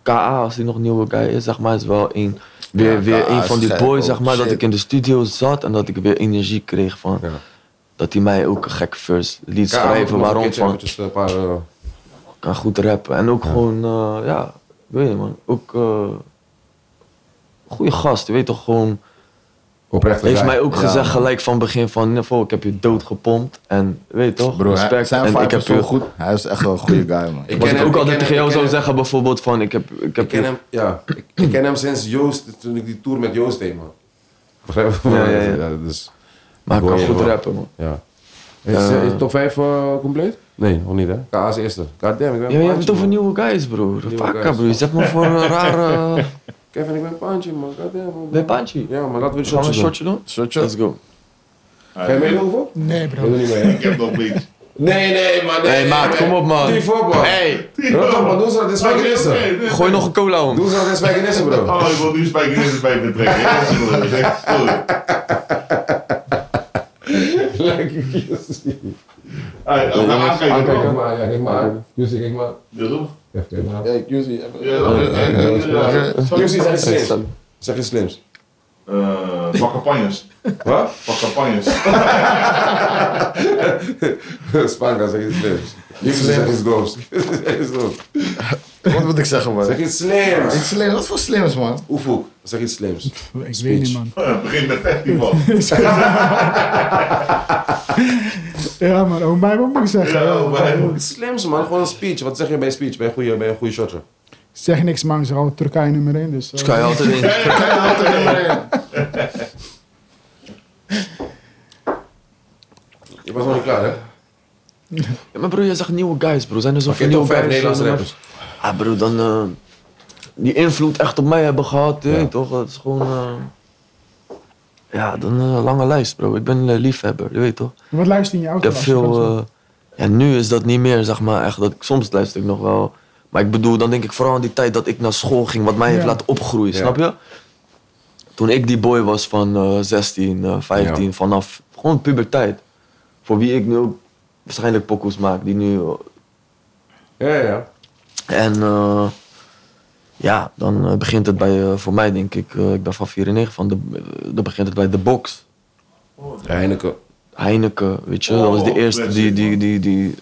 KA, als hij nog nieuwe guy is, zeg maar, is wel een, weer, Ja, weer KA een van is die gek boys, ook, zeg maar, dat shit. ik in de studio zat en dat ik weer energie kreeg van. Ja. Dat hij mij ook een gekke verse liet schrijven. Waarom? Van, Eventjes een paar, eh, kan goed rappen. En ook gewoon, eh, ja, Ik weet het, man. Ook eh goede gast, je weet toch gewoon. Oprecht Heeft gezegd. mij ook Ja. gezegd gelijk van begin van, "Nivo, ik heb je dood gepompt en weet je toch, Bro, hij, respect. zijn en ik vibe heb is zo je- goed. Hij is echt wel een goede guy, man. Wat ken ik hem, ook ik ken altijd tegen hem, jou ik zou ken hem. zeggen bijvoorbeeld van, ik heb, ik Ik heb ken hem, ja, ik, ik ken hem sinds Joost, toen ik die tour met Joost deed, man. Begrijp je? Ja, ja, ja. dus, maar ik kan Hoor je goed wel. rappen man. ja. Is, Eh, is top 5 compleet? Nee, nog niet, hè? KA is eerste. God damn, ik ben Ja, een maar je hebt paantje, het man. over nieuwe guys bro, Nieuwe Rafaka guys. bro, je zet me voor een rare... Kevin, ik ben een paantje, man. God damn, man. Ben je paantje? Ja, maar laten we een Gaan we shotje een doen. shotje Shotje? doen? Let's go. Ga je meedoen, Hoeveel? Nee, Ik bro. doe niet mee, hè? Ik heb nog niks. Nee, nee, man. Nee, Hey, maat, kom op, man. Die voor, man. Hey. Rot op, man. Doe ze dat in spijkenissen. Gooi nog een cola om. Doe ze dat in spijkenissen, bro. Oh, ik wil nu spijkenissen bij me trekken. Ja, sorry. Sorry. Lekker, Jussie. Hey, we gaan Ah, aankijken, Kijk toch? maar, ja, kijk maar. aan. Jussie, kijk maar. Ja, toch? Ja, kijk maar. Ja, Jussie. Ja, toch? Ja, ja, ja, ja. Jussie, zeg iets slims. Hey, Zeg iets slims. Eh, Pak campagnes. Wat? Pak campagnes. Spanka, zeg iets slims. Jussie, zeg iets doofs. Zeg iets doofs. Wat moet ik zeggen, man? Zeg iets slims. Ik slim, wat voor slims, man? Oefoek, zeg iets slims. Ik weet niet, man. Eh, Begin met festival. Ja, man. Oh, maar wat moet ik zeggen? Ja, oh, maar- Iets slims, man. Gewoon een speech. Wat zeg je bij een speech? Bij een goede, bij een goede shotje. Ik zeg niks, man. Ik zeg altijd Turkije nummer 1. Dus, eh, Kan je altijd in. Turkije houdt er nummer één. Je was nog niet klaar, hè? Ja, maar bro, jij zegt nieuwe guys bro, zijn er Oké, zoveel top nieuwe 5 guys? Nederlandse eh, rappers. Ah bro, dan eh, die invloed echt op mij hebben gehad, je Ja. weet toch? Het is gewoon. eh, ja, dan een lange lijst, bro. Ik ben een liefhebber, je weet toch? Wat luister je in je Ik auto? heb als je veel. gaat? eh, ja, nu is dat niet meer, zeg maar. Echt, dat ik, soms luister ik nog wel. Maar ik bedoel, dan denk ik vooral aan die tijd dat ik naar school ging, wat mij heeft Ja. laten opgroeien, Ja. snap je? Toen ik die boy was van eh, 16, eh, 15, Ja. vanaf gewoon puberteit. Voor wie ik nu ook waarschijnlijk pokoes maak, die nu eh, Ja, ja, ja. en eh, ja, dan eh, begint het bij, eh, voor mij denk ik, eh, ik ben van 94, van de, eh, dan begint het bij The Box. Heineken. Heineken, weet je, dat was de Oh, eerste die, classic, die, die, die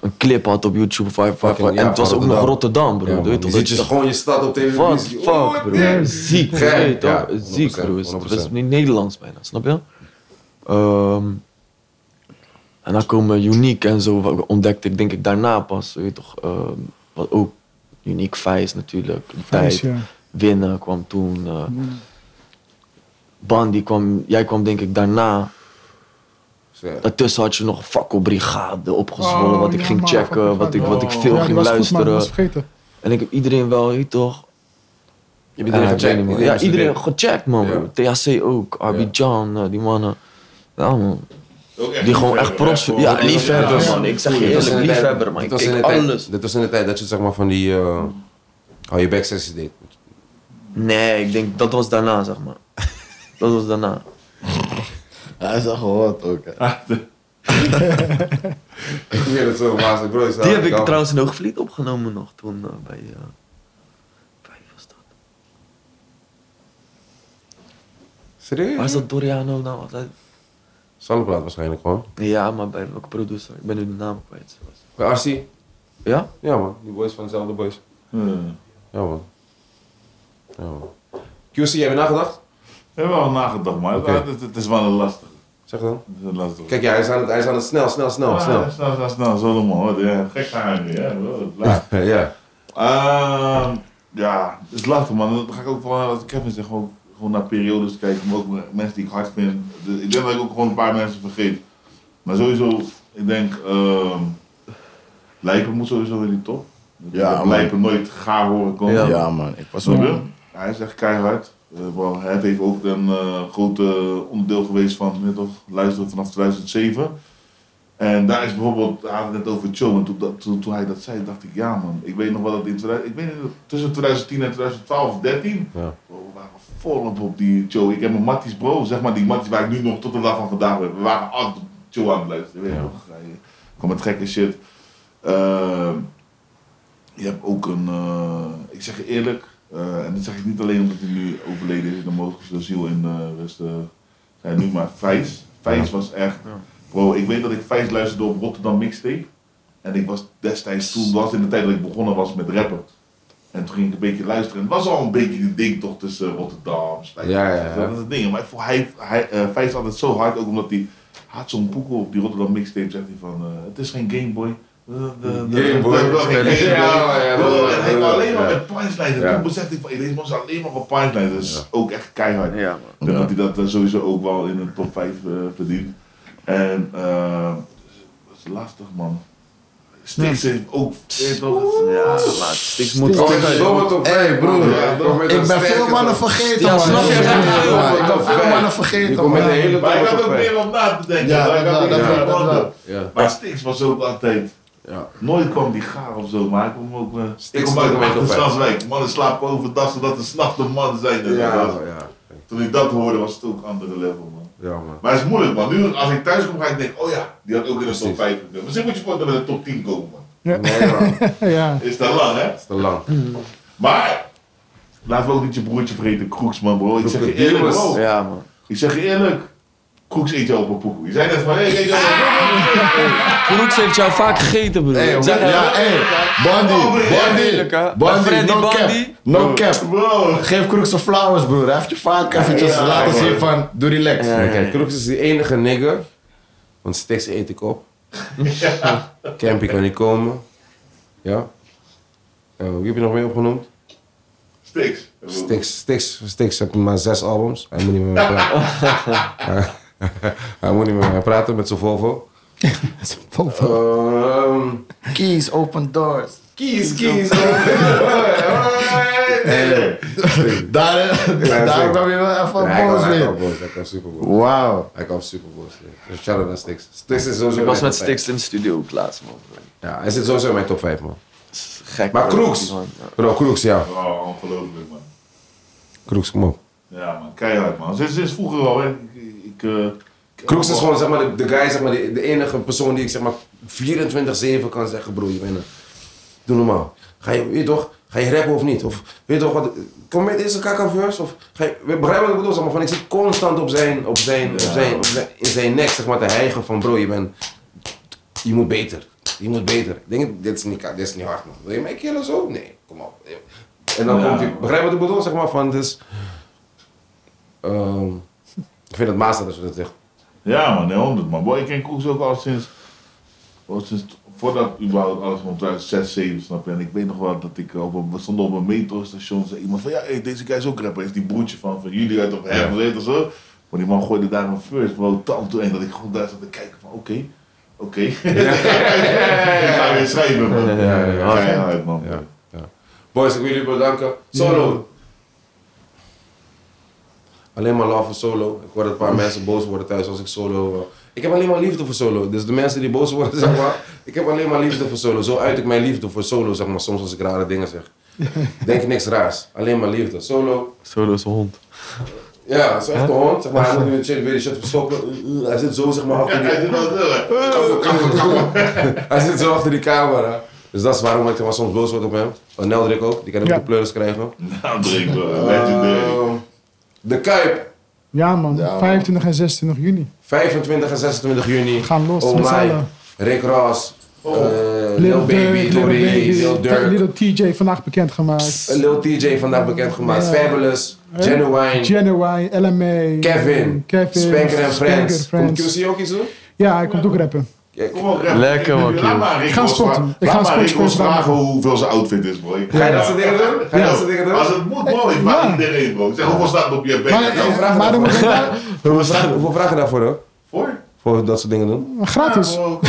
een clip had op YouTube. Vijf, vijf, Fucking, en ja, het was van ook nog Rotterdam. Rotterdam, Ja, bro. weet je man, toch? dan ziet Dat je je dacht, gewoon je stad op What televisie. the Oh, fuck, bro. damn. Ziek, Gek, weet je ja, toch? Ziek, 100%, bro. Het is 100%. niet Nederlands bijna, snap je? Ehm, en dan komen Unique en zo, wat ontdekte ik denk ik daarna pas, weet je toch? ehm, wat ook Unique Vijs natuurlijk, die Vijs, tijd. ja. Winnen kwam toen. eh Mm. Bandy kwam, jij kwam denk ik daarna. Zeg. Daartussen had je nog Fakko Brigade opgezwollen, Oh, wat ik ja, ging man, Fakko checken, wat ik, wat ik Brigade. veel ja, die ging was goed, man. luisteren. Ik was vergeten. en ik heb iedereen wel, weet je toch? Je hebt iedereen Ja, ik weet gecheckt. niet, man. iedereen Ja, iedereen gestudeerd. gecheckt, man. Ja. bro. THC ook, Arbidjan, eh, die mannen. Ja, man. Ook echt Die gewoon echt liefhebber, profs. hè? Ja, Gewoon- liefhebber, man. Ik zeg je Dit was eerlijk, in de tijd- liefhebber, man. dit Ik was in de keek tijd- alles. Dit was in de tijd dat je zeg maar van die... eh hou je back sessies deed. Nee, ik denk dat was daarna, zeg maar. Dat was daarna. Hij is echt gehoord ook. hè. Ik weet het zo, maar bro. Die heb ik trouwens in Hoogvliet opgenomen nog toen eh, bij. eh, bij wie was dat? Waar is Serieus? dat Doriano nou altijd? Sandeplaat waarschijnlijk gewoon. Ja, maar bij welke producer? Ik ben nu de naam kwijt. Bij Arsie? Ja? Ja, man. Die boys van dezelfde boys. Hmm. Ja, man. Ja, man. QC, jij hebt nagedacht? We hebben al nagedacht, maar Oké. het, het is wel een lastig. Zeg dan. Het is een lastig. Kijk, ja, hij is aan het, hij is aan het snel, snel, snel, Ah, snel. snel, snel, snel, zo dan maar. hoor. Ja, Gek gaan nu, hè. Wel, laat. ja. Ehm, ja, het is lastig man. Dan ga ik ook van wat Kevin zegt, gewoon, gewoon naar periodes kijken, maar ook naar mensen die ik hard vind. Dus ik denk dat ik ook gewoon een paar mensen vergeet. Maar sowieso, ik denk, ehm Lijpen moet sowieso in die top. Ja, Ja, man. Lijpen nooit gaar horen komen. Ja. Ja, man. Ik was Snap je? ook... Hij is echt keihard. Eh, wel, het heeft ook een eh groot eh, onderdeel geweest van net of, luisteren vanaf 2007. En daar is bijvoorbeeld, we hadden het net over Chill, en toen, dat- toen, toen hij dat zei, dacht ik, ja man, ik weet nog wel dat in 2000, ik weet niet, tussen 2010 en 2012 of 13, Ja. we waren volop op die Chill. Ik heb mijn Matties bro, zeg maar die Matties waar ik nu nog tot de dag van vandaag ben. We waren altijd op Chill aan het luisteren, weet je Ja. nog. Hij kwam met gekke shit. Ehm, je hebt ook een, eh, ik zeg je eerlijk, eh, en dat zeg ik niet alleen omdat hij nu overleden is, de mogelijkste ziel in eh West, eh, zijn nu maar Vijs. Vijs was echt, bro, ik weet dat ik Vijs luisterde op Rotterdam Mixtape. En ik was destijds, toen was in de tijd dat ik begonnen was met rappen. En toen ging ik een beetje luisteren. En het was al een beetje die ding toch tussen Rotterdam, Spijt. Ja, ja, ja. Dat is het ding. Maar ik vond hij, hij eh, Vijs altijd zo hard, ook omdat hij had zo'n poekel op die Rotterdam mixtape. Zegt hij van, eh, het is geen Gameboy. Eh, Gameboy. Ja, ja, ja, Hij kwam alleen maar ja. met punchlines. En Ja. toen besefte ik van, hey, deze man is alleen maar van punchlines. Dat is ook echt keihard. Ja, man. Ik denk dat hij dat eh, sowieso ook wel in een top 5 eh, verdient. En eh dat is lastig man. Stix heeft ook. eh, toch- Ja, maar Stix moet... Oh, dat is zomaar top 5, broer. Ja, Je komt met Ik een ben veel sterke mannen top- vergeten, Ja, man. snap je? Ik ben Ja, veel ja, mannen- ja. Ik ben veel mannen vergeten, Je komt met een man. hele Maar hij domme had top ook 5. meer om na te denken. Ja, Hij dat had wel, meer dat wel, om dat na te- wel. Ja. Maar Stix was ook altijd. Ja. Nooit kwam die gaar of zo, maar ik kwam ook. eh ik Stix kom was uit ook de wel top vijf. Achterstandswijk. Mannen slapen overdag zodat de s'nachts de mannen zijn. Ja, ja, Toen ik dat hoorde was het ook een andere level man. ja, man. Maar het is moeilijk man. Nu als ik thuis kom ga ik denken, oh ja, die had ook in de Precies. top 5 gekund. Misschien moet je voor dat we in de top 10 komen man. Ja. Nee, man. Het ja. Is dat lang hè? is te lang. Maar laten we ook niet je broertje vreten, Kroeks man bro. Ik zeg je Krokodil eerlijk is- bro. Ja, man. Ik zeg je eerlijk. Kroeks eet jou op een poekoe. Je zei net van, hé, hey, eet jou op een Kroeks heeft jou vaak gegeten, broer. Hey, Zeg- ja, hey, Oh, Bandy, broer. Eerlijk, hè? Bandy, Maar Bandy, Freddy no cap, Bandy? no cap. poekoe. Ah! Bro. Geef Kroeks zijn flowers, broer. Hij heeft je vaak eventjes Ja, laten ja, zien ja. van, doe relax. Ja, Maar Kijk, Kroeks is de enige nigger. Want Stix eet ik op. Campy kan niet komen. Ja. Eh, wie heb je nog meer opgenoemd? Stix. Stix, Stix, Stix heeft maar zes albums. Hij moet niet meer met mij praten. Hij moet niet meer met mij praten met zijn Volvo. Ehm, Keys, open doors. kies, kies. Hey, daar, daar zeker. kwam je wel even Nee, hij boos kwam- hij weer. kwam boos, hij kwam super boos. Wauw. Hij kwam super boos. Dus shout-out naar Stix. Stix is sowieso Ik was in mijn met top vijf. Stix in de studio ook laatst, man. Ja, hij zit sowieso in mijn top 5, man. Gek. Maar man. Kroeks. Man, ja. Bro, Kroeks, ja. Oh, ongelooflijk man. Kroeks, kom op. Ja man, keihard man. Ze ze is vroeger al hè. Ik, ik, eh, ik- Kroeks is gewoon zeg maar, de, de guy, zeg maar, de, de enige persoon die ik zeg maar 24-7 kan zeggen, broer, je bent een- Doe normaal. Ga je, weet je toch, ga je rappen of niet? Of weet je toch wat, kom met deze kaka-verse? Of ga je, begrijp wat ik bedoel, zeg maar, van ik zit constant op zijn, op zijn, op zijn, op zijn, in zijn nek, zeg maar, te hijgen van, bro, je bent, je moet beter. Je moet beter. Ik denk, dit is niet, ka- dit is niet hard, man. Wil je mij killen zo? Nee, kom op. En dan Ja. komt hij, begrijp wat ik bedoel, zeg maar, van, dus, ehm, ik vind het master dat je dat zegt. Ja man, nee, 100 man. Boy, ik ken Kroeks ook al sinds, al sinds voordat überhaupt alles van thuis 6, 7 snap je. En ik weet nog wel dat ik op een, we stonden op een metrostation zei iemand van ja, hey, deze guy is ook rapper. Is die broertje van, van jullie uit of hem of weet of zo. Maar die man gooide daar een first bro, tam toe en dat ik gewoon daar zat te kijken van oké. Oké. Ik ga weer schrijven, man. ja, ja. Keihard, man. Ja. Boys, ik wil jullie bedanken. Solo. Alleen maar love voor solo. Ik hoor dat een paar mensen boos worden thuis als ik solo. eh, Ik heb alleen maar liefde voor solo. Dus de mensen die boos worden, zeg maar. Ik heb alleen maar liefde voor solo. Zo uit ik mijn liefde voor solo, zeg maar. Soms als ik rare dingen zeg. Denk ik niks raars. Alleen maar liefde. Solo. Solo is een hond. Ja, dat is echt een hond. Zeg maar, hij moet nu shit- weer die shit verstoppen. Eh, eh, Hij zit zo, zeg maar, achter die... Hij doet dat wel, hè. Hij zit zo achter die camera. Dus dat is waarom ik zeg maar, soms boos word op hem. Eh, Neldrik ook. Die kan ook Ja. de pleurs krijgen. Nou, drink, bro. Legendary. Ehm, de Kuip, Ja, man. Ja, man. 25 en 26 juni. 25 en 26 juni. We gaan los Oh met z'n my. allen. Rick Ross, eh, Lil Little Baby, Dirk, Lil Little Baby, Lil Baby. Durk. Little TJ vandaag bekendgemaakt. Lil TJ vandaag bekendgemaakt. Ja. Fabulous, Ja. Genuine, Genuine, LMA. Kevin, Kevin. Spanker en Friends. Spanker en Komt QC ook iets doen? Ja, hij komt ook rappen. Kom op, rap. Lekker, man, Laat Kiel. maar Rick Ik ga Ross sporten. vragen- Ik ga laat maar Rick sporten, Ross sporten. vragen hoeveel zijn outfit is, bro. Ik- Ga je dat soort dingen doen? Ga je Ja. dat soort dingen doen? Als het moet, mooi. Ja. Vraag iedereen, bro. Zeg, hoeveel staat er op je Nou, Maar, bank? eh, vraag maar daarvoor. dan moet ik daar- Hoeveel vragen- Hoeveel vragen daarvoor hoor? Voor? Voor dat soort dingen doen? gratis. Bro,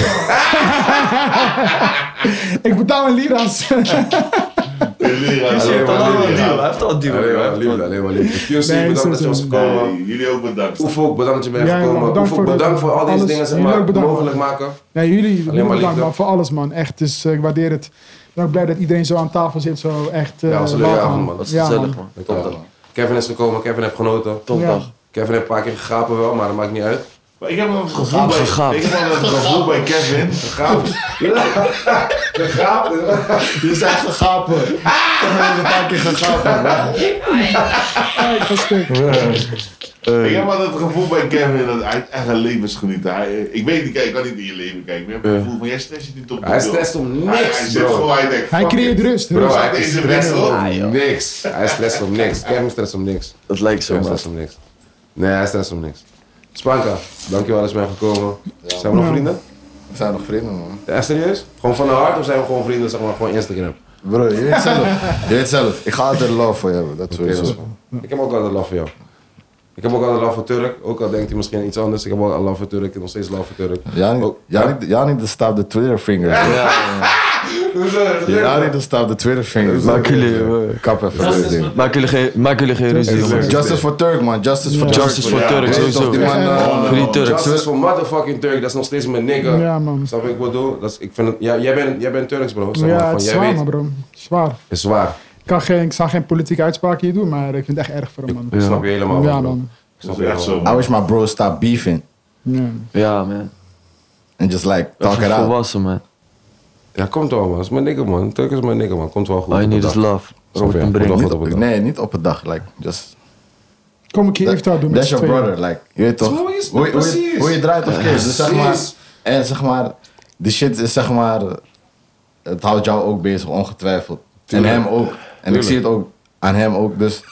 Ik betaal een lira's. jullie leraar, Alleen maar bro. Hij Jullie liefde. leraar. heeft al een deal. Alleen maar Hij heeft al liefde, alleen maar liefde. QC, Nee, bedankt zo, dat je zo. was gekomen. Hey, Jullie ook bedankt. Oefo, bedankt dat je bent Ja, man, gekomen. bedankt Oefo, voor de- bedankt voor al deze alles. dingen zeg Jullie maar, ook bedankt, mogelijk maken. Ja, jullie bedankt liefde. man, voor alles man. Echt, dus eh, ik waardeer het. Ik ben ook blij dat iedereen zo aan tafel zit. Zo echt. eh, Ja, was een leuke wauw, avond, man. Dat is Ja, gezellig, man. man. Dankjewel. Kevin is gekomen, Kevin heeft genoten. Topdag. Kevin heeft een paar keer gegapen wel, maar dat maakt niet uit. Maar ik heb wel een gevoel bij, Gegaan. ik heb wel een gevoel bij Kevin. Gegapen. Gegapen. Je is echt gegapen. Ik heb nog eens een paar keer gegapen. Ja, ik was stuk. Ik heb altijd het gevoel bij Kevin dat hij echt een levensgeniet. Hij, ik weet niet, ik kan niet in je leven kijken. Maar ik heb het Ja. gevoel van, jij stress je niet op de Hij deur. stress om Hij, hij niks, zit bro. gewoon, hij denkt, Hij fuck creëert it. rust. Bro, rust. hij Deze stress mensen, om ah, joh. niks. Hij stress om niks. Kevin stress om niks. Dat lijkt zo, Hij man. stress om niks. Nee, hij stress om niks. Spanka, dankjewel dat je bent gekomen. Zijn we nog Ja. vrienden? We zijn nog vrienden, man. Ja, serieus? Gewoon van de hart of zijn we gewoon vrienden, zeg maar, gewoon Instagram? Bro, je weet zelf. Je weet zelf. Ik ga altijd love voor je hebben. Dat Oké, sowieso. dat is Ik heb ook altijd love voor jou. Ik heb ook altijd love voor Turk, ook al denkt hij misschien iets anders. Ik heb ook altijd love voor Turk, ik heb nog steeds love voor Turk. Janik, Ook- Janik, Janik de staat de Twitterfinger. Janik de staat de Twitterfinger. Maak jullie, eh, Kap even. dit ding. Maak jullie geen, maak jullie geen ruzie, Justice. jongens. Justice for Turk, man. Justice for Ja. Turk. Justice for Ja, Turk, Weet je toch, sowieso. Die man, eh, Voor die Turk. Justice voor motherfucking Turk, dat is nog steeds mijn nigga. Ja, man. Snap je wat ik bedoel? Dat is, ik vind het, ja, jij, bent, jij bent Turks bro, zeg maar. Ja, van, het is jij zwaar, weet, man, bro. Zwaar. is zwaar. Ik, kan geen, ik zou geen politieke uitspraak hier doen, maar ik vind het echt erg voor hem, man. Ik snap je helemaal, Ja, bro. man. Ik snap Dat je is echt helemaal. zo. I wish my bro stop beefing. Ja. Ja, man. And just like, talk Echt it een out. volwassen, man. Ja, komt wel, man. Dat is mijn nigga, man. Turk is mijn nigga, man. Komt wel goed. All you op need de is dag. love. Snap je? Robert Komt en wel Brink. goed op de Niet- dag. Nee, niet op een dag. Like, just... Kom een keer even daar doen met That's z'n your tweeën. brother, like, je weet toch? Zo Hoe, is het, hoe, hoe, precies. hoe je draait of keert. Dus zeg maar, Precies. en zeg maar, die shit is zeg maar, het houdt jou ook bezig, ongetwijfeld. Tuurlijk. En hem ook. En ik Tuurlijk. zie het ook aan hem ook, dus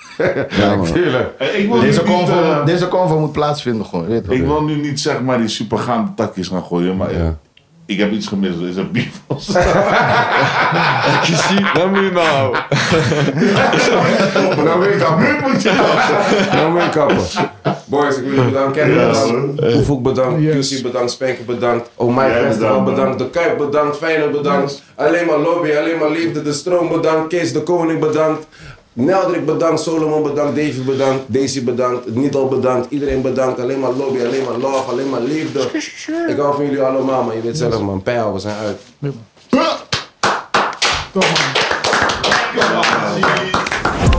Ja, man. Tuurlijk. Eh, Ik wil deze nu niet, convo, eh, deze convo moet plaatsvinden gewoon, je weet ik toch? wil nu niet zeg maar die supergaande takjes gaan gooien, maar Ja. ik heb iets gemist. Er is een beef Je ziet, wat moet je nou? Nou ben ik kappen. Nou ben ik kappen. Boys, ik wil jullie bedanken. Kevin Ja, bedankt. Oefoek bedankt. Yes. QC bedankt. Spanker bedankt. Oh My Jij Festival bedankt, man. bedankt. De Kuip bedankt. Feyenoord bedankt. Alleen maar Lobby, alleen maar Liefde. De Stroom bedankt. Kees de Koning bedankt. Neldrik bedankt. Solomon bedankt. Davy bedankt. Daisy bedankt. Nietal bedankt. Iedereen bedankt. Alleen maar Lobby, alleen maar Love, alleen maar Liefde. Ik hou van jullie allemaal, man. Je weet zelf, man. Pijl, we zijn uit. Toch, man. was.